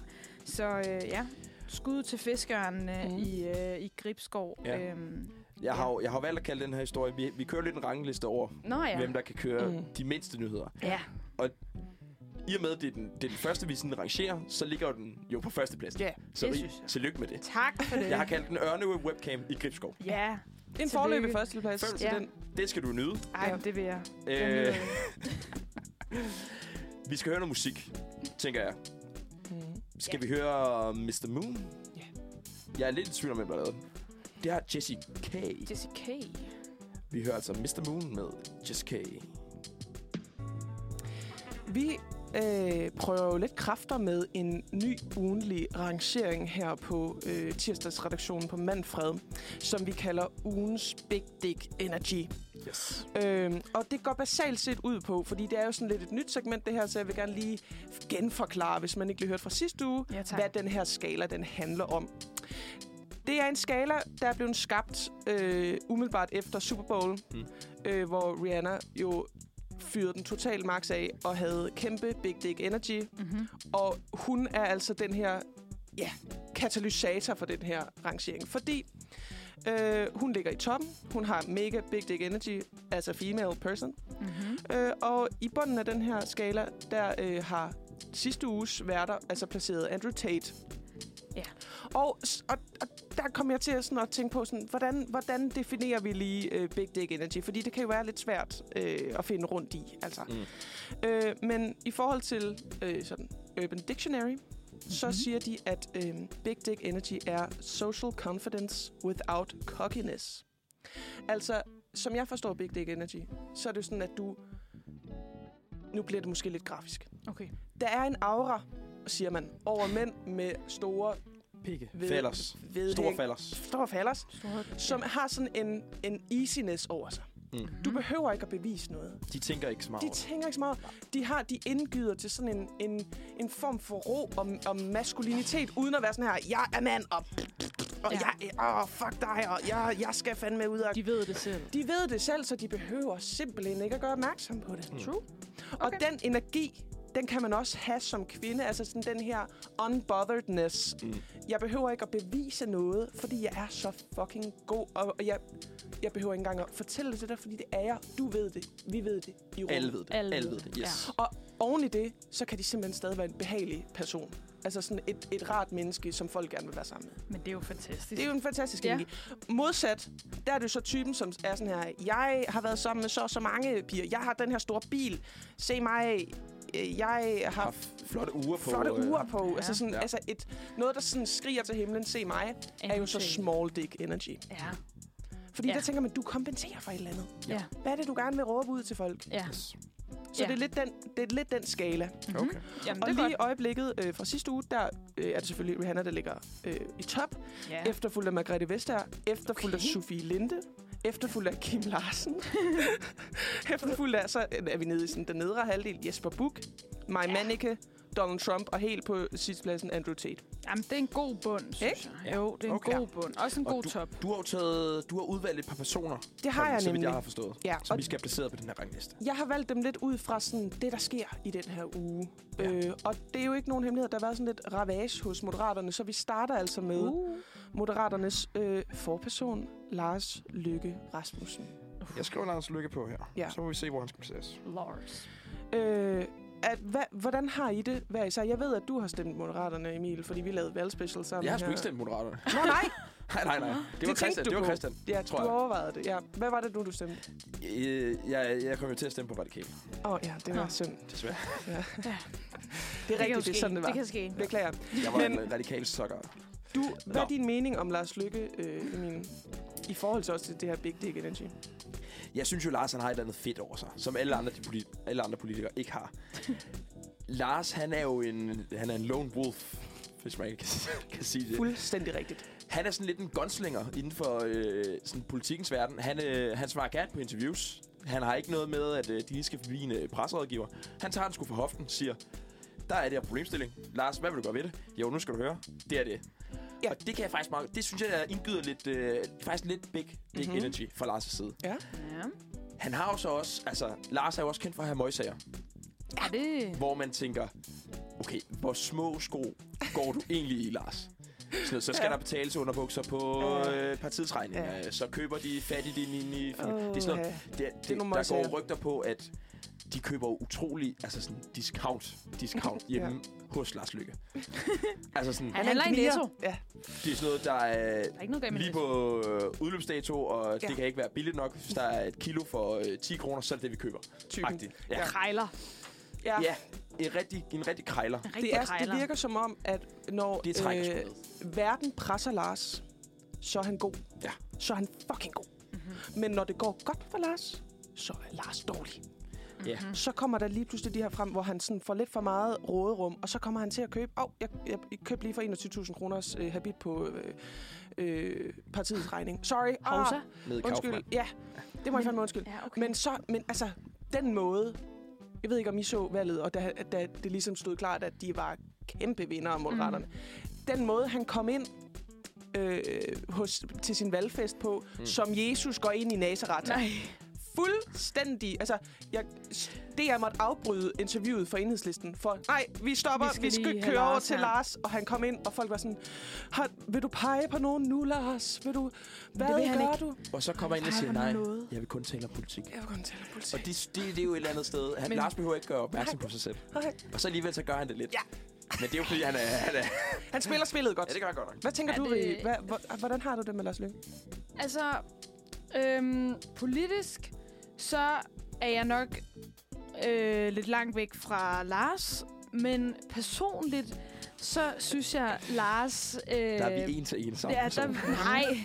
S2: Så øh, ja, skud til fiskeren øh,
S1: Mm.
S2: mm. i, øh, i Gribskov.
S3: Ja.
S2: Øhm,
S3: Jeg har, jo- jeg har valgt at kalde den her historie... Vi, vi kører lidt en rangliste over,
S2: nå ja.
S3: ja. hvem der kan køre
S1: Mm.
S3: mm. de mindste nyheder.
S2: ja.
S3: I og med, at det er den, det er den første, vi sådan rangerer, så ligger jo den jo på førstepladsen.
S1: Ja,
S3: så
S2: det
S3: rig-
S2: synes jeg.
S3: tillykke med det.
S2: Tak for det.
S3: Jeg har kaldt den ørne webcam i Gribskov.
S2: Ja.
S1: En
S2: Tillykke.
S1: forløbig førsteplads
S3: Fem.
S1: til
S2: Ja.
S1: den.
S3: Det skal du nyde.
S2: Ej,
S1: Ja.
S2: ja. det vil jeg. Den lyder
S3: Øh,
S2: jo-
S3: vi skal høre noget musik, tænker jeg.
S1: Mm.
S3: Skal vi høre Mr. Moon?
S1: Ja.
S3: Jeg er lidt i tvivl om, hvem der lavede den. Det har Jesse K.
S2: Jessica.
S3: Vi hører altså Mr. Moon med Jesse K.
S1: Vi øh, prøver jo lidt kræfter med en ny ugenlig rangering her på øh, tirsdagsredaktionen på Manfred, som vi kalder ugens Big Dick Energy.
S3: Yes.
S1: Øhm, og det går basalt set ud på, fordi det er jo sådan lidt et nyt segment det her, så jeg vil gerne lige genforklare, hvis man ikke lige hørte fra sidste uge,
S2: Ja, tak.
S1: hvad den her skala den handler om. Det er en skala, der er blevet skabt øh, umiddelbart efter Super Bowl,
S3: Mm.
S1: mm. øh, hvor Rihanna jo fyrede den total max af og havde kæmpe Big Dick Energy.
S2: Mm-hmm.
S1: Og hun er altså den her ja, katalysator for den her rangering, fordi øh, hun ligger i toppen. Hun har mega Big Dick Energy, altså female person.
S2: Mm-hmm.
S1: Øh, og i bunden af den her skala, der øh, har sidste uges værter altså placeret Andrew Tate.
S2: Ja.
S1: Og, s- og, og der kom jeg til at, sådan, at tænke på, sådan, hvordan, hvordan definerer vi lige øh, Big Dick Energy? Fordi det kan jo være lidt svært øh, at finde rundt i. Altså. Mm. Øh, men i forhold til øh, sådan, Urban Dictionary, mm-hmm. så siger de, at øh, Big Dick Energy er social confidence without cockiness. Altså, som jeg forstår Big Dick Energy, så er det jo sådan, at du... Nu bliver det måske lidt grafisk.
S2: Okay.
S1: Der er en aura, siger man, over mænd med store
S3: Pikke.
S1: Ved-
S3: Fallers.
S1: vedhæng.
S3: Store fallers.
S1: Store fallers,
S2: Store.
S1: som har sådan en, en easiness over sig.
S3: Mm.
S1: Du behøver ikke at bevise noget.
S3: De tænker ikke smart.
S1: De tænker ikke så meget. De, har, de indgyder til sådan en, en, en form for ro og, og maskulinitet, uden at være sådan her, jeg er mand, og, og
S2: Ja.
S1: jeg, er- åh, fuck dig, og jeg, jeg skal fandme ud og...
S2: De ved det selv.
S1: De ved det selv, så de behøver simpelthen ikke at gøre opmærksom på det.
S2: True.
S1: Og den energi, den kan man også have som kvinde. Altså sådan den her unbotheredness.
S3: Mm.
S1: Mm. Jeg behøver ikke at bevise noget, fordi jeg er så fucking god. Og og jeg, jeg behøver ikke engang at fortælle det til dig, fordi det er jeg. Du ved det. Vi ved det. I rummet.
S3: Alle ved det.
S2: Alle
S3: Alle ved
S2: ved
S3: det,
S2: det,
S3: yes.
S1: Og oven i det, så kan de simpelthen stadig være en behagelig person. Altså sådan et, et rart menneske, som folk gerne vil være sammen med.
S2: Men det er jo fantastisk.
S1: Det er jo en fantastisk
S2: Ja.
S1: energi. Modsat, der er det jo så typen, som er sådan her, jeg har været sammen med så og så mange piger. Jeg har den her store bil. Se mig. øh, Jeg har,
S3: Har flotte uger på.
S1: flotte
S3: øh,
S1: uger på.
S2: ja.
S1: Ja. Altså, sådan,
S3: Ja.
S1: ja. altså et, noget, der sådan skriger til himlen, se mig, er jo så
S2: Energy.
S1: small dick energy.
S2: Ja.
S1: Fordi
S2: Ja.
S1: ja. der tænker man, du kompenserer for et eller andet.
S3: Ja.
S2: Ja.
S1: Hvad er det, du gerne vil råbe ud til folk?
S2: ja.
S3: Yes.
S1: Så
S2: Ja.
S1: ja. det, er lidt den, det er lidt den skala.
S2: Mm-hmm.
S3: Okay.
S2: Jamen,
S1: Og
S2: det er
S1: lige i
S2: godt.
S1: øjeblikket øh, fra sidste uge, der øh, er det selvfølgelig Rihanna, der ligger øh, i top.
S2: Ja.
S1: Ja. Efterfulgt af Margrethe Vestager. Efterfulgt okay. af
S2: Okay.
S1: Sofie Linde. Efterfulgt af Kim Larsen. efterfulgt af, så øh, er vi nede i sådan, den nedre halvdel, Jesper Buch, Maja
S2: Ja.
S1: ja. Mannicke, Donald Trump og helt på sidstpladsen Andrew Tate.
S2: Jamen, det er en god bund, synes
S1: Ikke?
S2: jeg.
S3: Ja.
S2: Jo, det er en
S3: Okay.
S2: god bund. Også en
S3: Og
S2: god
S3: du,
S2: top.
S3: du har jo taget, du har udvalgt et par personer,
S1: Det har jeg
S3: så vidt
S1: nemlig.
S3: jeg har forstået,
S1: Ja,
S3: som
S1: og-
S3: vi skal placere på den her rangliste.
S1: Jeg har valgt dem lidt ud fra sådan det, der sker i den her uge.
S3: Ja.
S1: Ja. Øh, og det er jo ikke nogen hemmelighed, at der har været sådan lidt ravage hos Moderaterne, så vi starter altså med uh.
S2: Uh.
S1: Moderaternes øh, forperson, Lars Lykke Rasmussen.
S3: Jeg skriver Lars Lykke på her.
S1: Ja.
S3: Så må vi se, hvor han skal placeres.
S2: Lars.
S1: Øh, at, hva, hvordan har I det hver især? Jeg ved, at du har stemt Moderaterne, Emil, fordi vi lavede valgspecial sammen.
S3: Jeg har sgu
S1: her.
S3: ikke stemt Moderaterne.
S1: Nå, nej,
S3: nej, nej, nej. Det
S1: tænkte
S3: var Christian.
S1: du
S3: Det var
S1: på.
S3: Christian.
S1: ja, tror
S3: Tror
S1: du
S3: jeg.
S1: overvejede det. Ja. Hvad var det nu, du stemte?
S3: Øh, Jeg, jeg kom jo til at stemme på Radikale,
S1: Åh, oh, ja, det var
S2: Nå.
S1: synd.
S3: desværre.
S1: Det er
S2: kan jo
S1: rigtigt, det er
S2: ske.
S1: sådan, det var.
S2: Det kan ske.
S1: Beklager.
S3: Jeg var
S1: Men-
S3: en radikal sokker.
S1: Du, hvad
S3: Nå.
S1: er din mening om Lars Lykke, øh, Emil, i forhold til også til det her Big Dick Energy?
S3: Jeg synes jo, Lars han har et eller andet fedt over sig, som alle andre, de politi- alle andre politikere ikke har. Lars, han er jo en, han er en lone wolf, hvis man kan, kan sige det.
S1: Fuldstændig rigtigt.
S3: Han er sådan lidt en gunslinger inden for øh, sådan politikens verden. Han, øh, han svarer gerne på interviews. Han har ikke noget med, at øh, de lige skal forbi en øh, presserådgiver. Han tager den sgu fra hoften siger, der er det her problemstilling. Lars, hvad vil du gøre ved det? Jo, nu skal du høre. Det er det. Ja.
S1: Ja.
S3: Og det kan jeg faktisk meget... Det synes jeg, der indgyder lidt, øh, faktisk lidt big, big mm-hmm.
S1: Mhm.
S3: energy fra Lars' side.
S2: Ja.
S3: Han har jo så også... Altså, Lars er jo også kendt for at have møgsager,
S2: Er det...
S3: hvor man tænker, okay, hvor små sko går du egentlig i, Lars? Sådan noget, så skal ja.
S1: Ja.
S3: der betales underbukser på
S1: Ja.
S3: øh, partiets regninger.
S1: Ja.
S3: Så køber de fattigdin ind i... Oh, det er sådan noget, det, det, det
S1: nogle
S3: der går
S1: møgsager.
S3: jo rygter på, at de køber jo utrolig altså sådan discount, discount hjemme hos Lars Lykke. altså sådan,
S2: Han handler i Netto.
S1: Ja.
S3: det er sådan noget, der er
S2: Der er ikke noget galt med
S3: lige
S2: Netto.
S3: på øh, udløbsdato, og ja.
S1: Ja.
S3: det kan ikke være billigt nok. Hvis der er et kilo for øh, 10 kroner, så er det det, vi køber.
S1: Typen.
S3: Agtigt. Ja.
S2: Krejler.
S1: ja.
S3: Ja, en rigtig, en rigtig krejler.
S2: En
S1: Det,
S2: rigtig
S1: er,
S2: krejler.
S1: det virker som om, at når
S3: Det trækker sgu
S1: øh, verden presser Lars, så er han god.
S3: Ja. Mhm.
S1: Så er han fucking god. Mm-hmm. Men når det går godt for Lars, så er Lars dårlig.
S3: Mm. Ja.
S1: Så kommer der lige pludselig de her frem, hvor han sådan får lidt for meget råderum, og så kommer han til at købe... Åh, oh, jeg, jeg, jeg købte lige for 21.000 kroners øh, habit på øh, øh, partiets regning. Sorry. Ah,
S2: Hovsa.
S3: Med
S1: undskyld.
S3: Kaufmann.
S1: Ja, det må jeg fandme undskylde.
S2: Ja, okay.
S1: Men så, men altså, den måde, jeg ved ikke, om I så valget, og da, da det ligesom stod klart, at de var kæmpe vinder af Moderaterne. Mm. Den måde, han kom ind øh, hos, til sin valgfest på, mm. som Jesus går ind i Nazareth.
S2: Nej.
S1: Fuldstændig. Altså, jeg, det jeg måtte afbryde interviewet for enhedslisten, for nej, vi stopper,
S2: Vi
S1: vi
S2: skal
S1: skal, vi skal
S2: lige have
S1: køre over
S2: Lars
S1: til
S2: her."
S1: Lars, og han kom ind, og folk var sådan, "Har- vil du pege på nogen nu, Lars? Vil du, hvad
S2: vil han
S1: gør
S2: ikke.
S1: du?
S3: Og så kommer han ind og
S2: Ej,
S3: siger,
S2: hvor
S3: nej,
S2: noget."
S3: jeg vil kun tale om politik.
S1: Jeg vil kun tælle
S3: Og
S1: politik.
S3: det, det, det er jo et eller andet sted. Han,
S2: Men-
S3: Lars behøver ikke gøre opmærksom på sig selv.
S1: Okay.
S3: Og så alligevel så gør han det lidt.
S1: Ja.
S3: Men det er jo fordi, han er... Han er
S1: Han spiller spillet godt.
S3: ja, det gør han godt nok.
S1: Hvad tænker
S2: Er
S1: du
S2: det-
S1: ved, hvad, hvor- ah, hvordan har du det med Lars Løkke?
S2: Altså, øhm, politisk, så er jeg nok øh, lidt langt væk fra Lars. Men personligt, så synes jeg, Lars... Øh,
S3: Der er vi en til en sammen.
S2: Ja,
S3: så.
S2: der... Nej.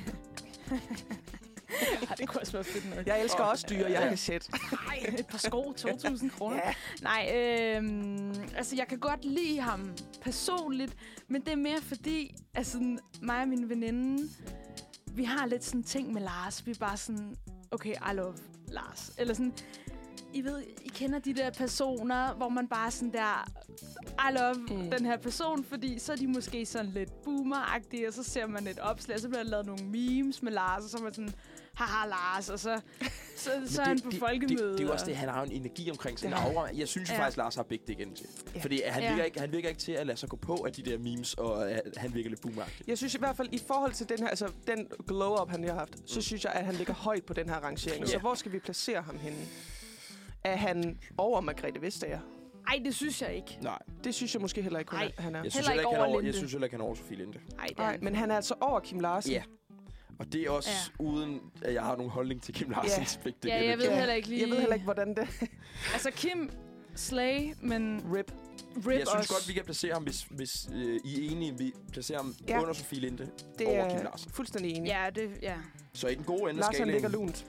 S2: Ej, det kunne også være fedt nok.
S1: Jeg elsker også dyr, jeg kan sætte.
S2: Nej, et par sko, 2.000 kroner.
S1: Ja.
S2: Nej, øhm, altså jeg kan godt lide ham personligt, men det er mere fordi, altså sådan, mig og min veninde, vi har lidt sådan ting med Lars. Vi er bare sådan, okay, I love Lars. Eller sådan, I ved, I kender de der personer, hvor man bare sådan der, I love
S1: Mm.
S2: mm. den her person, fordi så er de måske sådan lidt boomeragtige, og så ser man et opslag, og så bliver der lavet nogle memes med Lars, og så er man sådan, haha Lars, og så, så, så er han på folkemøde.
S3: Det, det, er jo også
S2: og-
S3: det, han har en energi omkring sin
S1: Det har
S3: aura. Jeg synes jo
S2: Ja.
S3: faktisk, Lars har begge dæk ind til.
S1: Ja.
S3: Fordi han,
S2: Ja.
S3: virker ikke, han virker ikke til at lade sig gå på af de der memes, og øh, han virker lidt boomeragtig.
S1: Jeg synes i hvert fald, i forhold til den her, altså den glow-up, han lige har haft, så synes jeg, at han ligger højt på den her rangering. Så
S3: Mm. Ja.
S1: hvor skal vi placere ham henne? Er han over Margrethe Vestager?
S2: Ej, det synes jeg ikke.
S3: Nej,
S1: Det synes jeg måske heller ikke, hun
S2: Ej.
S1: er. Han er.
S3: jeg synes
S2: Heller
S3: heller
S2: ikke
S3: ikke, han er
S2: over
S3: over, jeg
S2: Linde.
S3: synes heller ikke, han er over Sofie Linde.
S2: Ej, det er
S1: Nej,
S2: han
S1: men han er altså over Kim Larsen.
S3: Ja. Og det er også ja. uden, at jeg har nogen holdning til Kim Larsens yeah. begge dæk.
S2: Ja, jeg ved
S1: Ja.
S2: heller ikke lige...
S1: Jeg ved heller ikke, hvordan det
S2: Altså, Kim Slay, men
S1: Rip.
S2: Rip
S3: Jeg synes
S2: også.
S3: godt, vi kan placere ham, hvis, hvis øh, I er enige, vi placerer ham
S1: Ja.
S3: ja. under Sofie Linde det
S1: Det
S3: over Kim
S1: er
S3: Larsen.
S1: fuldstændig enig.
S2: Ja, det... Ja.
S3: Så i den gode ende af
S1: Lars, han
S3: skalaen-
S1: ligger lunt.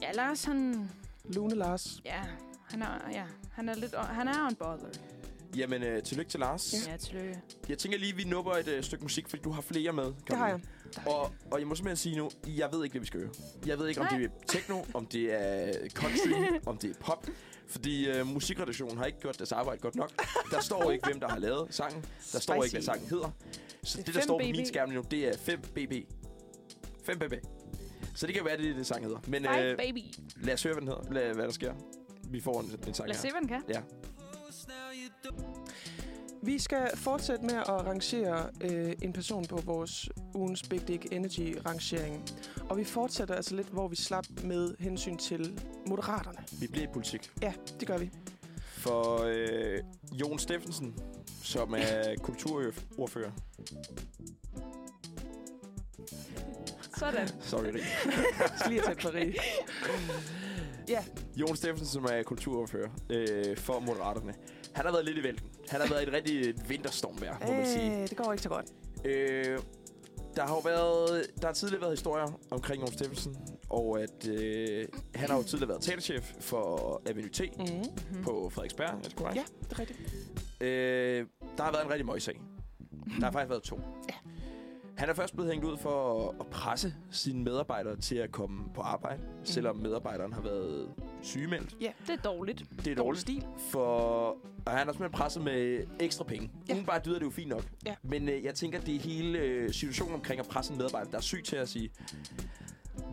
S2: Ja, Lars, han...
S1: Lune Lars.
S2: Ja, han er, ja, han er lidt... Han er on bother.
S3: Jamen, øh, tillykke til Lars. Ja.
S2: Ja, tillykke.
S3: Jeg tænker lige, vi nupper et øh, stykke musik, fordi du har flere med.
S1: Det har jeg.
S3: Karoline. Og, og jeg må simpelthen sige nu, jeg ved ikke, hvad vi skal høre. Jeg ved ikke, om
S2: Nej.
S3: det er techno, om det er øh, country, om det er pop. Fordi øh, musikredaktionen har ikke gjort deres arbejde godt nok. Der står ikke, hvem der har lavet sangen. Der står ikke, hvad
S1: Spicy.
S3: sangen hedder. Så
S2: Det er
S3: det, der står på
S2: 5BB.
S3: min skærm lige nu, det er 5BB. 5BB. Så det kan være, det er det, sang hedder. Men
S2: Fight,
S3: øh,
S2: baby.
S3: lad os høre, hvad den hedder. Lad, hvad der sker. Vi får en, en sang
S2: Lad os se,
S3: her.
S2: hvad den kan.
S3: Ja.
S1: Vi skal fortsætte med at rangere øh, en person på vores ugens Big Dick Energy-rangering. Og vi fortsætter altså lidt, hvor vi slap med hensyn til moderaterne.
S3: Vi bliver i politik.
S1: Ja, det gør vi.
S3: For øh, Jon Steffensen, som er kulturordfører.
S2: Sådan.
S3: Sorry, Rik.
S1: Jeg skal lige have tæt på Rie.
S3: Jon Steffensen, som er kulturordfører øh, for Moderaterne. Han har været lidt i vælten. Han har været et rigtig vinterstormvejr, må man sige.
S1: Øh, det går ikke så godt.
S3: Øh, der har jo været, der har tidligere været historier omkring Jon Steffensen, og at øh, han har jo tidligere været talechef for Avenue T
S1: Mm.
S3: på Frederiksberg, er det korrekt?
S1: Ja, det er rigtigt.
S3: Øh, der har været en rigtig møgssag. Der har faktisk været to.
S1: Ja.
S3: Han er først blevet hængt ud for at- at presse sine medarbejdere til at komme på arbejde,
S1: Mhm.
S3: mm. selvom medarbejderen har været sygemeldt.
S2: Det er dårligt.
S3: Det er dårligt.
S1: stil.
S3: For, og han er simpelthen presset med ekstra penge.
S1: Ja.
S3: Ja. bare dyder det jo fint nok.
S1: Ja.
S3: Men øh, jeg tænker, det er hele øh, situationen omkring at presse en medarbejder, der er syg til at sige,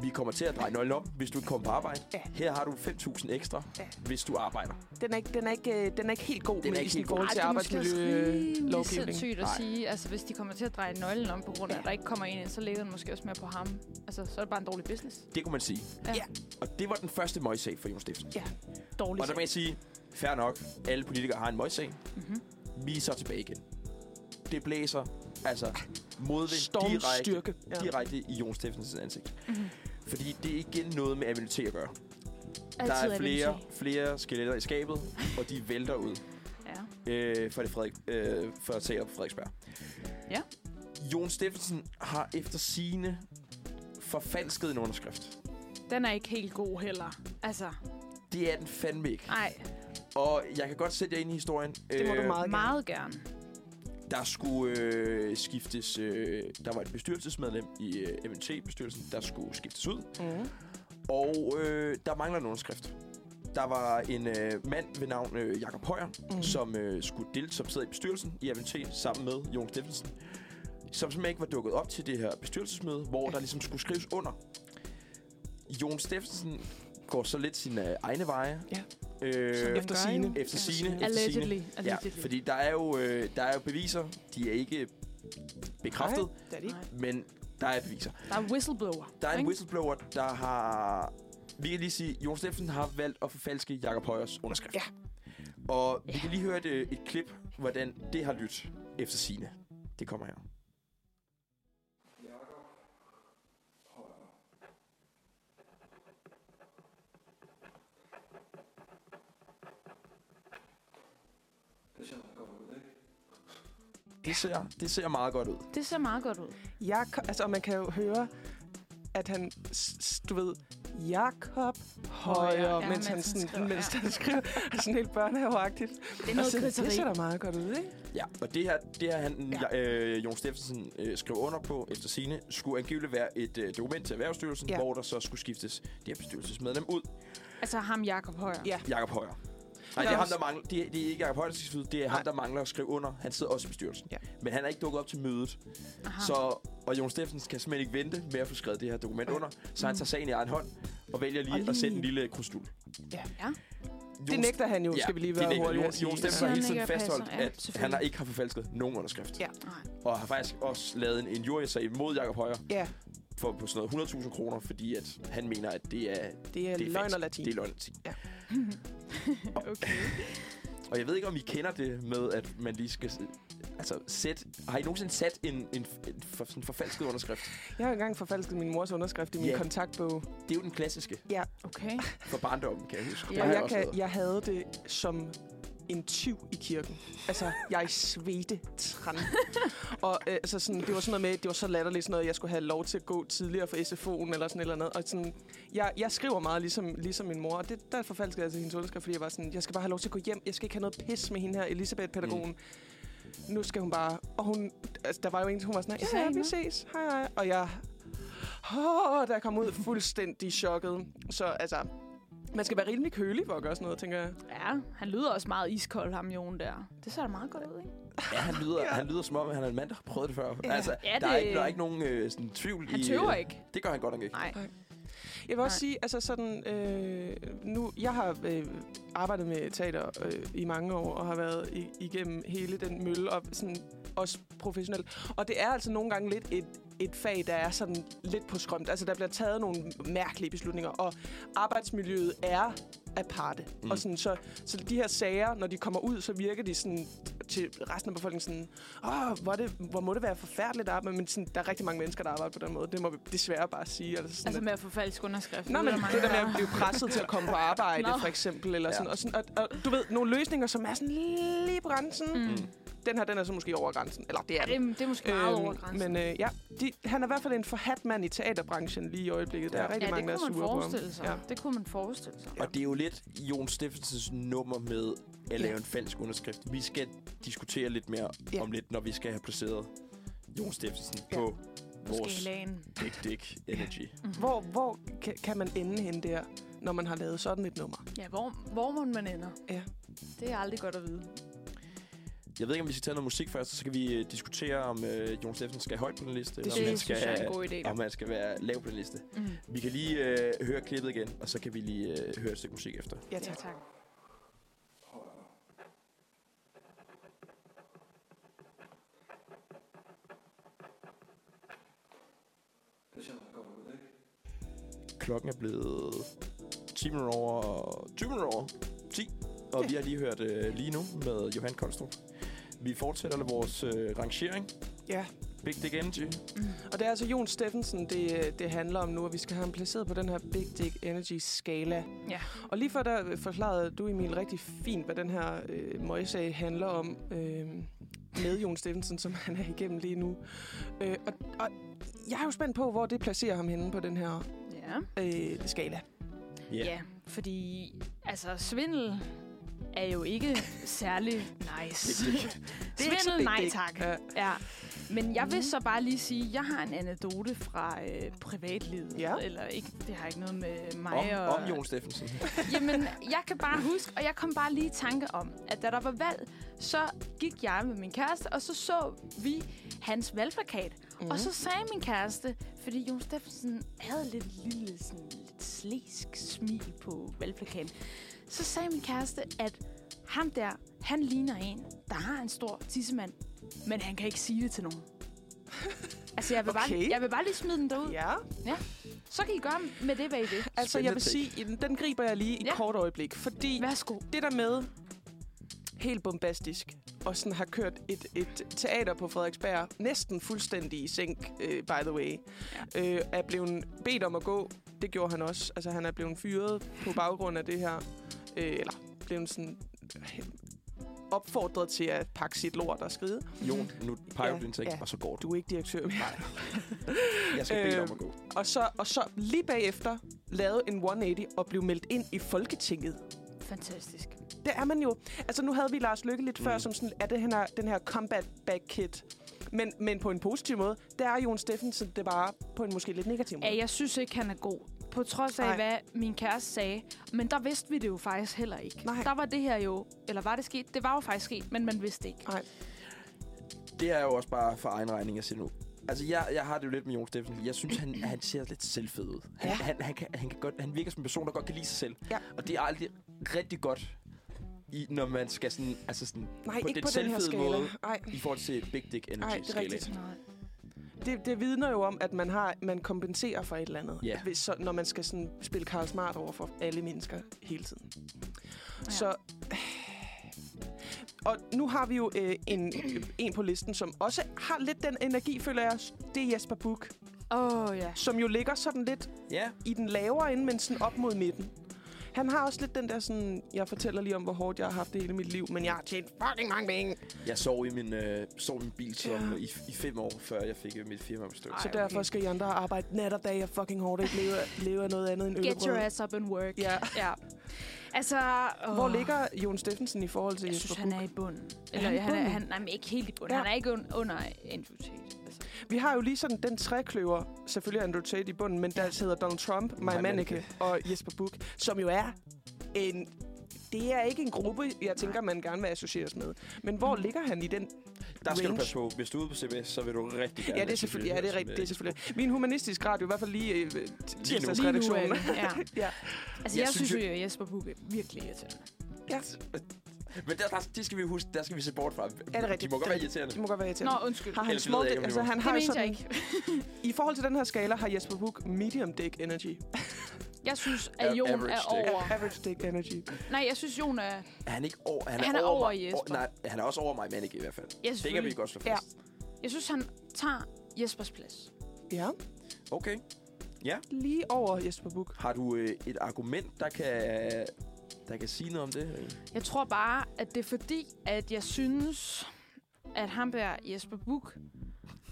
S3: vi kommer til at dreje nøglen om, hvis du ikke kommer på arbejde.
S1: Ja.
S3: Her har du 5.000 ekstra,
S1: Ja.
S3: hvis du arbejder.
S1: Den er ikke, den er ikke, øh, den er ikke helt god
S3: er
S1: med
S3: ikke
S1: sådan i
S3: helt
S1: forhold
S2: Ej,
S1: til
S2: det er måske også rimelig
S1: arbejdsmiljølovgivning.
S2: sindssygt at
S3: Nej.
S2: sige, altså hvis de kommer til at dreje nøglen om på grund af, at der ikke kommer en ind, så ligger den måske også mere på ham. Altså, så er det bare en dårlig business.
S3: Det kunne man sige.
S2: Ja.
S1: Ja.
S3: Og det var den første møgssag for Jon Stiften.
S1: Ja,
S2: Dårlig
S3: Og der må jeg sige, fair nok, alle politikere har en møgssag.
S2: Mhm.
S1: Mhm.
S3: Mm-hmm. Vi er så tilbage igen. Det blæser, altså modvind direkte,
S1: stormstyrke. Mhm. Ja.
S3: direkte i Jon Steffensens ansigt. Mm-hmm. Fordi det er igen noget med abilitet at gøre. Der
S2: Altid
S3: er
S2: Avenue
S3: flere,
S2: T.
S3: flere skeletter i skabet, og de vælter ud
S2: Ja.
S3: øh, for det Frederik, øh, for at tale på Frederiksberg.
S2: Ja.
S3: Jon Steffensen har efter sine forfalsket en underskrift.
S2: Den er ikke helt god heller. Altså,
S3: Det er den fandme ikke.
S2: nej,
S3: Og jeg kan godt sætte jer ind i historien. Øh,
S1: Det må du meget gerne.
S2: meget gerne.
S3: Der skulle øh, skiftes... Øh, der var et bestyrelsesmedlem i øh, MNT-bestyrelsen, der skulle skiftes ud.
S1: Mm.
S3: Og øh, der mangler en underskrift. Der var en øh, mand ved navn øh, Jakob Højer,
S1: Mhm.
S3: mm. som øh, skulle dele, som sidder i bestyrelsen i MNT sammen med Jon Steffensen, som simpelthen ikke var dukket op til det her bestyrelsesmøde, hvor der ligesom skulle skrives under. Jon Steffensen går så lidt sine øh, egne veje.
S1: Ja.
S3: Øh,
S1: Efter
S2: gør
S1: sine.
S2: jo.
S3: efter sine. Efter sine.
S2: Allegedly.
S3: Ja,
S2: Allegedly.
S3: fordi der er jo øh, der er jo beviser. De er ikke bekræftet,
S1: Nej, det er det ikke.
S2: Nej.
S3: men der er beviser.
S2: Der er whistleblower.
S3: Der er en
S2: ikke?
S3: whistleblower, der har... Vi kan lige sige, Jon Steffensen har valgt at forfalske Jakob Højers underskrift.
S1: Ja.
S3: Og vi
S2: Ja.
S3: kan lige høre et, øh, et klip, hvordan det har lyttet efter sine. Det kommer her. Det ser, det ser meget godt ud.
S2: Det ser meget godt ud.
S1: Jeg, altså, og man kan jo høre, at han, s- s- du ved, Jakob Højer, ja, mens han, sådan, skriver, mens
S2: ja.
S1: han skriver, er sådan helt børnehaveagtigt.
S2: Det er noget
S1: det
S2: kritteri.
S1: ser da meget godt ud, ikke?
S3: Ja, og det her, det her han, ja. øh, Jon Steffensen øh, skrev under på efter sine, skulle angiveligt være et øh, dokument til Erhvervsstyrelsen,
S1: Ja.
S3: ja. hvor der så skulle skiftes det her bestyrelsesmedlem ud.
S2: Altså ham, Jakob Højer.
S1: Ja.
S3: Jakob Højer.
S1: er
S3: Nej, det er, ham,
S1: også-
S3: der mangler, det, er, det er ikke Jakob Højer, der skal skiftes ud. Det er
S1: Nej.
S3: ham, der mangler at skrive under. Han sidder også i bestyrelsen.
S1: Ja.
S3: Men han er ikke dukket op til mødet.
S2: Aha.
S3: Så, og Jon Steffensen kan simpelthen ikke vente med at få skrevet det her dokument under, så han tager sagen i egen hånd og vælger lige,
S1: Og
S3: og
S1: lige-
S3: lige... at sætte en lille krusdul.
S1: Ja.
S2: Ja.
S1: Det nægter han jo, skal vi lige være hurtige
S3: Jon,
S1: at sige.
S3: Jon
S2: Siger
S3: Steffensen har
S2: han
S3: hele
S2: ikke,
S3: tiden
S2: at jeg passer?
S3: fastholdt,
S2: Ja,
S3: at han
S2: selvfølgelig.
S3: har ikke har forfalsket nogen underskrift.
S1: Ja.
S2: Nej.
S3: Og har faktisk også lavet en injuriesag imod Jakob Højer
S1: Ja,
S3: for på sådan noget 100.000 kroner, fordi at han mener, at det er,
S1: det er,
S3: det er
S1: løgn
S3: falsk.
S1: og latin.
S3: Det er løgn og latin.
S2: Okay.
S3: Og jeg ved ikke, om I kender det med, at man lige skal... s- Altså, sæt, har I nogensinde sat en, en, f- en, for, sådan en forfalsket underskrift?
S1: Jeg har engang forfalsket min mors underskrift i min
S3: Ja.
S1: kontaktbog.
S3: Det er jo den klassiske
S1: Ja,
S2: Okay.
S3: for barndommen, kan jeg huske.
S2: Ja.
S3: Der
S1: og
S3: har
S1: jeg,
S3: også
S1: kan,
S3: været.
S1: jeg havde det som en tyv i kirken. Altså, jeg svedte træn. og øh, altså sådan, det var sådan noget med, det var så latterligt sådan noget, jeg skulle have lov til at gå tidligere for SFO'en eller sådan et eller andet. Og sådan, jeg, jeg skriver meget ligesom, ligesom min mor, og det, der forfalskede jeg til hendes underskrift, fordi jeg var sådan, jeg skal bare have lov til at gå hjem, jeg skal ikke have noget pis med hende her, Elisabeth-pædagogen. Nu skal hun bare... Og hun, altså, der var jo en, hun var sådan,
S2: Det
S1: ja,
S2: sagde
S1: ja,
S2: hun,
S1: vi
S2: hva'?"
S1: ses, hej, hej. Og jeg... Oh, der kom ud fuldstændig chokket. Så altså, man skal være rimelig kølig for at gøre sådan noget, tænker jeg.
S2: Ja, han lyder også meget iskold, ham Jon der. Det ser da meget godt ud, ikke?
S3: Ja, han lyder, han lyder som om, at han er en mand, der har prøvet det før.
S1: Ja.
S3: Ja. Altså,
S2: Ja,
S3: ja, der, er
S2: det-
S3: ikke, der er ikke nogen øh, sådan, tvivl
S2: Han
S3: i...
S2: tøver ikke.
S3: Det gør han godt nok ikke.
S2: Nej.
S1: Jeg vil også
S2: Nej.
S1: sige, altså sådan, øh, nu, jeg har øh, arbejdet med teater øh, i mange år, og har været i, igennem hele den mølle, og sådan, også professionelt. Og det er altså nogle gange lidt et, et fag, der er sådan lidt på skrømt. Altså, der bliver taget nogle mærkelige beslutninger, og arbejdsmiljøet er aparte. Mm.
S3: Mm.
S1: Og sådan, så, så de her sager, når de kommer ud, så virker de sådan til resten af befolkningen sådan, åh, hvor, er det, hvor må det være forfærdeligt at arbejde, men sådan, der er rigtig mange mennesker, der arbejder på den måde. Det må vi desværre bare sige. Altså, sådan,
S2: Altså
S1: at-
S2: med at få falsk underskrift.
S1: Nå, men det der
S2: lyder
S1: med at
S2: meget-
S1: blive presset til at komme på arbejde,
S2: Nå.
S1: for eksempel, eller
S3: Ja.
S1: sådan, og, sådan og, og, du ved, nogle løsninger, som er sådan lige på grænsen. Mm.
S3: Mm.
S1: Den her, den er så måske over grænsen. Eller det
S2: Ja,
S1: er
S2: det,
S1: den.
S2: er- det er måske meget
S1: Øhm,
S2: over grænsen.
S1: Men øh, ja, de, han er i hvert fald en forhat mand i teaterbranchen lige i øjeblikket. Der er
S3: Ja.
S1: rigtig
S2: ja, det
S1: mange, der er
S2: kunne man
S1: sure på ham.
S2: forestille sig.
S1: Ja.
S2: Ja. Det kunne man forestille sig.
S3: Og det er jo lidt Jon Steffensens nummer med at lave en falsk underskrift. Vi skal diskutere lidt mere
S1: Ja.
S3: om lidt, når vi skal have placeret Jon Steffensen
S1: Ja.
S3: på
S2: Måske
S3: vores
S2: Helene.
S3: Dick Dick Energy.
S1: Hvor, hvor kan, kan man ende hen der, når man har lavet sådan et nummer?
S2: Ja, hvor, hvor må man ender?
S1: Ja.
S2: Det er aldrig godt at vide.
S3: Jeg ved ikke, om vi skal tage noget musik først, så skal vi øh, diskutere, om øh, Jon Steffensen skal højt på den liste,
S1: Det
S3: om han
S2: Det
S3: skal, øh,
S2: synes jeg er en god idé.
S3: om han skal være lav på den liste.
S2: Mm.
S3: Vi kan lige øh, høre klippet igen, og så kan vi lige øh, høre et stykke musik efter.
S1: Ja,
S2: Ja,
S1: tak.
S2: tak.
S3: Klokken er blevet 10 minutter over 20 minutter over 10, og
S1: Ja.
S3: vi har lige hørt øh, lige nu med Johan Kolstrup. Vi fortsætter vores øh, rangering.
S1: Ja,
S3: Big Dick Energy.
S1: og det er altså Jon Steffensen, det, øh, det handler om nu, og vi skal have ham placeret på den her Big Dick Energy-skala.
S2: Ja.
S1: Og lige før der forklarede du, Emil, rigtig fint, hvad den her øh, møgsag handler om øh, med Jon Steffensen, som han er igennem lige nu. Øh, og, og jeg er jo spændt på, hvor det placerer ham henne på den her
S2: Ja.
S1: øh, skala.
S3: Ja.
S2: Yeah. ja, fordi altså svindel er jo ikke særlig nice.
S3: Big Dick.
S2: svindel,
S1: big
S2: nej
S1: dick. Øh,
S2: tak.
S1: Ja.
S2: Ja. Men jeg vil så bare lige sige, at jeg har en anekdote fra øh, privatlivet.
S1: Ja.
S2: Eller ikke, det har ikke noget med mig
S3: Om,
S2: og...
S3: om Jon Steffensen.
S2: Jamen, jeg kan bare huske, og jeg kom bare lige i tanke om, at da der var valg, så gik jeg med min kæreste, og så så vi hans valgplakat. Mm.
S1: Mhm.
S2: Og så sagde min kæreste, fordi Jon Steffensen havde lidt lille, sådan lidt slæsk smil på valgplakaten, så sagde min kæreste, at ham der, han ligner en, der har en stor tissemand, men han kan ikke sige det til nogen. altså, jeg vil,
S1: Okay.
S2: bare, jeg vil bare lige smide den derud. Ja.
S1: Ja,
S2: Så kan I gøre med det, hvad I vil.
S1: altså jeg
S3: Spændende
S1: vil
S3: take.
S1: sige, den, den griber jeg lige i ja.
S2: Ja.
S1: kort øjeblik, fordi
S2: Værsgo.
S1: det der med helt bombastisk og sådan har kørt et, et teater på Frederiksberg næsten fuldstændig i sænk, øh, by the way, ja. øh, er blevet bedt om at gå. Det gjorde han også. Altså, han er blevet fyret på baggrund af det her. Øh, eller blevet sådan øh, opfordret til at pakke sit lort og skride.
S3: Jon, nu peger
S1: Ja,
S3: du din ting,
S1: ja.
S3: og så går du.
S1: Du er ikke direktør.
S3: Jeg skal bede dig
S1: Øh,
S3: om at gå.
S1: Og så, og så lige bagefter lavede en 180 og blev meldt ind i Folketinget.
S2: Fantastisk.
S1: Det er man jo. Altså, nu havde vi Lars Lykke lidt mm. før, som sådan, er det her, den her combat back kit. Men, men på en positiv måde, der er Jon Steffensen det bare på en måske lidt negativ måde.
S2: Ja, jeg synes ikke, han er god. På trods af,
S1: Nej.
S2: Nej. hvad min kæreste sagde. Men der vidste vi det jo faktisk heller ikke.
S1: Nej.
S2: Der var det her jo, eller var det sket? Det var jo faktisk sket, men man vidste ikke.
S1: Nej.
S3: Det er jo også bare for egen regning at sige nu. Altså, jeg, jeg har det jo lidt med Jon Steffensen. Jeg synes, han, han ser lidt selvfed ud.
S1: Ja.
S3: Han, ja. han, han, kan, han, kan godt, han virker som en person, der godt kan lide sig selv.
S1: Ja.
S3: Og det er aldrig rigtig godt, i, når man skal sådan, altså sådan,
S1: Nej,
S3: på
S1: ikke
S3: den
S1: på den her
S3: selvfede
S1: skala.
S3: måde.
S1: Nej,
S3: i forhold til Big Dick Energy
S1: Ej, det er
S3: skala.
S1: rigtigt. det, det vidner jo om, at man har man kompenserer for et eller andet,
S3: Ja.
S1: hvis, så, når man skal sådan, spille Karl Smart over for alle mennesker hele tiden. Ja. Så... Og nu har vi jo øh, en, en på listen, som også har lidt den energi, føler jeg. Det er Jesper Buch,
S2: Åh, oh, ja.
S1: som jo ligger sådan lidt
S3: Ja,
S1: i den lavere ende, men sådan op mod midten. Han har også lidt den der sådan, jeg fortæller lige om, hvor hårdt jeg har haft det hele mit liv, men jeg har tjent fucking mange penge.
S3: jeg sov i min, øh, sov i min bil som,
S1: Ja.
S3: i, i fem år, før jeg fik øh, mit firma på stykke.
S1: Så
S2: okay.
S1: derfor skal I andre arbejde nat og dag, jeg fucking hårdt ikke lever, lever af noget andet end
S2: Get your
S1: ølbrød.
S2: ass up and work.
S1: Ja.
S2: ja. Altså, oh.
S1: Hvor ligger Jon Steffensen i forhold til
S2: Jeg
S1: Jesper
S2: synes, han
S1: Buch?
S2: er i bunden.
S1: Er
S2: Eller
S1: han i
S2: han, er,
S1: bunden?
S2: han, nej, men ikke helt i bunden.
S1: Ja.
S2: Ja. Han er ikke un- under Andrew Tate. Altså.
S1: Vi har jo lige sådan den trækløver, selvfølgelig Andrew Tate i bunden, men der hedder Donald Trump, Maja
S3: Maj
S1: Mannicke
S3: Mannicke.
S1: og Jesper Buch, som jo er en... Det er ikke en gruppe, jeg tænker, man gerne vil associeres med. Men hvor
S2: Mm.
S1: ligger han i den
S3: Der skal du
S1: range.
S3: passe på. Hvis du er ude på CBS, så vil du rigtig gerne...
S1: Ja, det er selvfølgelig. Ja, det er rigtigt. Det er selvfølgelig. Min humanistiske radio, i hvert fald lige øh,
S2: Lige
S1: tirsdagsredaktionen.
S2: nu er det- ja.
S1: øh, Ja.
S2: Altså, jeg, jeg synes jo, at Jesper Bukke virkelig irriterende.
S1: Ja,
S3: øh. Men der, der, det skal vi huske, der skal vi se bort fra.
S1: er det
S3: De
S1: rigtigt?
S3: må
S1: Det
S3: godt
S1: er
S3: være irriterende.
S1: det må godt være
S2: Nå,
S1: irriterende.
S2: undskyld.
S1: Har han
S3: Ellers ved
S1: small
S3: jeg ikke,
S1: dick? Altså,
S3: om det må-
S1: han
S2: det
S1: har
S2: mente jeg
S1: sådan,
S2: ikke.
S1: I forhold til den her skala har Jesper Buch medium dick energy.
S2: Jeg synes, at
S3: Av-
S2: Jon
S3: average
S2: er
S3: dick.
S2: over.
S1: Average dick energy.
S2: Nej, jeg synes, Jon er...
S3: Er han ikke over?
S2: Han er over
S3: mig-
S2: Jesper.
S3: over- nej, han er også over mig, Manike i hvert fald.
S2: Jeg
S3: Det kan vi
S2: synes,
S3: godt slå
S1: Ja.
S3: fast.
S2: jeg synes han tager Jespers plads.
S1: Ja,
S3: Okay.
S1: lige over Jesper Buch.
S3: Har du øh, et argument, der kan, der kan sige noget om det?
S2: Jeg tror bare, at det er fordi, at jeg synes, at ham der Jesper Buch,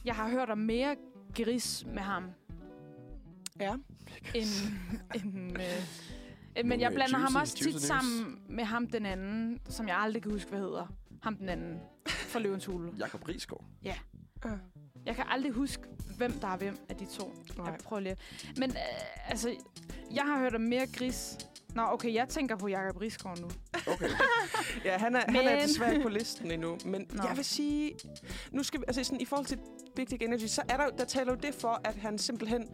S2: jeg har hørt om mere gris med ham,
S1: Ja.
S2: end... end øh, øh, men
S3: Nogle,
S2: jeg
S3: øh,
S2: blander ham
S3: juicy-
S2: også tit
S3: juicy news.
S2: sammen med ham den anden, som jeg aldrig kan huske, hvad hedder. Ham den anden fra Løvens Hule.
S3: Jakob Risgaard.
S1: Ah,
S2: Jeg kan aldrig huske, hvem der er hvem af de to.
S1: nej.
S2: Jeg prøver lige. at- Men øh, altså, jeg har hørt om mere gris. Nå, okay, jeg tænker på Jakob Risgaard nu.
S3: Okay.
S1: Ja, han er, han er
S2: Men-
S1: desværre ikke på listen endnu. Men
S2: Nå.
S1: jeg vil sige, nu skal vi, altså sådan, i forhold til Big Dick Energy, så er der, jo- der taler jo det for, at han simpelthen,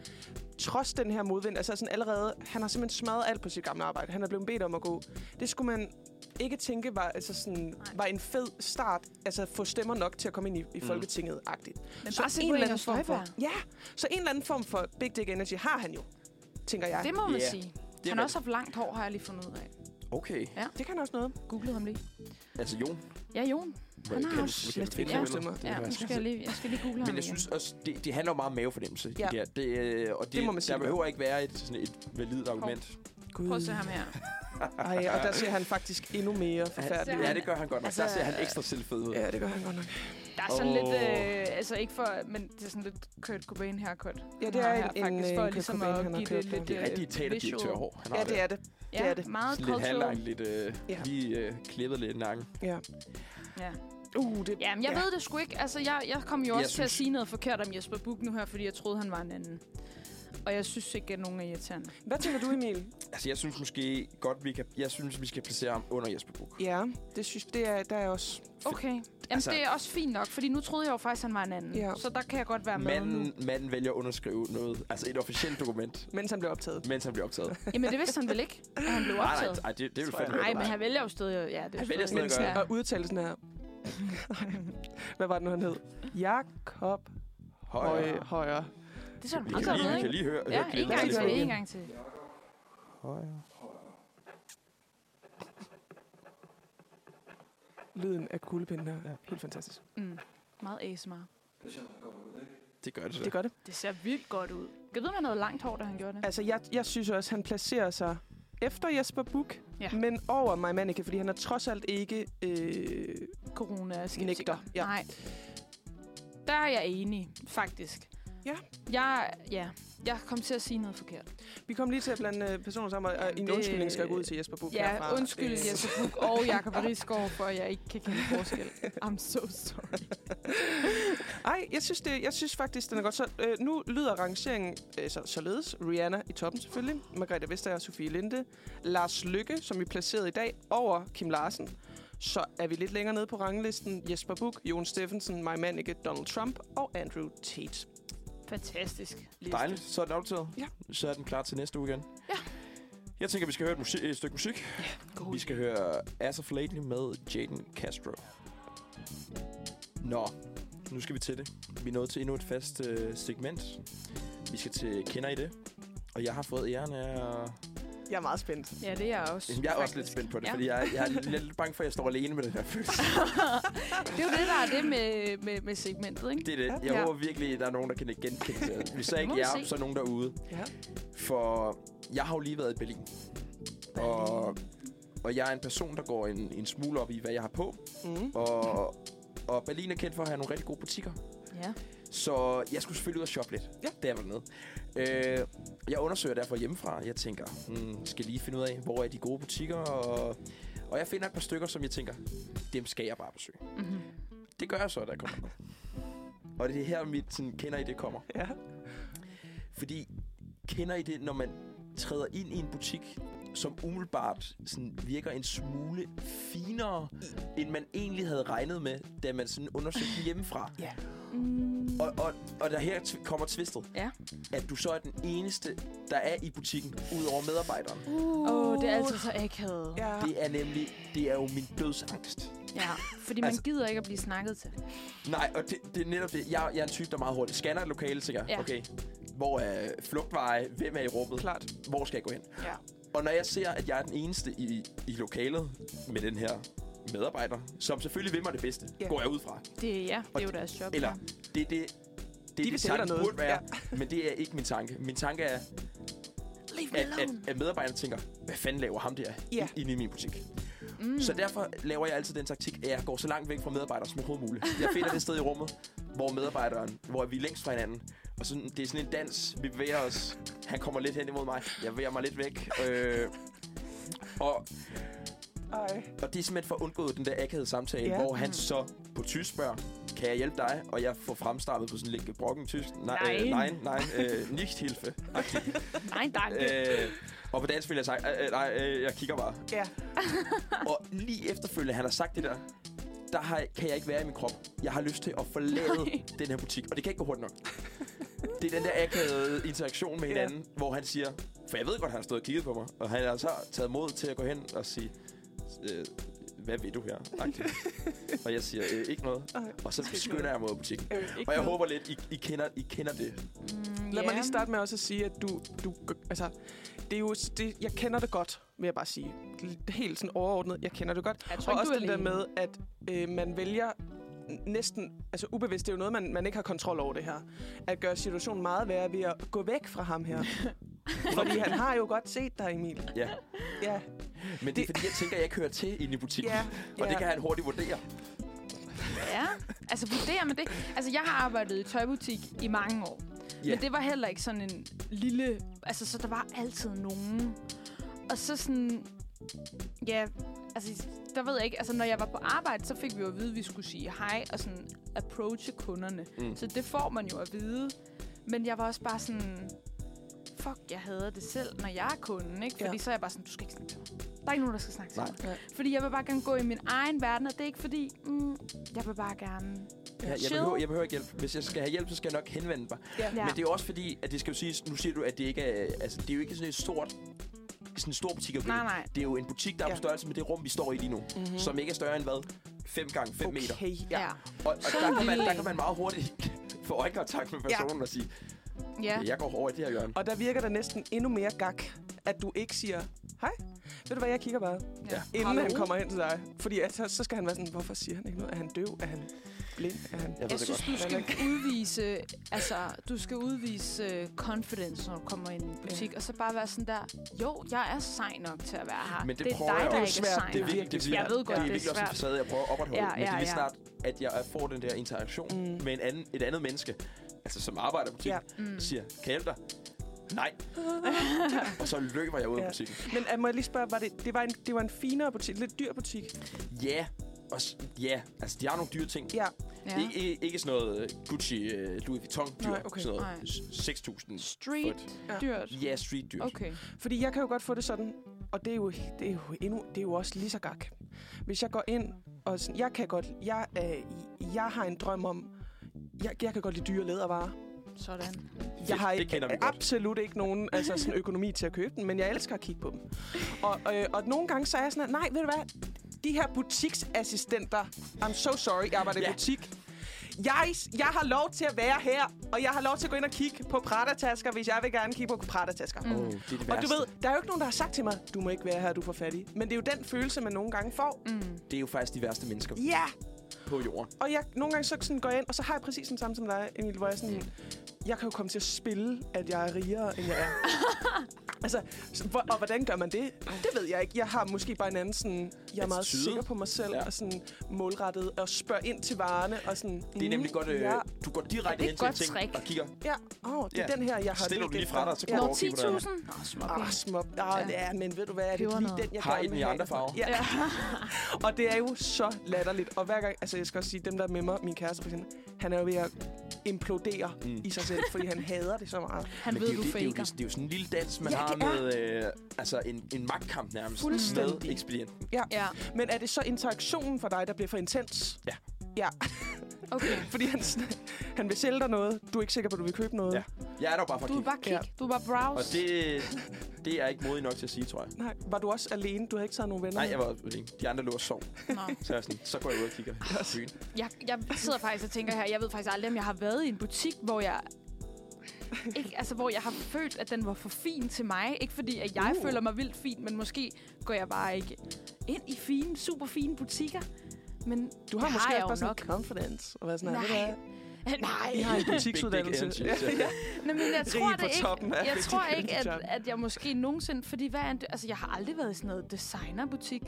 S1: trods den her modvind, altså sådan allerede, han har simpelthen smadret alt på sit gamle arbejde. Han er blevet bedt om at gå. Det skulle man ikke tænke var, altså sådan, var en fed start, altså at få stemmer nok til at komme ind i, i
S3: Mm.
S1: Folketinget-agtigt.
S2: Men
S1: Så
S2: bare se
S1: en
S2: på
S1: eller
S2: Inger
S1: anden form for,
S2: Støjberg.
S1: ja, så en eller anden form for Big Dick Energy har han jo, tænker jeg.
S2: Det
S1: Det,
S2: må man
S3: Ja,
S2: sige.
S3: er
S2: Han har også haft langt hår, har jeg lige fundet ud af.
S3: Okay.
S1: det kan også noget.
S2: Googlede ham lige.
S3: Altså, Jon.
S2: Ja, Jon.
S3: Hvordan
S2: har jo
S3: kan du- hvordan kan
S1: slet
S3: du finde
S1: ikke
S3: ham?
S1: stemmer.
S2: Ja, nu skal jeg lige, jeg skal lige google ham
S3: Men jeg
S2: igen.
S3: synes også, det, det handler jo meget om mavefornemmelse.
S1: Ja.
S3: Ja. Det, her. det, øh, og det,
S1: Det må man sige,
S3: der
S1: det
S3: behøver ikke være et, sådan et validt argument.
S1: Gud.
S2: Prøv at se ham her.
S1: Ej, og der ser han faktisk endnu mere forfærdelig
S2: Han-
S1: ud.
S3: Ja, det gør han godt nok.
S2: Altså,
S3: Altså, der ser han ekstra selvfed ud.
S1: Ja, det gør han godt nok.
S2: Der er sådan oh. lidt,
S3: Åh.
S2: øh, altså ikke for, men det er sådan lidt Kurt Cobain haircut.
S1: Ja,
S2: han
S1: det er
S2: har
S1: en-
S2: her,
S1: en,
S2: faktisk,
S1: øh,
S2: for
S1: Kurt
S2: ligesom
S1: Cobain,
S2: at
S1: han har
S2: give
S1: kørt
S2: det
S1: på.
S2: lidt...
S3: Det er
S2: øh,
S3: rigtig
S2: visual.
S3: teaterdirektør Han har
S1: Ja, det er det.
S2: Ja,
S1: det er det.
S2: meget
S3: Sådan lidt
S2: cultural.
S3: halvlang, lidt, øh,
S1: Ja.
S3: lige øh, klippet lidt i nakken.
S1: Ja.
S2: Ja.
S1: Uh, det,
S2: Jamen, jeg ja. ved det sgu ikke. Altså, jeg, jeg kom jo
S3: Jeg
S2: også til at
S3: synes-
S2: sige noget forkert om Jesper Buch nu her, fordi jeg troede, han var en anden. Og jeg synes ikke, at nogen er irriterende.
S1: Hvad tænker du, Emil?
S3: Altså, jeg synes måske godt, vi kan... Jeg synes, vi skal placere ham under Jesper Buch.
S1: Ja, det synes det er, der er også...
S2: Okay. Jamen,
S3: Altså-
S2: altså, det er også fint nok, fordi nu troede jeg jo faktisk, han var en anden.
S1: Ja.
S2: Ja. Så der kan jeg godt være med nu.
S3: Manden, manden vælger at underskrive noget. Altså, et officielt dokument,
S1: Mens han blev optaget.
S3: mens han bliver optaget. Nej,
S2: Jamen, det vidste han vel ikke, at han blev
S3: nej,
S2: optaget.
S3: nej, det, det er jo
S1: Tror jeg.
S3: fandme...
S2: Nej,
S3: ikke.
S2: men han vælger jo stadig... Ja, det er
S3: Han
S2: jo
S3: vælger
S2: stadig-
S3: stadig at
S2: Ja.
S1: Og udtalelsen her... Hvad var det nu, han hed? Jakob Høje.
S3: Højere.
S1: Højere.
S2: Det er sådan
S3: Vi
S2: meget
S3: kan, lige,
S2: godt,
S3: vi kan
S2: ikke?
S3: lige høre...
S2: Ja,
S3: høre
S2: en
S3: klippet.
S2: gang
S1: det
S2: til,
S1: igen.
S2: en gang til.
S3: Højere.
S1: Lyden af kuglepinden her. Helt fantastisk.
S2: Mm. Meget ASMR.
S3: Det gør det så.
S1: Det gør det.
S2: Det ser vildt godt ud. Kan du vide, om han havde langt hår, da han gjorde det?
S1: Altså, jeg, jeg synes også, han placerer sig efter Jesper Buch,
S2: Ja.
S1: men over mig Manike, fordi han er trods alt ikke... Øh,
S2: corona
S1: Nægter,
S2: skeptiker.
S1: ja.
S2: Nej. Der er jeg enig, faktisk.
S1: Ja.
S2: Jeg, ja, jeg kom til at sige noget forkert.
S1: Vi kom lige til at blande øh, personer sammen, og og en
S2: Det-
S1: undskyldning skal gå ud til Jesper Buch
S2: Ja,
S1: herfra. Øh,
S2: undskyld
S1: Det-
S2: Jesper Buch og Jakob Risgaard, for at jeg ikke kan kende forskel. I'm so sorry.
S1: Ej, jeg synes, det, jeg synes faktisk, den er godt. Så, øh, nu lyder rangeringen øh, så, således. Rihanna i toppen selvfølgelig. Margrethe Vestager, Sofie Linde. Lars Lykke, som vi placerede i dag, over Kim Larsen. Så er vi lidt længere nede på ranglisten. Jesper Buch, Jon Steffensen, Maja Mannicke, Donald Trump og Andrew Tate.
S2: Fantastisk. liste.
S3: Dejligt, så er den optaget.
S1: Ja.
S3: Så er den klar til næste uge igen.
S2: Ja.
S3: Jeg tænker, vi skal høre et, musik, et stykke musik.
S1: God
S3: Vi skal høre As of Lately med Jaden Castro. Nå, nu skal vi til det. Vi er nået til endnu et fast øh, segment. Vi skal til Kender I det? Og jeg har fået æren af... at-
S1: Jeg er meget spændt.
S2: Ja, det er jeg også.
S3: Jamen, jeg er også lidt
S2: faktisk.
S3: spændt på det,
S2: Ja.
S3: ja. fordi jeg, jeg er lidt bange for, at jeg står alene med den her følelse.
S2: det er jo det, der er det med, med, med segmentet, ikke?
S3: Det er det. Jeg
S2: Ja.
S3: ja. håber virkelig, at der er nogen, der kan genkende det. Hvis så
S2: Det
S3: ikke
S2: må vi
S3: jer,
S2: se.
S3: så er nogen derude.
S1: Ja.
S3: For jeg har jo lige været i Berlin. Og, og jeg er en person, der går en, en smule op i, hvad jeg har på.
S1: Mm.
S3: Og, og Berlin er kendt for at have nogle rigtig gode butikker.
S2: Ja.
S3: Så jeg skulle selvfølgelig ud og shoppe lidt,
S1: Ja.
S3: da jeg var dernede. Øh, jeg undersøger derfor hjemmefra. Jeg tænker, hmm, skal lige finde ud af, hvor er de gode butikker. Og, og jeg finder et par stykker, som jeg tænker, dem skal jeg bare besøge.
S2: Mm-hmm.
S3: Det gør jeg så, da jeg kommer. og det er her, mit sådan, kender I det kommer.
S1: Ja.
S3: Fordi kender I det, når man træder ind i en butik, som umiddelbart sådan virker en smule finere, end man egentlig havde regnet med, da man sådan undersøgte den hjemmefra.
S1: Ja.
S2: Mm.
S3: Og, og, og der her t- kommer tvistet,
S2: Ja.
S3: at du så er den eneste, der er i butikken, udover medarbejderen.
S2: Åh, oh, det er altid så akavet. Ja.
S1: Ja.
S3: Det er nemlig, det er jo min dødsangst.
S2: ja. Fordi man
S3: Altså-
S2: gider ikke at blive snakket til.
S3: Nej, og det, det er netop det. Jeg, jeg er en type, der er meget hurtigt scanner et lokale, tænker,
S2: Ja.
S3: ja. okay, hvor er flugtveje, hvem er i rummet,
S1: Klart.
S3: hvor skal jeg gå hen?
S1: Ja.
S3: Og når jeg ser, at jeg er den eneste i, i lokalet med den her medarbejder, som selvfølgelig vil mig det bedste,
S1: Ja.
S3: yeah. går jeg ud fra.
S2: Det, ja, det
S3: Og
S2: er jo
S3: det-
S2: deres job.
S3: Eller det er det, det, er
S1: vil
S3: det
S1: sælge dig
S3: tanken
S1: noget.
S3: burde være, ja. men det er ikke min tanke. Min tanke er,
S2: Leave me
S3: at, at,
S2: alone.
S3: at medarbejderne tænker, hvad fanden laver ham der
S1: Ja.
S3: yeah. inde i min butik? Mm. Så derfor laver jeg altid den taktik, at jeg går så langt væk fra medarbejderen som overhovedet muligt. Jeg finder det sted i rummet, hvor medarbejderen, hvor vi er længst fra hinanden. Og sådan, det er sådan en dans, vi bevæger os. Han kommer lidt hen imod mig, jeg bevæger mig lidt væk. Øh, og
S1: Ej.
S3: Og det er simpelthen for at undgå den der akavede samtale,
S1: Ja.
S3: ja. hvor han så på tysk spørger, kan jeg hjælpe dig? Og jeg får fremstartet på sådan lidt gebrokken tysk. Nej,
S2: Nein.
S3: øh, nej, nej, øh, nicht hilfe.
S2: Nej, tak.
S3: Øh, og på dansk vil jeg sige, øh, øh, nej, øh, jeg kigger bare.
S1: Ja.
S3: Og lige efterfølgende, han har sagt det der, der har, kan jeg ikke være i min krop. Jeg har lyst til at forlade
S2: Nej.
S3: nej. den her butik, og det kan ikke gå hurtigt nok. Det er den der akavede interaktion med
S1: Ja.
S3: hinanden, ja. hvor han siger, for jeg ved godt, han har stået og kigget på mig, og han har så taget mod til at gå hen og sige, øh, hvad ved du her? Agtigt. og jeg siger, øh, ikke noget.
S1: Ej.
S3: Og så skynder jeg mod butikken.
S1: Øh, ikke
S3: Og jeg
S1: noget.
S3: håber lidt, I, I, kender, I kender det.
S2: Mm,
S1: Lad
S2: ja.
S1: mig lige starte med også at sige, at du, du altså, det er jo, det, jeg kender det godt, vil jeg bare sige. Helt sådan overordnet, jeg kender det godt.
S2: Jeg
S1: Og
S2: tror ikke,
S1: også
S2: du er
S1: det der
S2: alene.
S1: med, at øh, man vælger næsten, altså ubevidst, det er jo noget, man, man ikke har kontrol over det her, at gøre situationen meget værre ved at gå væk fra ham her. Fordi han har jo godt set dig, Emil.
S3: Ja.
S1: Ja,
S3: Men det, det er fordi, jeg tænker, at jeg ikke hører til inde i butikken.
S1: Ja,
S3: Og
S1: ja.
S3: det kan han hurtigt vurdere.
S2: Ja, altså vurderer man det. Altså jeg har arbejdet i tøjbutik i mange år. Yeah.
S3: Ja.
S2: Men det var heller ikke sådan en lille... Altså, så der var altid nogen. Og så sådan... Ja, altså, der ved jeg ikke. Altså, når jeg var på arbejde, så fik vi jo at vide, at vi skulle sige hej og sådan approache kunderne. Mm.
S3: Mm.
S2: Så det får man jo at vide. Men jeg var også bare sådan... Fuck, jeg hader det selv, når jeg er kunden, ikke? Fordi
S1: Ja.
S2: ja. så er jeg bare sådan, du skal ikke snakke til mig. Der er ikke nogen, der skal snakke til
S3: Nej.
S2: mig. Fordi jeg vil bare gerne gå i min egen verden, og det er ikke fordi, mm, jeg vil bare gerne...
S3: Ja, jeg,
S2: Chill.
S3: behøver, jeg behøver ikke hjælp. Hvis jeg skal have hjælp, så skal jeg nok henvende mig.
S1: Ja.
S3: Ja. Men det er jo også fordi, at det skal jo siges, nu siger du, at det ikke er, altså, det er jo ikke sådan et stort, sådan en stor butik. at gå
S2: Nej,
S3: ind i.
S2: nej. Mhm.
S3: Det er jo en butik, der er
S1: Ja.
S3: på størrelse med det rum, vi står i lige nu. Mm-hmm. Som ikke er større end hvad? 5 gange 5 meter.
S1: okay. Ja.
S2: Ja.
S3: Og, og der, kan man, der kan man meget hurtigt få øjekontakt med
S1: Ja.
S3: personen ja. og sige,
S2: ja.
S3: jeg går over i det her hjørne.
S1: Og der virker der næsten endnu mere gak, at du ikke siger, hej, ved du hvad, jeg kigger bare.
S3: Ja.
S1: Inden
S2: Hallo?
S1: han kommer hen til dig. Fordi at, så, så skal han være sådan, hvorfor siger han ikke noget? Er han døv? Er han... blind er han.
S3: Jeg ved
S2: Jeg
S3: det
S2: synes,
S3: godt.
S2: du skal
S1: Eller
S2: udvise, altså, du skal udvise øh, confidence, når du kommer ind i en butik, og så bare være sådan der, jo, jeg er sej nok til at være her.
S3: Men det
S2: det er
S3: prøver jeg
S2: dig, der
S3: også.
S2: ikke
S1: Det er
S2: er
S1: svært.
S2: sej
S3: Det er
S2: nok.
S3: virkelig, det er
S2: Jeg ved
S3: det
S2: godt,
S3: er
S2: det
S3: virkelig
S2: er
S3: også en
S2: svært.
S3: facade, jeg prøver at opretholde.
S2: Ja,
S3: Ja, ja, men det er
S2: ja,
S3: lige
S2: ja.
S3: snart, at jeg får den der interaktion mm. med en anden, et andet menneske, altså som arbejder i butikken, ja. mm. siger, kan jeg hjælpe dig? Nej. og så løber jeg ud af
S1: Ja.
S3: butikken.
S1: Men uh, må jeg lige spørge, var det, det, var en, det var en finere butik, lidt dyr butik?
S3: Ja, og s- ja, altså de har nogle dyre ting.
S1: Ja.
S2: Ja.
S3: Ja. Ikke, ikke, ikke sådan noget øh, Gucci, øh, Louis Vuitton dyr.
S1: Nej, okay.
S3: Sådan
S2: Nej.
S3: noget s- 6.000.
S2: Street
S1: Ja.
S2: dyrt.
S3: Ja, street dyr.
S2: Okay.
S1: Fordi jeg kan jo godt få det sådan, og det er jo, det er jo, endnu, det er jo også lige så gak. Hvis jeg går ind, og sådan, jeg kan godt, jeg, øh, jeg har en drøm om, jeg, jeg kan godt lide dyre lædervarer.
S2: Sådan.
S1: Jeg har
S3: det
S1: ikke,
S3: kender vi godt.
S1: absolut ikke nogen altså sådan økonomi til at købe den, men jeg elsker at kigge på dem. Og, øh, og nogle gange så er jeg sådan, at, nej, ved du hvad? De her butiksassistenter, I'm so sorry, jeg arbejder
S3: Ja.
S1: i butik. Jeg, jeg har lov til at være her, og jeg har lov til at gå ind og kigge på Prada-tasker, hvis jeg vil gerne kigge på Prada-tasker. Mm.
S3: Oh, det er det
S1: Og du
S3: værste.
S1: ved, der er jo ikke nogen, der har sagt til mig, du må ikke være her, du er for fattig. Men det er jo den følelse, man nogle gange får. Mm.
S3: Det er jo faktisk de værste mennesker
S1: Ja!
S3: på jorden.
S1: Og jeg nogle gange så sådan går jeg ind, og så har jeg præcis den samme som dig, Emil, hvor jeg sådan,
S3: Mm.
S1: jeg kan jo komme til at spille, at jeg er rigere, end jeg er. altså, så hvor, og hvordan gør man det? Det ved jeg ikke. Jeg har måske bare en anden sådan, jeg er meget
S3: Attitude.
S1: sikker på mig selv,
S3: Ja.
S1: ja. og sådan målrettet, og spørger ind til varerne, og sådan... "Mm,
S3: Det er nemlig godt, øh,
S1: Ja,
S3: du går
S2: Og det
S3: direkte
S2: er
S3: hen
S2: et
S3: til en
S2: godt
S3: ting
S2: trick.
S3: og kigger.
S1: ja. Oh, det er
S3: Ja.
S1: den her, jeg har...
S3: Stiller
S1: lidt
S3: du lige
S1: efter.
S3: fra dig, og så kan
S1: ja.
S2: Nå,
S3: du overgive på den anden.
S2: 10.000? Nå,
S1: Ah,
S2: småpenge.
S1: små. Ah,
S2: Ja.
S1: ja. men ved du hvad, er det er
S2: Peber
S1: lige
S2: noget.
S1: den, jeg
S3: Har I
S1: gerne
S3: den
S1: vil
S3: i
S1: have.
S3: andre farver?
S1: Ja. og det er jo så latterligt. Og hver gang, altså jeg skal også sige, dem der er med mig, min kæreste for eksempel, han er jo ved at implodere
S3: Mm.
S1: mm. i sig selv, fordi han hader det så meget.
S2: Han
S3: Men
S2: ved,
S3: det, er jo
S2: du
S3: det, det, er jo,
S2: faker.
S3: det, det er jo sådan en lille dans, man
S1: Ja,
S3: har
S1: det er.
S3: med øh, altså en, en magtkamp nærmest med
S1: Fuldstændig.
S3: ekspedienten.
S2: Ja,
S1: Men er det så interaktionen for dig, der bliver for intens?
S3: Ja.
S1: Ja,
S2: okay.
S1: fordi han, sådan- han vil sælge dig noget, du er ikke sikker på, at du vil købe noget.
S3: Ja. Jeg er der jo bare for at
S2: Du er
S3: kigge.
S2: bare kig. Du er bare browse.
S3: Og det, det er jeg ikke modig nok til at sige, tror jeg.
S1: Nej, var du også alene? Du havde ikke taget nogen venner?
S3: Nej,
S1: med?
S3: jeg var alene. De andre lå og sov.
S2: Nå.
S3: Så, er jeg sådan, så går jeg ud og kigger på byen.
S2: Jeg, jeg sidder faktisk og tænker her, jeg ved faktisk aldrig, om jeg har været i en butik, hvor jeg... Ikke, altså, hvor jeg har følt, at den var for fin til mig. Ikke fordi, at jeg
S1: Uh.
S2: uh. føler mig vildt fin, men måske går jeg bare ikke ind i fine, super fine butikker. Men
S1: Du har
S2: det
S1: måske
S2: har jeg
S1: også
S2: jo
S1: bare sådan
S2: nok.
S1: en confidence. Og være sådan,
S2: Nej.
S1: "Ved du hvad?
S2: Nej.
S1: I har en
S3: Big,
S1: butiksuddannelse.
S3: big energy. Ja.
S2: Nej, men jeg tror
S1: Rige på
S2: det ikke.
S1: toppen af
S2: jeg
S1: rigtig
S2: tror ikke, at,
S1: job.
S2: at jeg måske nogensinde... Fordi hvad er en, altså, jeg har aldrig været i sådan noget designerbutik.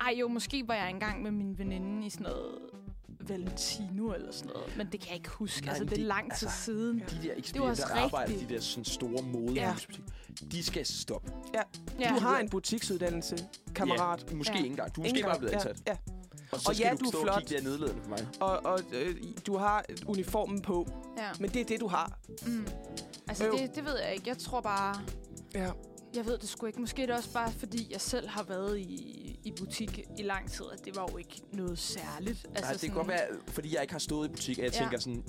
S2: Ej, jo, måske var jeg engang med min veninde i sådan noget Valentino eller sådan noget. Men det kan jeg ikke huske.
S3: Nej,
S2: Nej, altså,
S3: men
S2: det er
S3: det-
S2: lang tid
S3: altså,
S2: siden.
S3: De der
S2: Det var også
S3: ekspedienter, der arbejder i de
S2: rigtigt.
S3: der sådan store modehusbutikker, de skal stoppe.
S1: Du har en butiksuddannelse, kammerat.
S3: Ja, måske
S2: Ja.
S3: ikke engang. Du er
S1: Ingen
S3: måske bare
S1: gang.
S3: blevet ansat.
S1: Ja, ja.
S3: Og så
S1: Og
S3: skal
S1: ja,
S3: du
S1: du er
S3: stå og
S1: flot.
S3: kigge der nedladende på mig.
S1: Og, og øh, du har uniformen på,
S2: Ja.
S1: men det er det, du har.
S2: Mm. Altså,
S1: Øv.
S2: det, det ved jeg ikke. Jeg tror bare...
S1: Ja.
S2: Jeg ved det sgu ikke. Måske er det også bare, fordi jeg selv har været i, i butik i lang tid, at det var jo ikke noget særligt. Altså,
S3: Nej, det kan godt være, fordi jeg ikke har stået i butik, at jeg
S2: Ja.
S3: tænker sådan,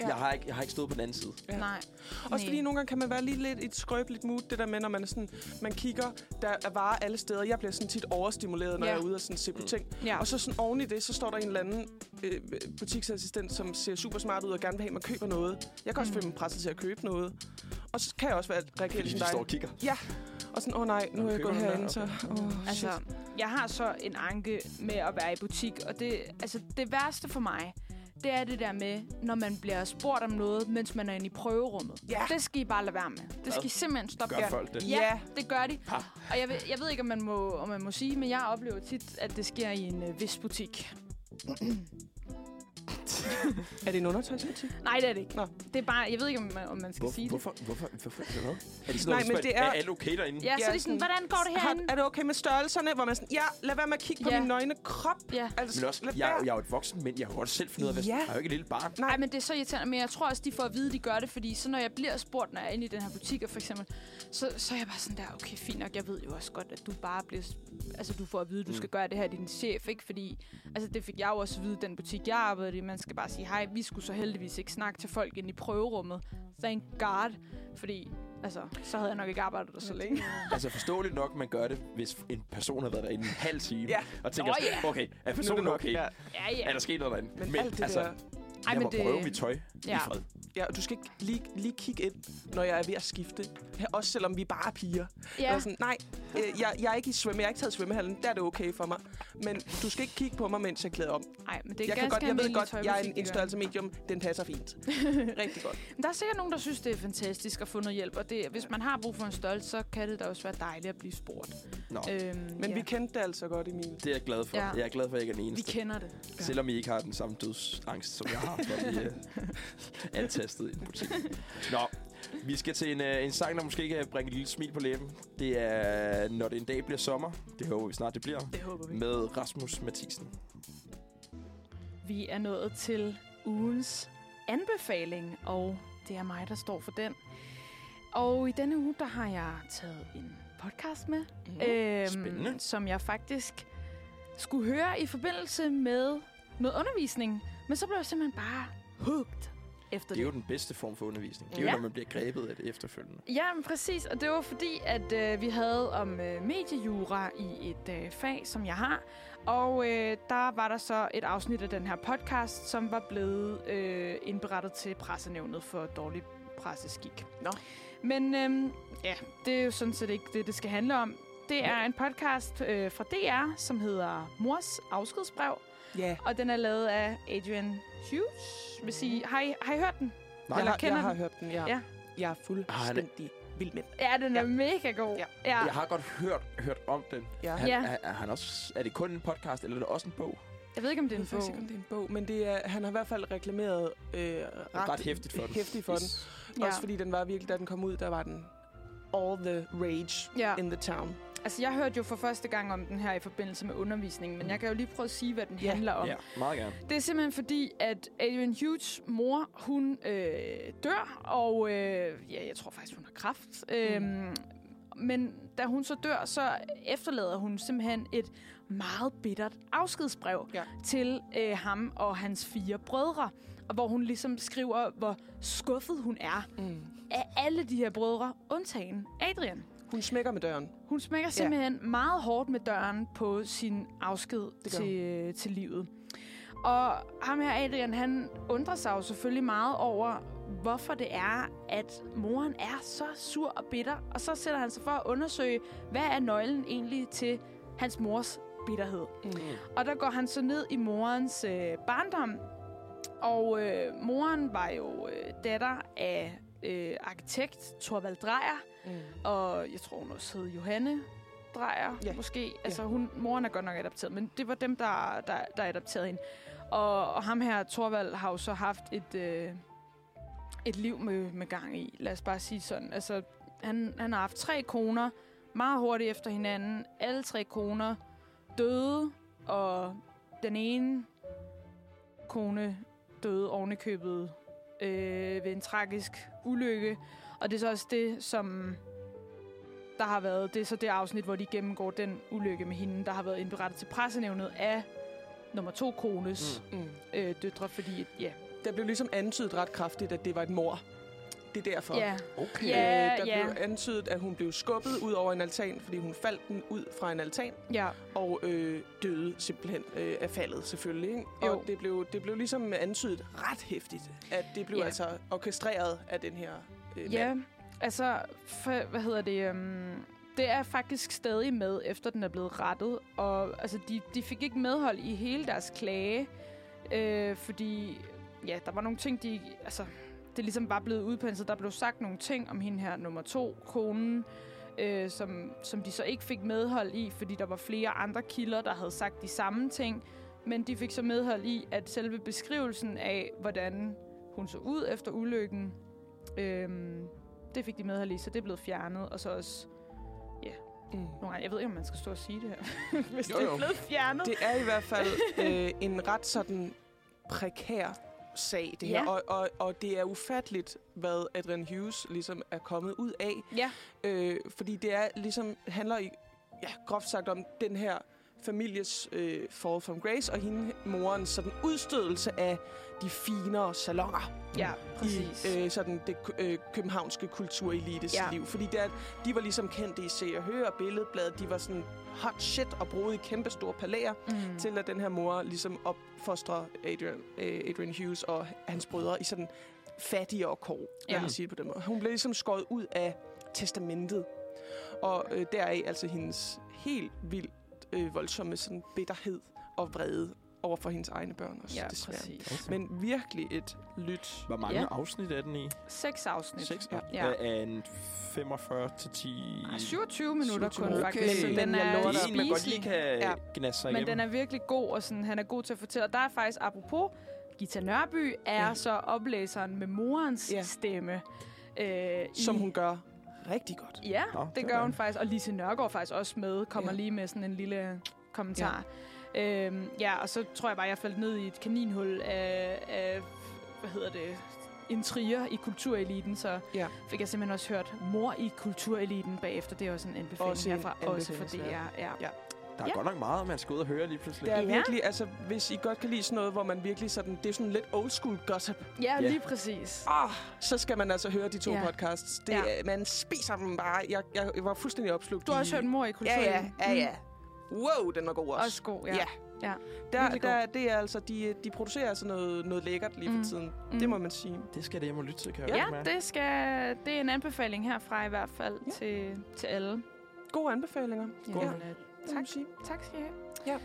S1: Ja.
S3: jeg har, ikke, jeg har ikke stået på den anden side.
S1: Ja.
S2: Nej.
S1: Også
S2: Nej.
S1: fordi nogle gange kan man være lige lidt i et skrøbeligt mood, det der med, når man, er sådan, man kigger, der er varer alle steder. Jeg bliver sådan tit overstimuleret, når
S2: Ja.
S1: jeg er ude og sådan se på
S3: Mm.
S1: ting.
S2: Ja.
S1: Og så sådan oven i det, så står der en eller anden øh, butiksassistent, som ser super smart ud og gerne vil have, at man køber noget. Jeg kan også
S2: Mm.
S1: føle mig presset til at købe noget. Og så kan jeg også være reagere
S3: Fordi
S1: ligesom
S3: de står og
S1: dig.
S3: kigger.
S1: Ja, og sådan, åh oh, nej,
S3: Nå,
S1: nu er jeg
S3: køber
S1: gået
S3: den der,
S1: herinde, så... Oh,
S2: Altså,
S1: altså,
S2: jeg har så en anke med at være i butik, og det, altså, det værste for mig, det er det der med, når man bliver spurgt om noget, mens man er inde i prøverummet.
S1: Ja.
S2: Det skal I bare lade være med. Det skal I simpelthen stoppe
S3: Gør
S2: med.
S3: folk det?
S2: Ja,
S1: Ja.
S2: det gør de. Og jeg ved, jeg ved ikke, om man, må, om man må sige, men jeg oplever tit, at det sker i en øh, vis butik.
S1: er det en undertøjsbutik?
S2: Nej, det er det ikke.
S1: Nå.
S2: Det er bare, jeg ved ikke, om man, om man skal
S3: Hvor,
S2: sige
S3: hvorfor, hvorfor, hvorfor, hvorfor? Er det sådan
S1: Nej,
S3: noget,
S1: men
S3: men
S1: det
S3: er...
S1: er-
S3: alle okay derinde?
S2: det. Ja, så er de sådan,
S1: sådan-
S2: hvordan går det
S1: Har,
S2: herinde?
S1: er det okay med størrelserne? Hvor man sådan, ja, lad være med at kigge på
S2: Ja.
S1: min nøgne krop.
S2: Ja.
S1: Altså,
S3: Men også,
S1: lad
S3: jeg,
S1: være.
S3: jeg er jo et voksen, men jeg har jo også selv fundet ud af, at
S1: Ja.
S3: jeg er jo ikke et lille barn.
S2: Nej, men det er så irriterende, men jeg tror også, de får at vide, de gør det, fordi så når jeg bliver spurgt, når jeg er inde i den her butik, og for eksempel, så, så er jeg bare sådan der, okay, fint nok, jeg ved jo også godt, at du bare bliver, s- altså du får at vide, at du
S1: Mm.
S2: skal gøre det her, din chef, ikke? Fordi, altså det fik jeg jo også at vide, den butik, jeg arbejdede i, man skal bare sige, hej, vi skulle så heldigvis ikke snakke til folk inde i prøverummet, thank god, fordi, altså, så havde jeg nok ikke arbejdet der så længe.
S3: Altså forståeligt nok, man gør det, hvis en person har været derinde en halv time,
S1: Ja.
S3: og tænker,
S2: Nå,
S3: sådan, okay, er personen okay?
S1: Ja.
S2: Ja,
S3: Er
S2: ja.
S3: der sket noget derinde?
S1: Men, alt det
S3: altså,
S1: der...
S3: jeg må
S2: men det-
S3: prøve mit tøj ja. i
S2: Ja.
S3: fred.
S1: Ja, og du skal ikke lige, lige kigge ind, når jeg er ved at skifte. Ja, Også selvom vi bare er piger. Ja.
S2: Ja,
S1: Sådan, nej, øh, jeg, jeg er ikke i svømme. Jeg har ikke taget svømmehallen. Der er det okay for mig. Men du skal ikke kigge på mig, mens jeg klæder om.
S2: nej, men det er
S1: jeg, kan
S2: ganske
S1: godt, jeg ved
S2: almindeligt
S1: godt, jeg er
S2: tøjbutik,
S1: en,
S2: de
S1: en
S2: gør.
S1: størrelse medium. Den passer fint. Rigtig godt.
S2: Men Der er sikkert nogen, der synes, det er fantastisk at få noget hjælp, og det, hvis man har brug for en størrelse, så kan det da også være dejligt at blive spurgt.
S3: Nå, øh.
S2: Øhm,
S1: Men
S2: ja.
S1: vi kendte det altså godt, Emil.
S3: det er jeg glad for. Ja.
S2: Ja.
S3: Jeg er glad for, at jeg ikke er den
S2: vi
S3: eneste.
S2: kender det.
S1: Ja.
S3: Selvom I ikke har den samme dødsangst, som jeg har, for vi er antastet i en butik. Nå, vi skal til en, øh, en sang, der måske kan bringe et lille smil på læben. Det er Når det en dag bliver sommer. Det håber vi snart, det bliver.
S2: Det håber vi.
S3: Med Rasmus Mathisen.
S2: Vi er nået til ugens anbefaling, og det er mig, der står for den. Og i denne uge, der har jeg taget en podcast med,
S1: Mm.
S2: øhm,
S3: spændende.
S2: som jeg faktisk skulle høre i forbindelse med noget undervisning. Men så blev jeg simpelthen bare hooked efter
S3: Det
S2: det.
S3: er jo den bedste form for undervisning. Det er jo,
S2: Ja.
S3: når man bliver grebet af det efterfølgende.
S2: Ja, men præcis. Og det var fordi, at øh, vi havde om øh, mediejura i et øh, fag, som jeg har. Og øh, der var der så et afsnit af den her podcast, som var blevet øh, indberettet til pressenævnet for dårlig presseskik.
S1: Nå.
S2: Men øh, ja, det er jo sådan set ikke det, det skal handle om. Det er en podcast øh, fra DR, som hedder Mors afskedsbrev.
S1: Ja.
S2: Og den er lavet af Adrian Hughes. Hvis I, har, I, har I hørt den?
S3: Nej,
S1: jeg, jeg
S2: kender
S1: har
S2: den.
S1: hørt den, ja.
S2: Ja.
S1: Jeg
S3: Ah,
S1: er fuldstændig vild med den.
S2: Ja, den er
S1: Ja.
S2: mega god.
S1: Ja.
S3: Jeg har godt hørt, hørt om den.
S1: Ja.
S3: Han,
S2: Ja.
S3: er, er, han også, er det kun en podcast, eller er det også en bog?
S2: Jeg ved ikke, om det
S1: Jeg
S2: er
S1: ved
S2: en
S1: faktisk ikke,
S2: bog.
S1: om det er en bog, men det er, han har i hvert fald reklameret øh, ret,
S3: Ret hæftigt for den.
S1: hæftigt for den. Ja. Også fordi den var virkelig, da den kom ud, der var den all the rage
S2: Ja,
S1: ja. in the town.
S2: altså jeg hørte jo for første gang om den her i forbindelse med undervisningen, men jeg kan jo lige prøve at sige, hvad den
S1: Mm. Ja.
S2: handler om.
S3: Ja, meget gerne.
S2: Det er simpelthen fordi, at Adrian Hughes mor, hun øh, dør, og øh, ja, jeg tror faktisk, hun har kraft. Øhm, men da hun så dør, så efterlader hun simpelthen et meget bittert afskedsbrev
S1: Ja.
S2: til øh, ham og hans fire brødre, og hvor hun ligesom skriver, hvor skuffet hun er
S1: Mm.
S2: af alle de her brødre, undtagen Adrian.
S1: Hun smækker med døren.
S2: Hun smækker simpelthen ja. meget hårdt med døren på sin afsked
S1: Det gør
S2: til, til livet. Og ham her, Adrian, han undrer sig jo selvfølgelig meget over, hvorfor det er, at moren er så sur og bitter. Og så sætter han sig for at undersøge, hvad er nøglen egentlig til hans mors bitterhed.
S1: Mm.
S2: Og der går han så ned i morens øh, barndom. Og øh, moren var jo øh, datter af øh, arkitekt Thorvald Drejer,
S1: Mm.
S2: og jeg tror, hun også hed Johanne Drejer,
S1: Ja.
S2: ja. måske. Altså, hun, moren er godt nok adopteret, men det var dem, der, der, der adopterede hende. Og, og ham her, Thorvald, har jo så haft et, øh, et liv med, med gang i, lad os bare sige sådan. Altså, han, han har haft tre koner, meget hurtigt efter hinanden. Alle tre koner døde, og den ene kone døde ovenikøbet øh, ved en tragisk ulykke. Og det er så også det, som der har været. Det er så det afsnit, hvor de gennemgår den ulykke med hende, der har været indberettet til pressenævnet af nummer to kones
S1: Mm.
S2: mm. øh, døtre, fordi ja,
S1: Der blev ligesom antydet ret kraftigt, at det var et mor. Det er derfor.
S2: ja,
S3: Mm. Okay.
S2: Ja.
S1: øh, der
S2: ja.
S1: blev antydet, at hun blev skubbet ud over en altan, fordi hun faldt den ud fra en altan
S2: ja,
S1: og øh, døde simpelthen øh, af faldet selvfølgelig. Ikke?
S2: Jo.
S1: Og det blev, det blev ligesom antydet ret hæftigt, at det blev
S2: Ja.
S1: altså orkestreret af den her øh,
S2: ja.
S1: mand.
S2: Altså, for, hvad hedder det? Um, det er faktisk stadig med, efter den er blevet rettet. Og altså, de, de fik ikke medhold i hele deres klage, øh, fordi ja, der var nogle ting, de... Altså, det er ligesom bare blevet udpenset. Der blev sagt nogle ting om hende her, nummer to, konen, øh, som, som de så ikke fik medhold i, fordi der var flere andre kilder, der havde sagt de samme ting. Men de fik så medhold i, at selve beskrivelsen af, hvordan hun så ud efter ulykken, øh, det fik de medhold i, så det er blevet fjernet. Og så også
S1: Mm.
S2: nogle gange, jeg ved ikke, om man skal stå og sige det her, hvis
S3: Jo,
S2: jo, jo. det
S3: jo.
S2: er blevet fjernet.
S1: Det er i hvert fald øh, en ret sådan prekær sag, det her.
S2: Ja.
S1: Og, og, og det er ufatteligt, hvad Adrian Hughes ligesom er kommet ud af.
S2: Ja,
S1: Øh, fordi det er ligesom handler i, ja, groft sagt om den her families øh, Fall from Grace og hende morens sådan udstødelse af de finere salonger
S2: Ja, præcis.
S1: i øh, sådan det kø- øh, københavnske kulturelites ja.
S2: Ja.
S1: liv. Fordi der, de var ligesom kendte i Se og Hør og Billedbladet. De var sådan hot shit og boede i kæmpe store palæer, mm. til at den her mor ligesom opfostrer Adrian, øh, Adrian Hughes og hans brødre i sådan fattigere kår, ja.
S2: Ja.
S1: lad mig sige det på den måde. Hun blev ligesom skåret ud af testamentet, og øh, deraf altså hendes helt vildt øh, voldsomme sådan bitterhed og vrede over for hendes egne børn også,
S2: ja,
S1: desværre.
S2: præcis.
S1: Men virkelig et lyt.
S3: Hvor mange
S2: Ja.
S3: afsnit er den i?
S2: Seks afsnit.
S3: Seks
S1: Ja.
S3: afsnit? Ja. Af en 45 til 10...
S2: Ah, 27 minutter
S1: 27
S2: kun,
S1: okay.
S2: faktisk. Så
S1: Men
S2: den
S1: jeg
S2: er
S1: lover
S3: Det
S1: dig-
S3: er en, man godt lige
S2: spiselig.
S3: kan
S1: Ja.
S3: ja. gnasse sig
S2: Men
S3: igennem.
S2: den er virkelig god, og sådan, han er god til at fortælle. Og der er faktisk, apropos, Gita Nørby er
S1: Ja.
S2: ja. så oplæseren med morens
S1: Ja.
S2: ja. stemme. Øh,
S1: som
S2: i,
S1: hun gør rigtig godt.
S2: Ja,
S3: Nå,
S2: det
S3: sådan.
S2: gør hun faktisk. Og Lise Nørgaard faktisk også med, kommer
S1: Ja.
S2: ja. lige med sådan en lille kommentar. Ja. Øhm, ja, og så tror jeg bare, jeg faldt ned i et kaninhul af, af hvad hedder det, intriger i kultureliten, så
S1: Ja.
S2: ja. fik jeg simpelthen også hørt mor i kultureliten bagefter. Det er også en
S1: Også
S2: anbefaling også
S1: en
S2: herfra, også for
S1: anbefaling,
S2: DR. Ja. Ja.
S3: Der er
S2: Ja.
S3: godt nok meget, man skal ud og høre lige pludselig.
S1: Det er
S2: Ja.
S1: virkelig, altså, hvis I godt kan lide sådan noget, hvor man virkelig sådan, det er sådan lidt old school gossip,
S2: ja,
S3: Ja.
S2: lige præcis.
S1: oh, så skal man altså høre de to
S2: Ja.
S1: podcasts. Det,
S2: Ja.
S1: ja. Man spiser dem bare. Jeg, jeg var fuldstændig opslugt.
S2: Du har
S1: i-
S2: også hørt mor i
S1: Ja,
S2: kultureliten.
S1: ja, ja, ja. Wow, den var god også.
S2: Mm. Også god, ja.
S1: Ja.
S2: ja.
S1: der,
S2: virkelig god.
S1: der, det er altså, de, de producerer altså noget, noget lækkert lige for
S2: Mm.
S1: tiden.
S2: Mm.
S1: Det må man sige.
S3: Det skal det hjem og lytte til, kan jeg
S2: ja det, skal, det er en anbefaling herfra i hvert fald
S1: Ja.
S2: ja. til, til alle.
S1: Gode anbefalinger.
S2: Ja.
S1: Godt.
S2: Ja.
S1: øh, Tak. Man sige.
S2: Tak skal I have.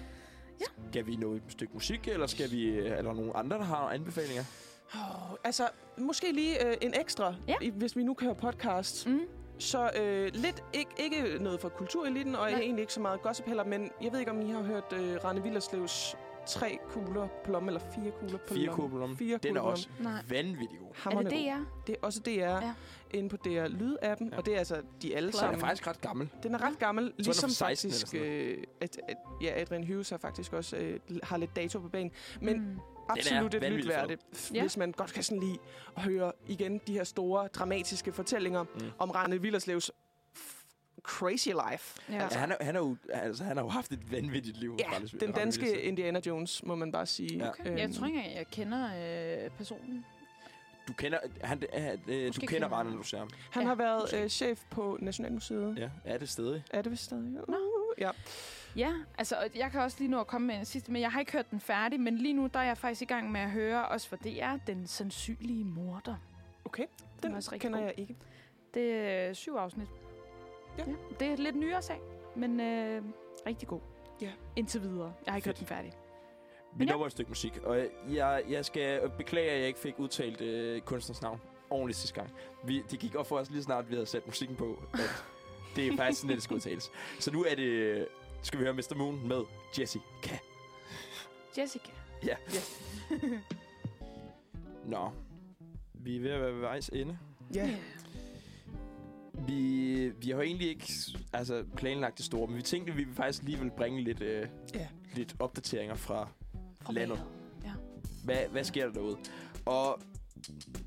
S3: Skal vi nå et stykke musik, eller skal vi, øh, er der nogen andre, der har anbefalinger?
S1: Oh, altså, måske lige øh, en ekstra,
S2: Ja.
S1: i- hvis vi nu kører podcast.
S2: Mm.
S1: Så øh, lidt, ikke, ikke noget fra kultureliten, og Nej.
S2: Nej.
S1: egentlig ikke så meget gossip heller, men jeg ved ikke, om I har hørt øh, Rane Villerslevs tre kugler på lommen, eller fire kugler på
S3: Fire
S1: lommen.
S3: kubler om.
S1: Fire
S3: Den er
S1: kugler om.
S3: også
S2: Nej.
S3: vanvittig god.
S2: Mm. Er
S1: Hammerne
S2: det
S1: god.
S2: det, ja?
S1: Det er også DR ja.
S2: Ja.
S1: inde på DR Lyd-appen, ja.
S3: Ja.
S1: og det er altså de alle
S2: Plug.
S3: Den er
S1: sammen.
S3: faktisk ret gammel.
S1: Den er ret gammel,
S3: er
S1: ligesom
S3: fra 16
S1: faktisk,
S3: eller
S1: øh, at, at, ja, Adrian Hughes har faktisk også øh, har lidt dato på banen. Men mm. absolut et
S3: vanvittigt
S1: lytværde,
S2: Ja.
S1: hvis man godt kan sådan lide at høre igen de her store, dramatiske fortællinger mm.
S3: Mm.
S1: om Rane Villerslevs f- crazy life.
S2: Ja.
S3: Altså, han, er, han, er jo, altså, han har jo haft et vanvittigt liv.
S1: Ja,
S3: Randers-
S1: den
S3: Randers-
S1: danske Indiana Jones, må man bare sige.
S3: Ja.
S2: Okay. Jeg tror ikke, engang, jeg kender øh, personen.
S3: Du kender, han, han, øh, du
S2: Måske
S3: kender
S2: kender
S3: Rane,
S2: han.
S3: når du ser ham.
S1: Han
S2: Ja,
S1: har været
S2: måske.
S1: øh, chef på Nationalmuseet. Ja.
S3: Ja, er det stadig?
S1: Er det vist stadig?
S2: Nå.
S1: Ja.
S2: Ja, altså, og jeg kan også lige nå at komme med en sidste, men jeg har ikke hørt den færdig, men lige nu, der er jeg faktisk i gang med at høre, også for det er Den Sandsynlige Morder.
S1: Okay,
S2: Den
S1: den,
S2: er også rigtig
S1: kender
S2: god.
S1: jeg ikke.
S2: Det er øh, syv afsnit.
S1: Ja.
S2: Det er et lidt nyere sag, men øh, rigtig god.
S1: Ja.
S2: Indtil videre. Jeg har ikke
S3: Fedt.
S2: hørt den færdig.
S3: Vi
S2: Ja.
S3: når et stykke musik, og jeg, jeg skal beklage, at jeg ikke fik udtalt øh, kunstners navn ordentligt sidste gang. Vi, det gik op for os lige snart, vi havde sat musikken på, at det er faktisk sådan, det skal udtales. Så nu er det, øh, skal vi høre Mr. Moon med Jessica.
S2: Jessica.
S3: Ja. Nå, vi er ved at være ved vejs ende.
S1: Ja.
S3: Vi, vi har jo egentlig ikke altså, planlagt det store, men vi tænkte, at vi faktisk lige ville bringe lidt, øh,
S1: Ja.
S3: ja. lidt opdateringer fra
S2: Fra
S3: Lando.
S2: Malet.
S3: hvad, hvad sker der derude? Og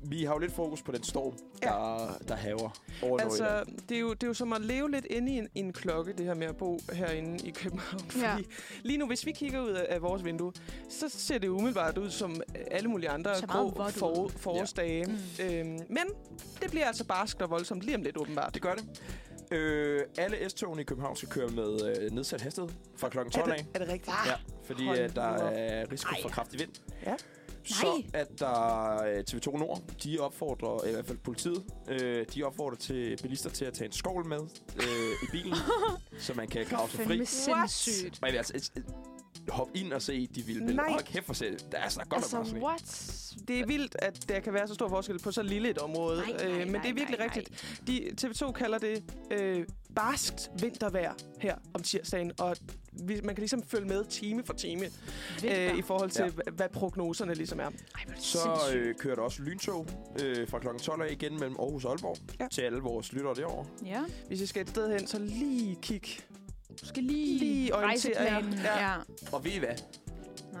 S3: vi har jo lidt fokus på den storm,
S1: Ja.
S3: der, der haver over altså,
S1: Altså, det er, jo, det er jo som at leve lidt inde i en, i en klokke, det her med at bo herinde i København. Fordi
S2: Ja.
S1: lige nu, hvis vi kigger ud af, af vores vindue, så ser det umiddelbart ud som alle mulige andre
S2: Ser meget
S1: grå
S2: vådt ud.
S1: for, forårsdage.
S2: Mm.
S1: Ja. Øhm, men det bliver altså barskt og voldsomt lige om lidt, åbenbart.
S3: Det gør det. Øh, alle S-togene i København skal køre med øh, nedsat hastighed fra kl. 12
S1: er,
S3: af.
S1: det, er det rigtigt? Ah,
S3: Ja, fordi
S1: hold
S3: øh, der
S1: nu op.
S3: er risiko for kraftig vind.
S1: Ja.
S3: Så
S2: Nej.
S3: at der øh, TV2 Nord, de opfordrer, øh, i hvert fald politiet, øh, de opfordrer til bilister til at tage en skovl med øh, i bilen, så man kan grave sig fri.
S2: Fandme sindssygt.
S3: Man vil altså øh, hoppe ind og se de vilde
S1: Nej.
S3: billeder. Hold kæft for se, der er så godt
S2: Altså,
S3: nok meget sne.
S2: what?
S1: Det er vildt, at der kan være så stor forskel på så lille et område.
S2: Nej, nej,
S1: øh, men det
S2: nej,
S1: er virkelig
S2: nej,
S1: rigtigt. De, TV2 kalder det øh, barskt vintervejr her om tirsdagen, og vi, man kan ligesom følge med time for time øh, i forhold til,
S3: Ja.
S1: ja. hvad prognoserne ligesom er.
S2: Ej, hvor er det
S3: Så
S2: sindssygt.
S3: øh, kører der også lyntog øh, fra kl. 12 af igen mellem Aarhus og Aalborg
S1: Ja.
S3: ja. til alle vores lyttere derovre.
S1: øh,
S2: Ja.
S1: Hvis I skal et sted hen, så lige kig.
S2: Du skal lige,
S1: Lige orientere jer.
S2: rejseplanen.
S1: Ja.
S2: Ja. ja.
S3: Og ved I hvad?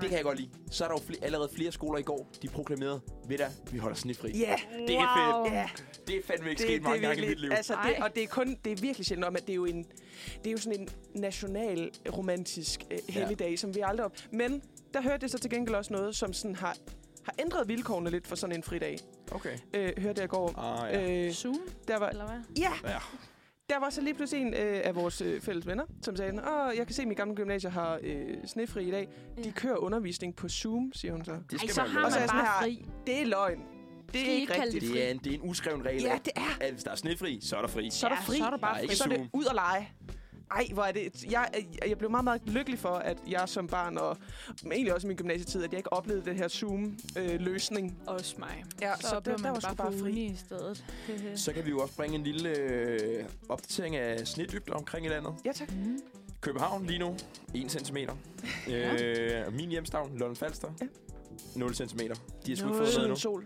S3: Det kan jeg godt lide. Så er der jo fl- allerede flere skoler i går, de proklamerede, ved da, vi holder snifri.
S1: Ja,
S3: Det er fedt.
S2: Wow.
S1: ja.
S3: Det er fandme ikke
S1: Det,
S3: sket
S1: det,
S3: mange
S1: er
S3: gange i
S1: virkelig,
S3: mit liv.
S1: altså det,
S2: Ej.
S1: og det er kun det er virkelig sjældent om, at det er jo en det er jo sådan en national romantisk øh, helligdag, som vi aldrig op. Men der hørte jeg så til gengæld også noget, som sådan har har ændret vilkårene lidt for sådan en fridag.
S3: okay.
S1: Øh, hørte jeg i går.
S3: Ah, ja.
S1: Øh,
S2: Zoom,
S1: der var
S2: eller hvad?
S1: ja,
S3: ja.
S1: Der var så lige pludselig en øh, af vores øh, fælles venner, som sagde, Åh, jeg kan se, at min gamle gymnasier har øh, snefri i dag. De
S2: Ja.
S1: kører undervisning på Zoom, siger hun så.
S3: Det
S2: Ej,
S3: skal
S2: så
S3: man jo
S2: har
S3: gøre.
S1: Og så er
S2: man
S1: jeg sådan
S2: bare
S1: her,
S2: fri.
S1: Det er løgn. Det
S2: I
S1: er
S2: ikke
S1: ikke
S2: kalde
S1: rigtigt.
S2: det
S3: Det er, en, det er en uskreven regel.
S1: Ja,
S3: at-
S1: det er.
S3: At hvis der er snefri, så er der fri.
S1: Så er der
S2: Ja,
S1: fri.
S2: så er der bare
S3: Nej,
S2: fri.
S3: ikke
S1: så er det
S3: Zoom.
S1: ud og lege. Ej, hvor er det... Jeg, øh, jeg, jeg blev meget, meget lykkelig for, at jeg som barn, og men egentlig også i min gymnasietid, at jeg ikke oplevede den her øh, Zoom-løsning.
S2: Også mig.
S1: Ja,
S2: så,
S1: så
S2: så
S1: der-
S2: blev
S1: der
S2: man
S1: var sgu
S2: bare,
S1: bare
S2: bare
S1: fri.
S2: fri. i stedet.
S3: Så kan vi jo også bringe en lille øh, opdatering af snedybder omkring i landet.
S1: ja, tak.
S2: Mm.
S3: København lige nu, 1 cm.
S2: Ja.
S3: Øh, min hjemstavn, London Falster,
S1: Ja.
S3: 0 cm. De har sgu ikke
S2: Nul.
S3: fået noget
S1: Søden
S3: endnu.
S1: sol.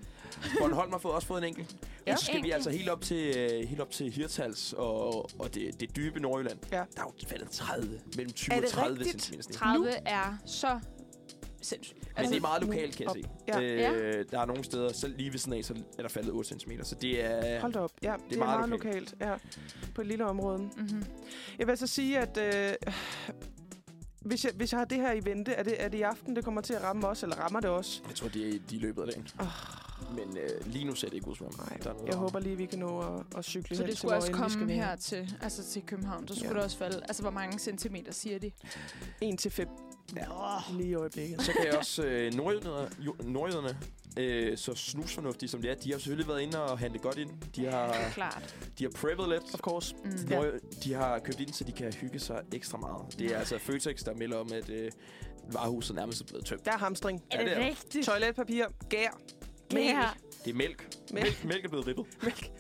S3: Bornholm har fået, også fået en enkelt.
S1: Ja.
S3: Ja. Så skal vi
S2: Enkelt.
S3: altså helt op til, øh, helt op til Hirtals og, og det, det dybe Nordjylland.
S1: Ja.
S3: Der er jo faldet 30, mellem 20
S1: Er
S3: og
S1: det
S3: 30
S1: rigtigt?
S3: cm sne.
S2: 30 er så sindssygt.
S3: Men altså, det er meget
S1: nu
S3: lokalt, kan jeg se.
S1: Ja.
S3: Øh, der er nogle steder, selv lige ved sådan af, så er der faldet 8 cm. Så det er...
S1: Hold da op. Ja, det er, det er meget,
S3: meget
S1: meget lokalt. Ja, på et lille område.
S2: mm-hmm.
S1: Jeg vil så sige, at øh, hvis, jeg, hvis jeg har det her i vente, er det, er det i aften, det kommer til at ramme os, eller rammer det os?
S3: Jeg tror, det er, de er i løbet af dagen.
S1: Oh,
S3: Men øh, lige nu ser det ikke ud som om.
S1: nej,
S3: der er noget,
S1: jeg
S3: der-
S1: håber lige, vi kan nå at, at cykle
S2: Så
S1: hen
S2: det
S1: til,
S2: skulle også
S1: hvor
S2: komme
S1: end
S2: her til, altså til København. Så skulle
S1: Ja.
S2: ja. det også falde. Altså, hvor mange centimeter siger de?
S1: vi skal være. 1-5 ja. lige i øjeblikket.
S3: Så kan jeg også øh, nordjyderne, jo, nordjyderne øh, så snusfornuftige som det er, de har selvfølgelig været inde og handle godt ind. De har,
S2: Det er klart.
S3: de har preppet lidt.
S1: Of course.
S2: Mm.
S1: Ja.
S2: Ja.
S3: Nordjy- De har købt ind, så de kan hygge sig ekstra meget. Det er altså Føtex, der melder om, at øh, varehuset nærmest er blevet tømt.
S1: Der er hamstring.
S3: Ja, det er der.
S2: rigtigt?
S1: Toiletpapir. Gær.
S2: Det
S1: Mel.
S2: her.
S3: Det er mælk.
S1: Mælk.
S3: Mælk, mælk er blevet rippet.
S1: Mælk.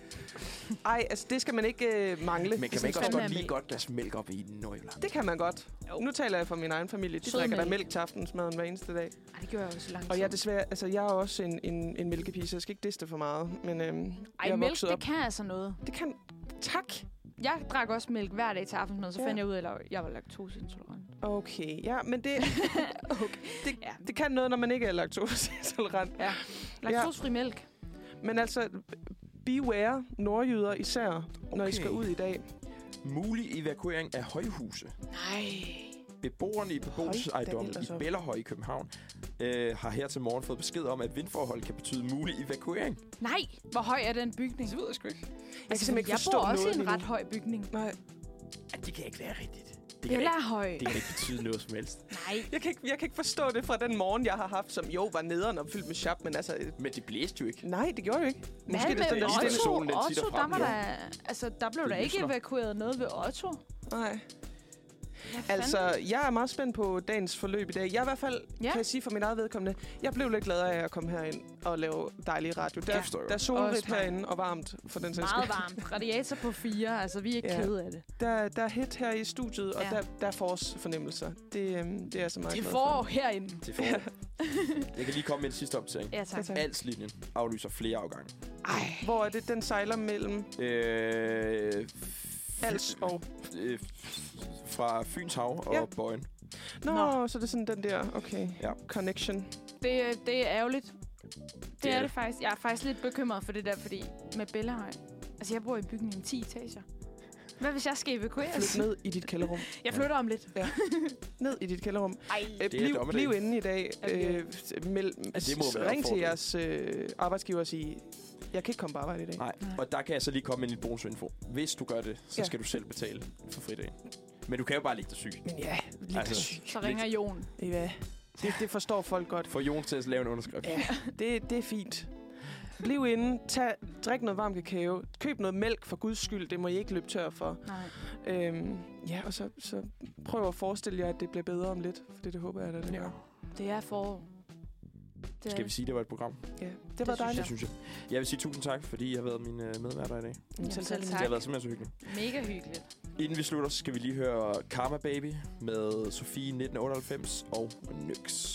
S1: Ej, altså det skal man ikke øh, mangle.
S3: Men kan
S1: Sådan
S3: man ikke også
S1: fandme
S3: godt
S2: er
S3: lige
S2: mælk.
S3: godt deres mælk op i Nordjylland?
S1: Det kan man godt.
S2: Jo.
S1: Nu taler jeg for min egen familie. De
S2: Sød
S1: drikker der
S2: mælk.
S1: mælk til aftensmaden hver eneste dag.
S2: Ej, det gjorde jeg jo så langt.
S1: Og jeg er desværre, altså jeg er også en, en, en mælkepige, så jeg skal ikke diste for meget. Men øhm, jeg
S2: Ej,
S1: er
S2: mælk,
S1: vokset op.
S2: det kan altså noget.
S1: Det kan... Tak.
S2: Jeg drak også mælk hver dag til aftensmad, så
S1: Ja.
S2: ja. fandt jeg ud af, at jeg var laktoseintolerant.
S1: Okay, ja, men det, okay. det,
S2: Ja.
S1: det kan noget, når man ikke er laktoseintolerant.
S2: Ja. Laktosefri mælk.
S1: Men altså, beware nordjyder især, okay. når I
S3: Okay.
S1: skal ud i dag.
S2: Altså,
S3: Mulig evakuering af højhuse.
S2: Nej.
S3: Beboerne i beboelsesejendommen
S1: ellers op.
S3: i Bellerhøj i København øh, har her til morgen fået besked om, at vindforhold kan betyde mulig evakuering.
S2: Nej, hvor høj er den bygning? Altså,
S3: ved jeg sgu ikke.
S1: Jeg kan simpelthen ikke
S2: jeg
S1: forstå
S2: bor også
S1: noget
S2: i
S1: lige
S2: en
S1: nu.
S2: ret høj bygning.
S1: Nej,
S3: Ja, det kan ikke være rigtigt. Det kan,
S2: Bella
S3: da ikke,
S2: er høj.
S3: det kan da ikke betyde noget som helst.
S2: Nej.
S1: jeg kan, ikke, jeg kan ikke forstå det fra den morgen, jeg har haft, som jo var nederen og fyldt med chap, men altså... øh,
S3: Men det blæste jo ikke.
S1: Nej, det gjorde jeg ikke.
S2: Hvad
S1: det
S2: med
S3: er
S1: stadig-
S3: Otto?
S2: Otto?
S3: solen, den titter
S2: Otto, der,
S3: frem,
S2: var
S3: jo.
S2: der, altså, der blev
S3: Det
S2: der ikke
S3: lysner.
S2: evakueret noget ved Otto. Hvad
S1: Nej.
S2: fanden?
S1: Altså, jeg er meget spændt på dagens forløb i dag. Jeg er i hvert fald, ja.
S2: Ja.
S1: kan jeg sige for min eget vedkommende, jeg blev lidt gladere af at komme herind og lave dejlig radio. Der,
S3: Det forstår jeg
S1: der er
S3: godt.
S1: solrigt
S2: Også mig.
S1: herinde og varmt for den sags
S2: meget varmt. Radiator på fire, altså vi er ikke
S1: Ja.
S2: ja. kede af det.
S1: Der, der er hit her i studiet, og ja.
S2: Ja.
S1: der, der er fors fornemmelser. Det, øhm, det er jeg så meget
S2: Det
S1: glad
S2: får herinde.
S3: Det får. jeg kan lige komme med en sidste opdatering.
S2: Ja,
S1: Ja,
S2: tak.
S1: tak.
S3: Alslinjen aflyser flere afgange.
S1: Ej. Hvor er det, den sejler mellem
S3: Øh,
S1: Als og...
S3: øh, fra Fyns Hav og
S1: Ja.
S3: ja. Bøjen.
S1: Nå, Nå,
S2: Nå.
S1: så er det sådan den der, okay,
S3: Ja.
S1: connection.
S2: Det, er- det er ærgerligt. Det,
S3: Det er
S2: er
S3: det.
S2: det faktisk. Jeg er faktisk lidt bekymret for det der, fordi med Bellahøj... Altså, jeg bor i en bygning med 10 etager. Hvad hvis jeg skal evakueres?
S1: Flyt ned i dit kælderrum.
S2: Jeg flytter om lidt.
S1: Ned i dit kælderrum.
S2: Ej.
S1: Øh,
S3: er
S1: bliv,
S3: dommedag.
S1: bliv inde i dag.
S2: Okay.
S1: Øh, meld, altså,
S3: det må være
S1: ring til
S3: opfordringen.
S1: jeres øh, arbejdsgiver og sige, jeg kan ikke komme på arbejde i dag.
S3: Nej,
S2: Nej.
S3: og der kan jeg så lige komme med en lille bonusinfo. Hvis du gør det, så
S1: Ja.
S3: ja. skal du selv betale for fridagen. Men du kan jo bare ligge dig syg.
S1: Men ja, lige
S3: Altså.
S1: altså.
S2: Så ringer Jon.
S1: I hvad? Det, det forstår folk godt.
S3: Få Jon til at lave en underskrift.
S1: Ja, det, det er fint. Bliv inde, tag, drik noget varm kakao, køb noget mælk for guds skyld, det må I ikke løbe tør for.
S2: Nej.
S1: Øhm, ja, og så, så prøv at forestille jer, at det bliver bedre om lidt, for det, det håber jeg, at det
S3: Ja.
S1: gør.
S2: Det er forår. Det
S3: Skal vi sige, det var et program?
S1: Ja, det var
S2: synes jeg.
S3: Det
S1: dejligt.
S3: synes jeg. Jeg vil sige tusind tak, fordi I har været mine øh, medværter i dag. Tak.
S1: Jamen,
S2: Jamen, selv
S1: tak.
S2: tak.
S3: Det har været simpelthen så hyggeligt.
S2: Mega hyggeligt.
S3: Inden vi slutter, skal vi lige høre Karma Baby med Sofie 1998 og Nyx.